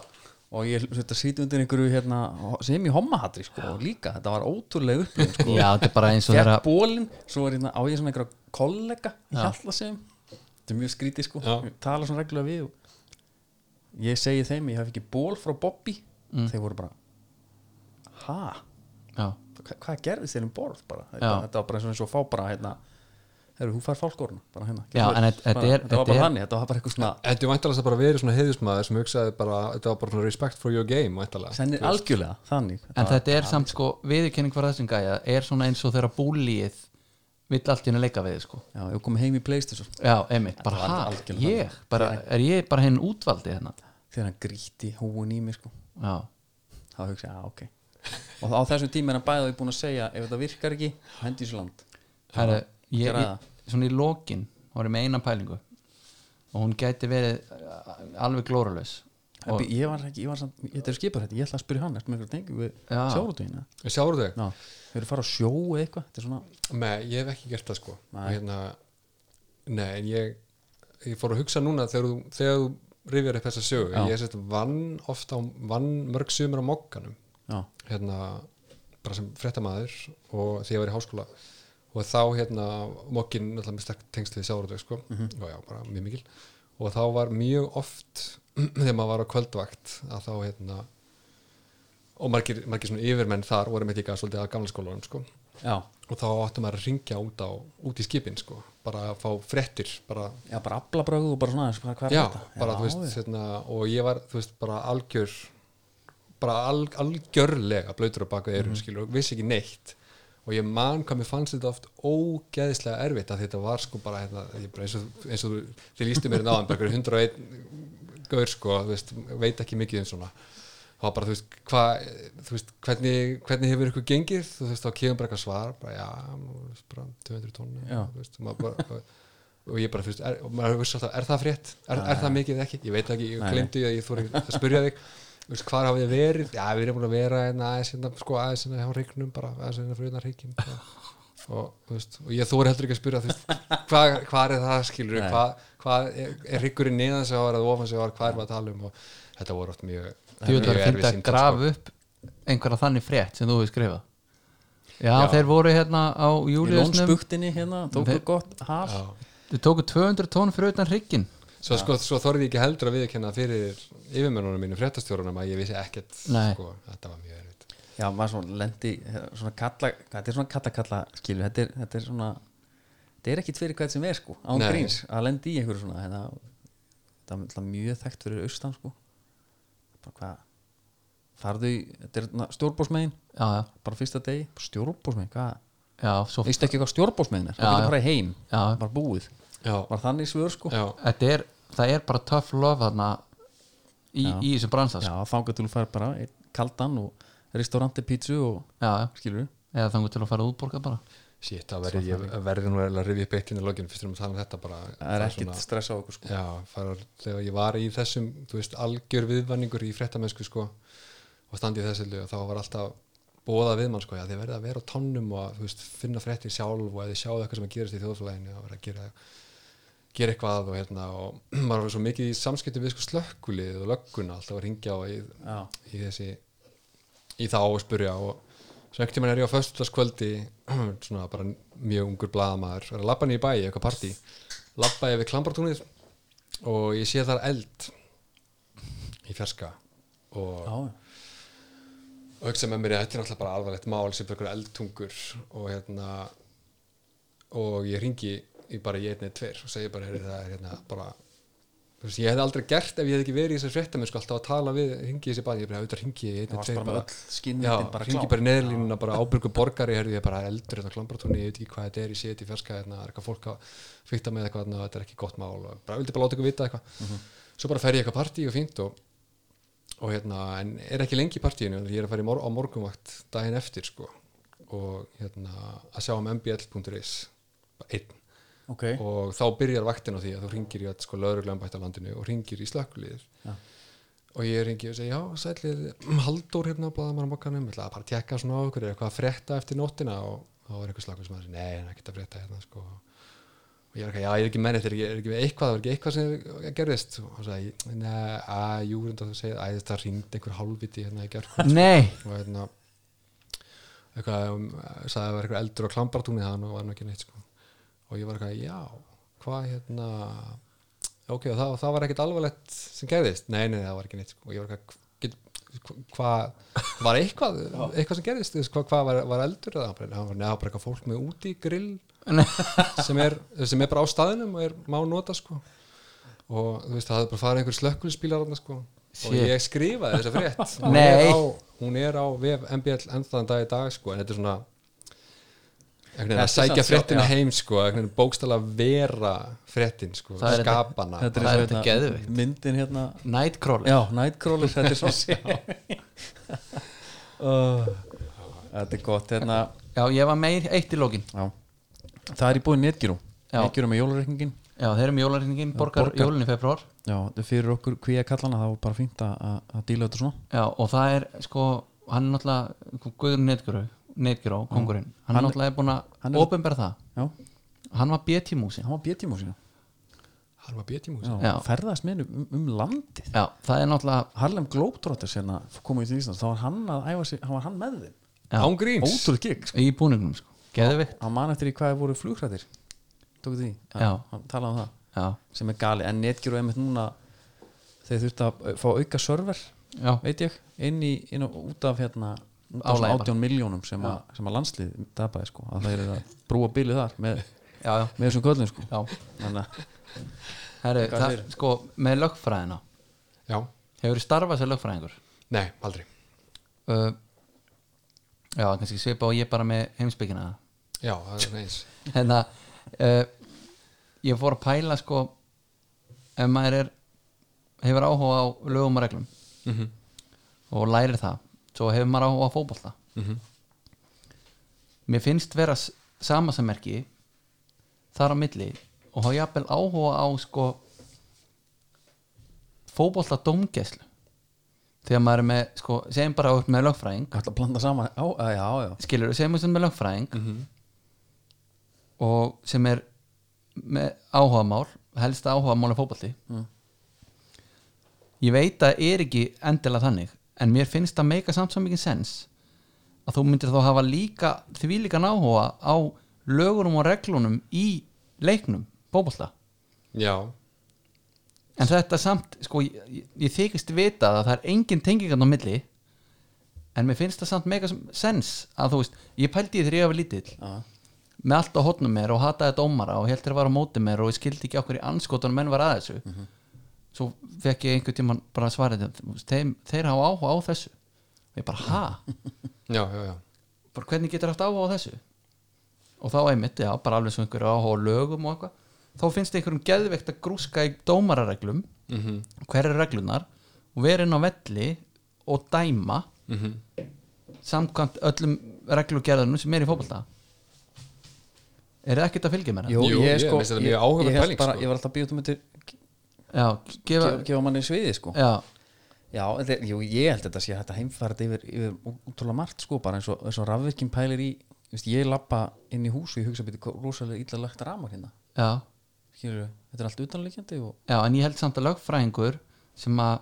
Speaker 1: og ég þetta sýti undir einhverju hérna, sem í hommahatri sko, og líka, þetta var ótrúlega upplöfum sko.
Speaker 2: Já, þetta er bara eins og
Speaker 1: fekk
Speaker 2: þeirra
Speaker 1: bólinn, svo er hérna á ég svona einhverja kollega í Hjallasegum þetta er mjög skrítið sko,
Speaker 3: Já.
Speaker 1: Ég tala svona reglulega við og ég segi þeim, ég hef ekki ból frá Bobby
Speaker 2: Mm.
Speaker 1: þeir voru bara ha,
Speaker 2: Já,
Speaker 1: hva- hvað gerðist þeir um borð bara, þetta,
Speaker 2: Já.
Speaker 1: þetta var bara eins og- eins og að fá bara hérna, herru, hún fær fálkorn bara hérna,
Speaker 2: Já,
Speaker 1: Gerðu
Speaker 2: en
Speaker 1: vel.
Speaker 2: þetta- þetta
Speaker 1: bara, þetta
Speaker 2: er-
Speaker 1: var
Speaker 2: þetta
Speaker 1: bara
Speaker 2: er-
Speaker 1: þannig, þetta var bara eitthvað svona
Speaker 3: Þetta er væntalega bara verið svona heiðismæður sem hugsaði bara, þetta var bara svona respect for your game væntalega
Speaker 1: senni algjörlega, þannig
Speaker 2: en þetta er samt sko viðurkenning fyrir þessum gæja er svona eins og þeirra búlíið vill allt í henni leika við þig, sko
Speaker 1: já, ég kom heim í Playstation
Speaker 2: Já, einmitt, bara
Speaker 1: var
Speaker 2: hæ,
Speaker 1: algjörlega
Speaker 2: ég bara, er ég bara henn útvaldi hérna
Speaker 1: þegar hann gríti húun í mig sko
Speaker 2: Já,
Speaker 1: þá hugsa ég, já, ok og á þessum tíma er hann bæðið búin að segja ef þetta virkar ekki, hendi þessu land
Speaker 2: það er ég,
Speaker 1: gera
Speaker 2: ég, svona í lokin var ég með eina pælingu og hún gæti verið uh, alveg glóralaus
Speaker 1: og, ég var ekki, ég var samt, þetta er skipar þetta ég ætla að spyrja hann, ertu með eitthvað tengi við
Speaker 2: Já.
Speaker 1: sjáratugina
Speaker 3: Sjáru þau?
Speaker 1: já, þau eru að fara á sjó eða eitthvað þetta er svona,
Speaker 3: Nei, ég hef ekki gert það sko
Speaker 1: Nei.
Speaker 3: Hérna, nei en ég, ég fór að hugsa núna þegar þú, þegar þú rifjar upp þessa sögu
Speaker 1: Já.
Speaker 3: ég sett vann ofta á, vann mörg sömur á mokkanum
Speaker 1: já,
Speaker 3: hérna, bara sem fréttamaður og því ég var í háskóla og þá hérna, mokkin náttúrulega með sterk tengsl við sjávarútveg sko, og já, bara mjög mikil og þá var mjög oft [CLEARS THROAT] þegar maður var á kvöldvakt að þá hérna og margir, margir svona yfirmenn þar voru með líka svolítið að gamla skólanum sko
Speaker 1: já,
Speaker 3: og þá áttum maður að ringja út, á, út í skipin sko, bara að fá fréttir bara
Speaker 1: já, bara aflabrögð og bara svona aðeins, bara, hvað er
Speaker 3: já,
Speaker 1: þetta?
Speaker 3: bara þú veist hérna, og ég var, þú veist, bara algjör bara al, algjörlega blöytur á baku erum,
Speaker 1: Mhm.
Speaker 3: mm. skilur, og vissi ekki neitt og ég man hvað mér fannst þetta oft ógeðislega erfitt að þetta var sko bara, hérna, ég bara eins, og, eins og þú- þið lístu mér náðan, bara einhver 101 gaur sko, þú veist, veit ekki mikið um svona þá bara, þú veist, hva, þú veist hvernig, hvernig hefur ykkur gengið þú veist, þá kemur bara eitthvað svar bara, já, nú, þú veist, bara 200 tónni
Speaker 1: Já.
Speaker 3: þú veist, og maður bara og ég bara, þú veist, er, og maður veist alltaf, er það frétt? Er, er það mikið eða ekki? Ég veit ekki, ég
Speaker 1: Nei,
Speaker 3: glemdi því að ég þóra ekki að spyrja þig Þú veist, hvar hafið þið verið? Já, við erum búin að vera hérna aðeins hérna, sko, aðeins hérna hjá reiknum bara, aðeins hérna fyrir hérna reikin og, þú veist, og ég þóra heldur ekki að spyrja þú veist, [LAUGHS] hvað, hvað er það skilur
Speaker 1: Nei.
Speaker 3: hvað, hvað er, er reikkurinn neðan sem var að ofan sem var, hvað er maður að tala um og þetta voru oft mjög
Speaker 2: Þú veit að
Speaker 3: mjög
Speaker 2: finna
Speaker 3: erfið
Speaker 2: að
Speaker 3: símtöl, sko.
Speaker 2: grafa upp einhverja þannig frétt sem þú hefur skrifað Já,
Speaker 3: Já.
Speaker 2: þeir voru hérna á
Speaker 1: í
Speaker 2: júliðusnum
Speaker 1: lónspuktinni hérna, tóku
Speaker 2: Þeir-
Speaker 1: gott haf,
Speaker 3: Já.
Speaker 2: Þau tóku 200 tón fyrir utan hrygginn
Speaker 3: Svo, sko, svo þorði ég ekki heldur að viðkenna fyrir yfirmennunum mínu fréttastjórunum að ég vissi ekkert
Speaker 2: Nei.
Speaker 3: sko, þetta var mjög erfitt
Speaker 1: já, maður svona lendi eh, svona kalla, þetta er svona kalla kalla skilu, þetta er, þetta er svona þetta er ekki tverir hvað sem er sko, án
Speaker 3: Nei.
Speaker 1: gríns að lendi í einhverju svona hérna, þetta er náttúrulega mjög þekkt fyrir austan sko bara hvað farðu í, þetta er stjórbósmegin
Speaker 2: Já, já,
Speaker 1: bara fyrsta degi, stjórbósmegin, hvað
Speaker 2: já, svo
Speaker 1: veistu ekki hvað stjórbósmegin er, þá
Speaker 2: Já,
Speaker 1: getur
Speaker 2: já.
Speaker 1: bara heim
Speaker 2: Já.
Speaker 1: bara búið,
Speaker 3: Já,
Speaker 1: var þannig svör sko
Speaker 3: já,
Speaker 2: Þetta er, það er bara töff lof þarna í, í þessum bransa
Speaker 1: Já,
Speaker 2: sko.
Speaker 1: þangað til þú fær bara einn kaldan og restauranti pítsu og
Speaker 2: já, já,
Speaker 1: skilur
Speaker 2: eða þangur til að fara útborga bara
Speaker 1: [LAUGHS]
Speaker 3: shit, það verði ég verði nú eiginlega að rifja upp eitt hérna í lokinu fyrst erum að tala um þetta bara
Speaker 1: það er
Speaker 3: var
Speaker 1: ekkit stress á okkur sko
Speaker 3: Já, fara, þegar ég var í þessum, þú veist, algjör viðvanningur í fréttamennsku sko og standi í þessu lög og þá var alltaf bóða við mann sko, já þið verðið að vera á tónnum og að, þú veist, finna fréttir sjálf og ef þið sjáðu eitthvað sem að gerast í þjóðfélaginu að vera að gera, gera eitthvað og hérna og [CLEARS THROAT] maður var svo mikið í samskiptum við sko slökkulið og lögguna alltaf að ringja og í,
Speaker 1: Já,
Speaker 3: í þessi í þá og spurja og svo ekkert tímann er ég á föstudagskvöldi [CLEARS THROAT] svona bara mjög ungur blaðamaður er að labba niður í bæi, í eitthvað partí labba ég við klambartúnið og ég sé þar eld í fjarska og,
Speaker 1: já,
Speaker 3: og hugsa með mér að þetta er náttúrulega bara alvarlegt mál sem fyrir eldtungur og hérna og ég ringi í bara í einni tver og segi bara, heyrðu, það er hérna bara þú veist, ég hefði aldrei gert ef ég hefði ekki verið í þessari fréttamenn sko alltaf að tala við, ringi þessi bara, ég bara auðvitað ringi í
Speaker 1: það
Speaker 3: einni
Speaker 1: varst
Speaker 3: tver
Speaker 1: bara með öll
Speaker 3: Já,
Speaker 1: skinnvindin bara
Speaker 3: ringi
Speaker 1: klár
Speaker 3: bara í neðurlínuna, bara ábyrgu borgari herði ég bara eldur hérna klambratóni, ég veit ekki hvað þetta er ég sé þetta í ferska, hérna, er eitthvað fólk að fyrta með eitthvað, hérna, þetta er ekki gott mál og bara vildi bara láta ykkur vita eitthvað
Speaker 1: Mhm.
Speaker 3: svo bara fer ég í eitthvað partí og fínt og, og hérna, en er ekki lengi í partíinu ég er að fara í mor á morgunvakt daginn eftir sko, og hérna að sjá um mbl.is bara einn
Speaker 1: Ok,
Speaker 3: og þá byrjar vaktin á því að þú ringir í að sko lögreglembætt á landinu og ringir í slökkulíð
Speaker 1: Já.
Speaker 3: og ég ringi og segi já, sælið Halldór hérna blaðamann á mokkanum, ætlaði bara að tekka svona á ykkur, er eitthvað að frétta eftir nóttina og þá var eitthvað slökkulíð sem að segja, nei, það er ekkert að frétta hérna sko og ég er ekki, já, ég er ekki menn þetta, er ekki- er ekki með eitthvað, það var ekki eitthvað sem gerðist og hann sagði, neða, að, jú, reynda þú segið, að þetta ringdi einhver hálfviti hérna í gerð
Speaker 2: Nei,
Speaker 3: og hérna eitthvað, um, sagði að það var eitthvað eldur á klambartúni þann og var nú ekki neitt sko. og ég var eitthvað, já, hvað hérna ok, og það, það var ekkert alvarlegt sem gerðist, nei, nei, það var ekki neitt sko. og ég var eitthvað, get- hvað var eitthvað, eitthvað sem gerðist Þú veist, hvað hva var, var eldur eða Hann bara, "Nei, það var bara eitthvað fólk með úti grill
Speaker 2: nei,
Speaker 3: sem er, sem er bara á staðinum og er má nota sko og þú veist það hafði bara farið einhver slökkulspílar þarna sko
Speaker 2: Shit.
Speaker 3: og ég skrifaði þessa
Speaker 2: [LAUGHS]
Speaker 3: frétt hún,
Speaker 2: Nei.
Speaker 3: er á, hún er á vef MBL ennþaðan dag í dag sko en þetta er svona einhvern veginn
Speaker 1: Þetta
Speaker 3: að
Speaker 1: er
Speaker 3: sækja
Speaker 1: samt-
Speaker 3: fréttina
Speaker 1: já.
Speaker 3: heim sko einhvern veginn bókstala vera fréttin sko
Speaker 2: Það er þetta-
Speaker 3: skapana
Speaker 1: þetta er,
Speaker 2: Það er
Speaker 1: eins og
Speaker 2: þetta
Speaker 1: hérna
Speaker 2: geðveikt.
Speaker 1: Myndin hérna,
Speaker 2: [LAUGHS] Nightcrawler
Speaker 1: já, Nightcrawler Þetta
Speaker 2: [LAUGHS]
Speaker 1: er svona sé Ó, Þetta er gott, hérna
Speaker 2: Já, ég var meir eitt í lókin
Speaker 1: já. Það er í búið netgyrú
Speaker 2: Já.
Speaker 1: Netgyrú með jólareikningin
Speaker 2: Já, þeir eru með jólarreikningin, borgar
Speaker 1: borgar.
Speaker 2: jólun í februar
Speaker 1: Já, þetta er fyrir okkur kvíja kallana Það var bara fínt að- að að díla þetta svona
Speaker 2: Já, og það er sko hann er náttúrulega, Guðurinn Neitgjöró Neitgjöró, kongurinn, hann, er náttúrulega búin
Speaker 1: hann
Speaker 2: að
Speaker 1: er-
Speaker 2: opinbera það,
Speaker 1: Já,
Speaker 2: hann var BT-músi
Speaker 1: hann var bjötímú sína
Speaker 3: hann var B-tíma
Speaker 1: Já,
Speaker 2: Já.
Speaker 1: ferðast með um, um landið
Speaker 2: Já, það er náttúrulega
Speaker 1: Harlem Globetrotters hérna komið til Íslands, þá var hann að æfa sig, hann var hann með þeim
Speaker 2: Já.
Speaker 3: án gríns
Speaker 1: Ótrúð gig, sko
Speaker 2: í búningnum sko. Geðvikt
Speaker 1: Hann man eftir í hvað voru flugrættir Tók því,
Speaker 2: Já.
Speaker 1: hann, hann talaði um það
Speaker 2: Já,
Speaker 1: sem er gali, en netgjur og einmitt núna þeir þurftu að eh, fá auka server
Speaker 2: já,
Speaker 1: veit ég, inn í inn og út af hérna
Speaker 2: Álagi bara.
Speaker 1: 18 miljónum sem, að- sem að landslið tapaði sko, að það er að brúa bílið þar með,
Speaker 2: já, já,
Speaker 1: með þessum köllum sko
Speaker 2: já.
Speaker 1: þannig að
Speaker 2: Herri,
Speaker 1: Hvað
Speaker 2: það,
Speaker 1: segirðu?
Speaker 2: sko, með lögfræðina
Speaker 3: já,
Speaker 2: hefur starfað sem lögfræðingur
Speaker 3: nei, aldrei
Speaker 2: uh, Já, kannski svipa og ég bara með heimsbyggina
Speaker 3: já, það er eins
Speaker 2: Hérna uh, Ég fór að pæla sko ef maður er hefur áhuga á lögum og reglum
Speaker 3: Mhm.
Speaker 2: og lærir það svo hefur maður áhuga á fótbolta
Speaker 3: Mhm.
Speaker 2: Mér finnst vera s- samasemmerki þar á milli og hafa jafnvel áhuga á sko fótbolta dómgæslu þegar maður er með sko, segjum bara upp með lögfræðing
Speaker 1: ætla að blanda saman á, að, já, já,
Speaker 2: skilur þú, segjum við sem er lögfræðing og sem er með áhugamál helsta áhugamál er fótbolti ég veit að er ekki endilega þannig, en mér finnst það meika samt svo mikið sens að þú myndir þá hafa líka, því líka náhuga á lögurum og reglunum í leiknum, fótbolta
Speaker 3: já,
Speaker 2: en þetta samt, sko, ég, ég- ég þykist vita að það er engin tengingan á milli en mér finnst það samt mega sem- sens að þú veist, ég pældi í því þegar ég var lítill
Speaker 1: já,
Speaker 2: með allt á hotnum mér og hataði dómara og heldur að var á móti mér og ég skildi ekki okkur í anskotunum menn var að þessu svo fekk ég einhver tíman bara svarið þú veist, þeim, þeir hafa áhuga á þessu og ég bara, ha?
Speaker 3: já, já, já
Speaker 2: bara hvernig getur haft áhuga á þessu og þá einmitt, já, bara alveg svo einhverju áhuga á lögum og eitthvað þá finnst einhverjum geðveikt að grúska í dómarareglum mm -hmm. hverju reglunar og vera inn á velli og dæma samkvæmt öllum reglugerðunum sem er í fótbolta er það ekkert að fylgja mér það?
Speaker 1: Jú,
Speaker 3: Jú,
Speaker 1: ég,
Speaker 3: ég
Speaker 1: sko,
Speaker 3: finnst þetta
Speaker 1: ég,
Speaker 3: mjög áhugaverð
Speaker 1: ég, held
Speaker 3: pæling,
Speaker 1: bara,
Speaker 3: sko.
Speaker 1: ég var alltaf að býja út um þetta
Speaker 2: já, gefa,
Speaker 1: gefa, gefa manni sviði sko
Speaker 2: já,
Speaker 1: Já, þeir, jú, ég held þetta sé hægt að heimfæra þetta yfir, yfir ú- útrúlega margt sko bara eins og, eins og rafvirkinn pælir í þú veist, ég lappa inn í hús og ég hugsa byrja rosalega illa lagt ramar hérna
Speaker 2: já,
Speaker 1: Skilur, þetta er allt utanleikjandi og
Speaker 2: já en ég held samt að lögfræðingur sem að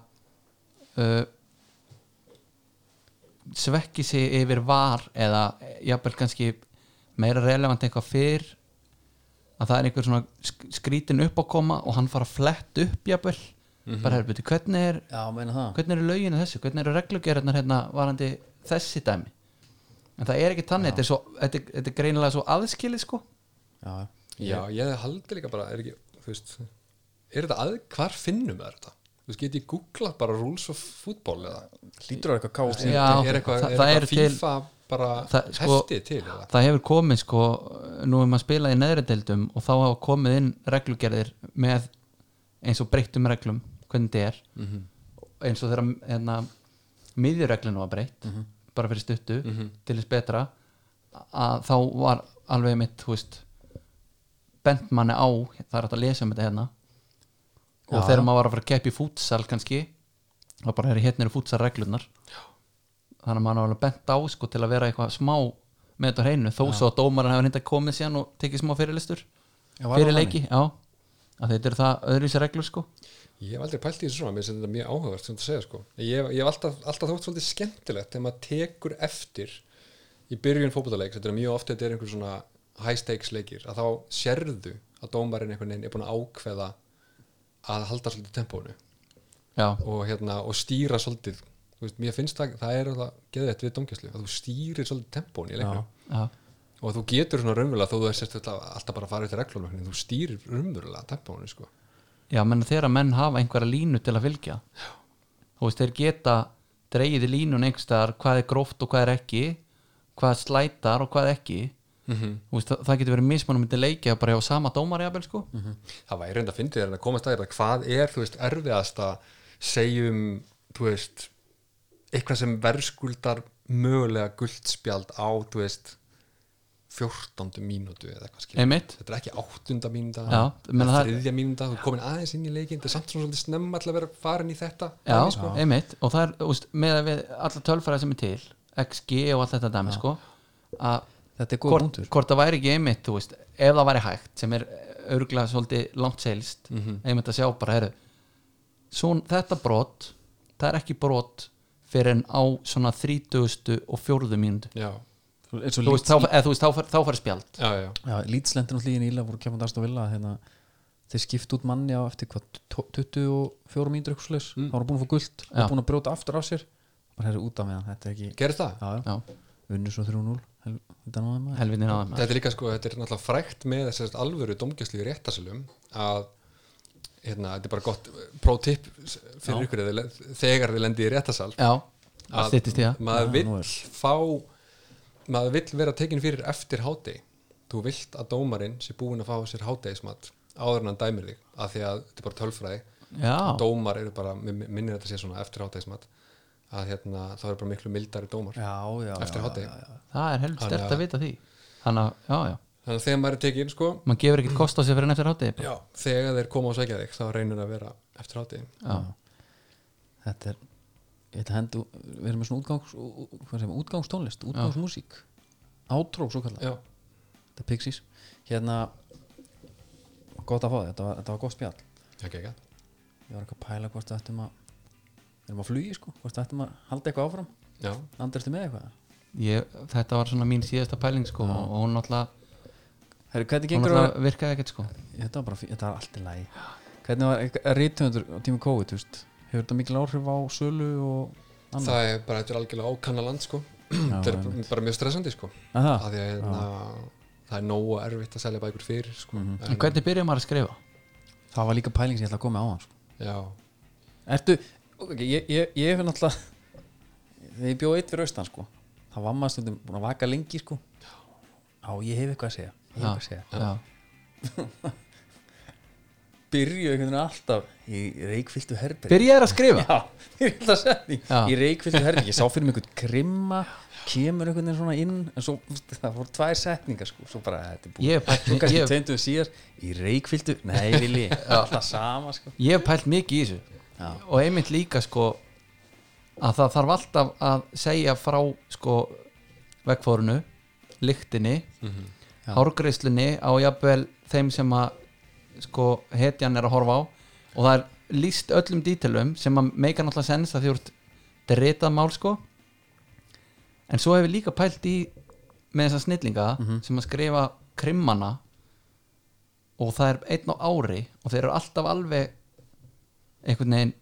Speaker 2: uh, svekki sig yfir var eða jafnvel kannski meira relevant eitthvað fyrr að það er einhver svona sk- skrítin upp að koma og hann fara flett upp jafnvel bara er byrju, hvernig er
Speaker 1: Já, meina það
Speaker 2: hvernig eru löginu þessu, hvernig eru reglugjörðnar hérna varandi þessi dæmi en það er ekki þannig, þetta er, svo, þetta, er- þetta er greinilega svo aðskilið sko
Speaker 1: Já,
Speaker 3: já, ég haldi líka bara, er ekki þú veist, er þetta að, hvar finnum við þetta? Þú veist, get ég googlað bara rules of football eða
Speaker 1: hlýtur á eitthvað káð
Speaker 2: Já,
Speaker 3: er eitthvað,
Speaker 2: það-
Speaker 3: er
Speaker 2: það
Speaker 3: eitthvað
Speaker 2: eru til-
Speaker 3: FIFA bara
Speaker 2: það-
Speaker 3: hefti
Speaker 2: sko-
Speaker 3: til eða?
Speaker 2: það hefur komið sko, nú er maður spilað í neðri deildum og þá hafa komið inn reglugerðir með eins og breyttum reglum hvernig þetta er eins og þegar hérna, miðjureglinu var breytt bara fyrir stuttu, til þess betra að þá var alveg mitt, þú veist bent manni á, það er hægt að lesa um þetta hérna og
Speaker 1: Já.
Speaker 2: þegar maður var að fara að keppi fútsal kannski þá bara er hérna eru fútsal reglunar þannig að maður var alveg bent á sko, til að vera eitthvað smá með þetta á hreinu þó svo að dómarinn hefur hérna komið síðan og tekið smá fyrirlistur
Speaker 1: Já, var það
Speaker 2: fyrir leiki, já að þetta eru það öðruvísi reglur sko
Speaker 3: Ég hef aldrei pælt í þessu svona, mér finnst þetta mjög áhugavert sem þú segja sko. Ég, ég hef alltaf, alltaf þótt svolítið skemmtilegt þegar maður tekur eftir í byrjun fótbollaleik, þetta er mjög oft þetta er einhver svona high stakes leikir að þá sérðu að dómarinn einhvern veginn er búin að ákveða að halda svolítið tempónu
Speaker 2: já,
Speaker 3: og, hérna, og stýra svolítið Þú veist, mér finnst það, það er það geðvett við dómgæslu að þú stýrir svolítið tempónu í leiknum
Speaker 2: já,
Speaker 3: og þú getur svona raunverulega þó þú er sérst alltaf bara að fara eftir reglunum en þú stýrir raunverulega tempónu sko.
Speaker 2: já menn þegar að menn hafa einhverja línu til að fylgja þú veist, þeir geta dreigið í línun einhverstaðar hvað er gróft og hvað er ekki hvað slætar og hvað ekki mm -hmm. veist, það, það getur verið mismunum myndi leikja bara hjá sama dómar jafnvel sko
Speaker 3: það væri reynda að fyndi þér en að komast að þér að hvað er, þú veist, erfiðast að segjum, þú veist eitthvað sem verðskuldar mögulega guldspjald á, þú veist 14. mínútu eða eitthvað skilur.
Speaker 2: Einmitt.
Speaker 3: Þetta er ekki 8. mínúta
Speaker 2: Já, ég meina það-
Speaker 3: þriðja mínúta, þú er komin aðeins inn í leikin þetta er samt svona svolítið snemma alltaf að vera farin í þetta
Speaker 2: Já,
Speaker 3: dæmi, sko.
Speaker 2: einmitt og það er, úst, með að við alla tölfæra sem er til XG og allt þetta dæmi sko að
Speaker 1: Þetta er góð
Speaker 2: hvort,
Speaker 1: punktur
Speaker 2: hvort það væri ekki einmitt, þú veist ef það væri hægt, sem er eh, örgla svolítið langt seilst mm -hmm. einmitt að sjá bara heru, svon, þetta brot það er ekki brot fyrir en á svona 30. og 4. mínútu
Speaker 3: já,
Speaker 1: eins og
Speaker 2: þú
Speaker 1: lít
Speaker 2: veist, þá, eða, þú veist, þá, fær, þá fær spjald
Speaker 3: já, já,
Speaker 1: Já, lítslendin og hlýðin íla voru kemur dast og vilja hérna, þeir skipt út manni á eftir hvað tó- 24 mínútur eitthvað slags mm. þá voru búin að fá gult
Speaker 2: Já.
Speaker 1: og búin að brjóta aftur á sér bara herri út af meðan, þetta er ekki
Speaker 3: gerð það?
Speaker 1: já, já.
Speaker 2: Já,
Speaker 1: unnu svo 3-0 hel- þetta náði maður.
Speaker 2: helvinni náðum
Speaker 3: Þetta er líka sko, þetta er náttúrulega frækt með þessast alvöru domgæslu í réttarsölum að hérna, þetta er bara gott prótip fyrir ykkur ef þið le- þegar þið lendi í réttarsal
Speaker 2: Já, það styttist í það
Speaker 1: Já,
Speaker 3: maður
Speaker 1: nú
Speaker 3: vill
Speaker 1: er.
Speaker 3: fá maður vill vera tekin fyrir eftir hátegi þú vilt að dómarinn sé búin að fá sér hátegismat áður en hann dæmir þig af því að þetta er bara tölfræði
Speaker 2: Já,
Speaker 3: dómar eru bara, mig minnir þetta sé svona eftir hátegismat að hérna, þá eru bara miklu mildari dómar
Speaker 1: já, já,
Speaker 3: eftir
Speaker 1: já,
Speaker 3: hátegi
Speaker 2: það er helvist
Speaker 3: Þannig
Speaker 2: stert að vita því Þannig að, já, já,
Speaker 3: þannig að þegar maður er tekin sko
Speaker 2: maður gefur ekkert kost á sér fyrir en eftir hátti
Speaker 3: já, þegar þeir koma og segja þig þá reynir að vera eftir hátegi
Speaker 2: Já,
Speaker 1: þetta er ég ætla að hendu, við erum með svona útgangs, ú- ú- hvað sem, útgangstónlist, útgangsmúsík átró svo kallar,
Speaker 3: já,
Speaker 1: þetta er Pixies hérna gott að fá þig, þetta var, þetta var gott spjall
Speaker 3: ekki ekki
Speaker 1: ég var eitthvað að pæla hvort við ættum að við erum að flugi sko, hvort við ættum að halda eitthvað áfram
Speaker 3: já,
Speaker 1: Andri, ertu með eitthvað?
Speaker 2: ég, þetta var svona mín síðasta pæling sko og hún náttúrulega,
Speaker 1: Herru, hvernig
Speaker 2: hún
Speaker 1: gengur að
Speaker 2: náttúrulega virkaði ekkert sko
Speaker 1: þetta var bara, fí- þetta var allt í lagi hvernig var eitthvað rítundur á tími COVID, þú veist hefur þetta mikil áhrif á sölu og annað?
Speaker 3: það er bara, þetta er algjörlega ákanna land sko
Speaker 1: Já,
Speaker 3: [CLEARS THROAT] þetta er
Speaker 1: einmitt.
Speaker 3: bara- bara mjög stressandi sko
Speaker 1: Að það,
Speaker 3: að því að hérna, það er nógu erfitt að selja bækur fyrir sko.
Speaker 1: Mhm.
Speaker 2: En hvernig byrjaði maður að skrifa?
Speaker 1: það var líka pæling sem ég ætla að koma á hann sko.
Speaker 3: já,
Speaker 1: Ertu, ok, ég, ég, ég hef náttúrulega þegar ég bjóð eitt fyrir austan sko það var maður stundum búin að vaka lengi sko á, ég hef eitthvað að segja ég hef eitthvað að segja
Speaker 2: já,
Speaker 1: byrju einhvern veginn alltaf í reikfylltu herbergi
Speaker 2: Byrjaði að skrifa?
Speaker 1: Já, [LAUGHS] ég er alltaf setning
Speaker 2: Já.
Speaker 1: Í reikfylltu herning, ég sá fyrir mig einhvern krimma Kemur einhvern veginn svona inn En svo, það voru tvær setningar sko Svo bara, þetta er búið
Speaker 2: Ég hef
Speaker 1: Svo
Speaker 2: pælt,
Speaker 1: kannski
Speaker 2: ég,
Speaker 1: tveimtum síðar Í reikfylltu, nei vilji Alltaf sama sko
Speaker 2: ég hef pælt mikið í þessu
Speaker 1: Já.
Speaker 2: og einmitt líka sko að það þarf alltaf að segja frá sko vegfórunu, lyktinni mm
Speaker 1: Mhm. Já.
Speaker 2: á jafnvel þeim sem að sko hetjan er að horfa á og það er líst öllum dítilum sem að meika náttúrulega sens að því úr dritað mál sko en svo hefur líka pælt í með þessa snillinga
Speaker 1: Mhm.
Speaker 2: sem að skrifa krimmana og það er einn á ári og þeir eru alltaf alveg einhvern veginn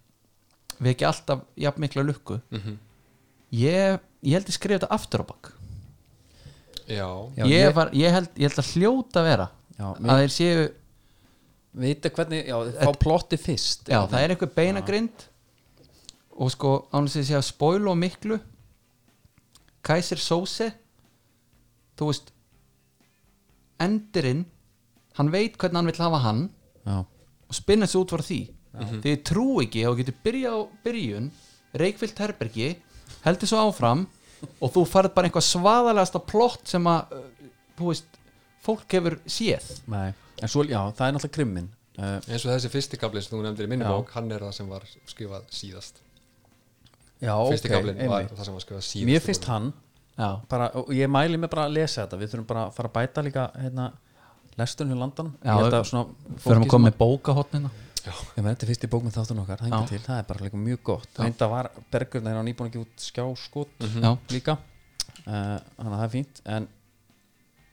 Speaker 2: við ekki alltaf jafn mikla lukku ég, ég held ég skrifa þetta aftur á bak
Speaker 3: já,
Speaker 1: Já,
Speaker 2: ég,
Speaker 1: ég-
Speaker 2: var, ég, held, ég held að hljóta vera
Speaker 1: Já, mér-
Speaker 2: að þeir séu
Speaker 1: Vita hvernig, já, fá plotti fyrst
Speaker 2: já, það er einhver beinagrind og sko án þess að ég sé að spoilu og miklu Kaiser Sose þú veist endurinn hann veit hvernig hann vill hafa hann
Speaker 1: Já,
Speaker 2: og spinna þessu út frá því því ég trú ekki og getur byrjað á byrjun reikvilt herbergi heldur svo áfram og þú farð bara einhvað svaðalegasta plott sem að uh, þú veist, fólk hefur séð
Speaker 1: nei En svo, já, það er náttúrulega krimmin uh,
Speaker 3: eins og þessi fyrsti kafli sem þú nefndir í minni
Speaker 1: Já.
Speaker 3: bók hann er það sem var skrifað síðast
Speaker 1: Já,
Speaker 3: fyrsti
Speaker 1: ok,
Speaker 3: kaflinn var
Speaker 1: einmitt
Speaker 3: það sem var skrifað síðast
Speaker 1: Mér finnst hann
Speaker 2: já,
Speaker 1: bara, og ég mæli mig bara að lesa þetta við þurfum bara að fara að bæta líka hérna, lesturinn hjá landan
Speaker 2: Já,
Speaker 1: ég held að svona
Speaker 2: fyrir
Speaker 1: fólki
Speaker 2: að
Speaker 1: sem
Speaker 2: koma með bókahotnina
Speaker 1: Ég með þetta er fyrsti bók með þáttunum okkar, það
Speaker 2: Já.
Speaker 1: enga til, það er bara líka mjög gott Reynda var Bergurinn þegar hann íbúin að gefa út skjáskot
Speaker 2: já,
Speaker 1: líka Eh, Þannig að það er fínt En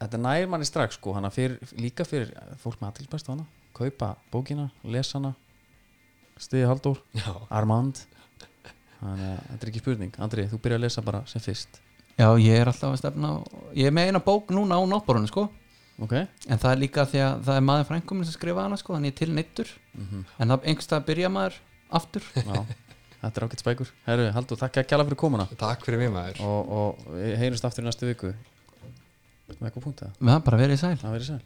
Speaker 1: þetta nægir manni strax sko hana fyrir, Líka fyrir fólk með aðtilspæst hana Kaupa bókina, lesa hana Stiði Halldór,
Speaker 3: já,
Speaker 1: Armand Þannig að þetta er ekki spurning Andri, þú byrjar að lesa bara sem fyrst
Speaker 2: já, ég er alltaf að stefna á, ég er með eina bók núna á náttborunni sko
Speaker 1: Ok,
Speaker 2: en það er líka því að það er maður frænkomin sem skrifa hana sko, þannig ég er til neittur en það einhverstað byrja maður aftur
Speaker 1: já, þetta er ágætt spækur Herru, Halldór, takk að kjala fyrir komuna
Speaker 3: takk fyrir mér maður
Speaker 1: Og, og heyrjumst aftur í næstu viku Með eitthvað punkt að
Speaker 2: við það bara verið sæl
Speaker 1: það verið sæl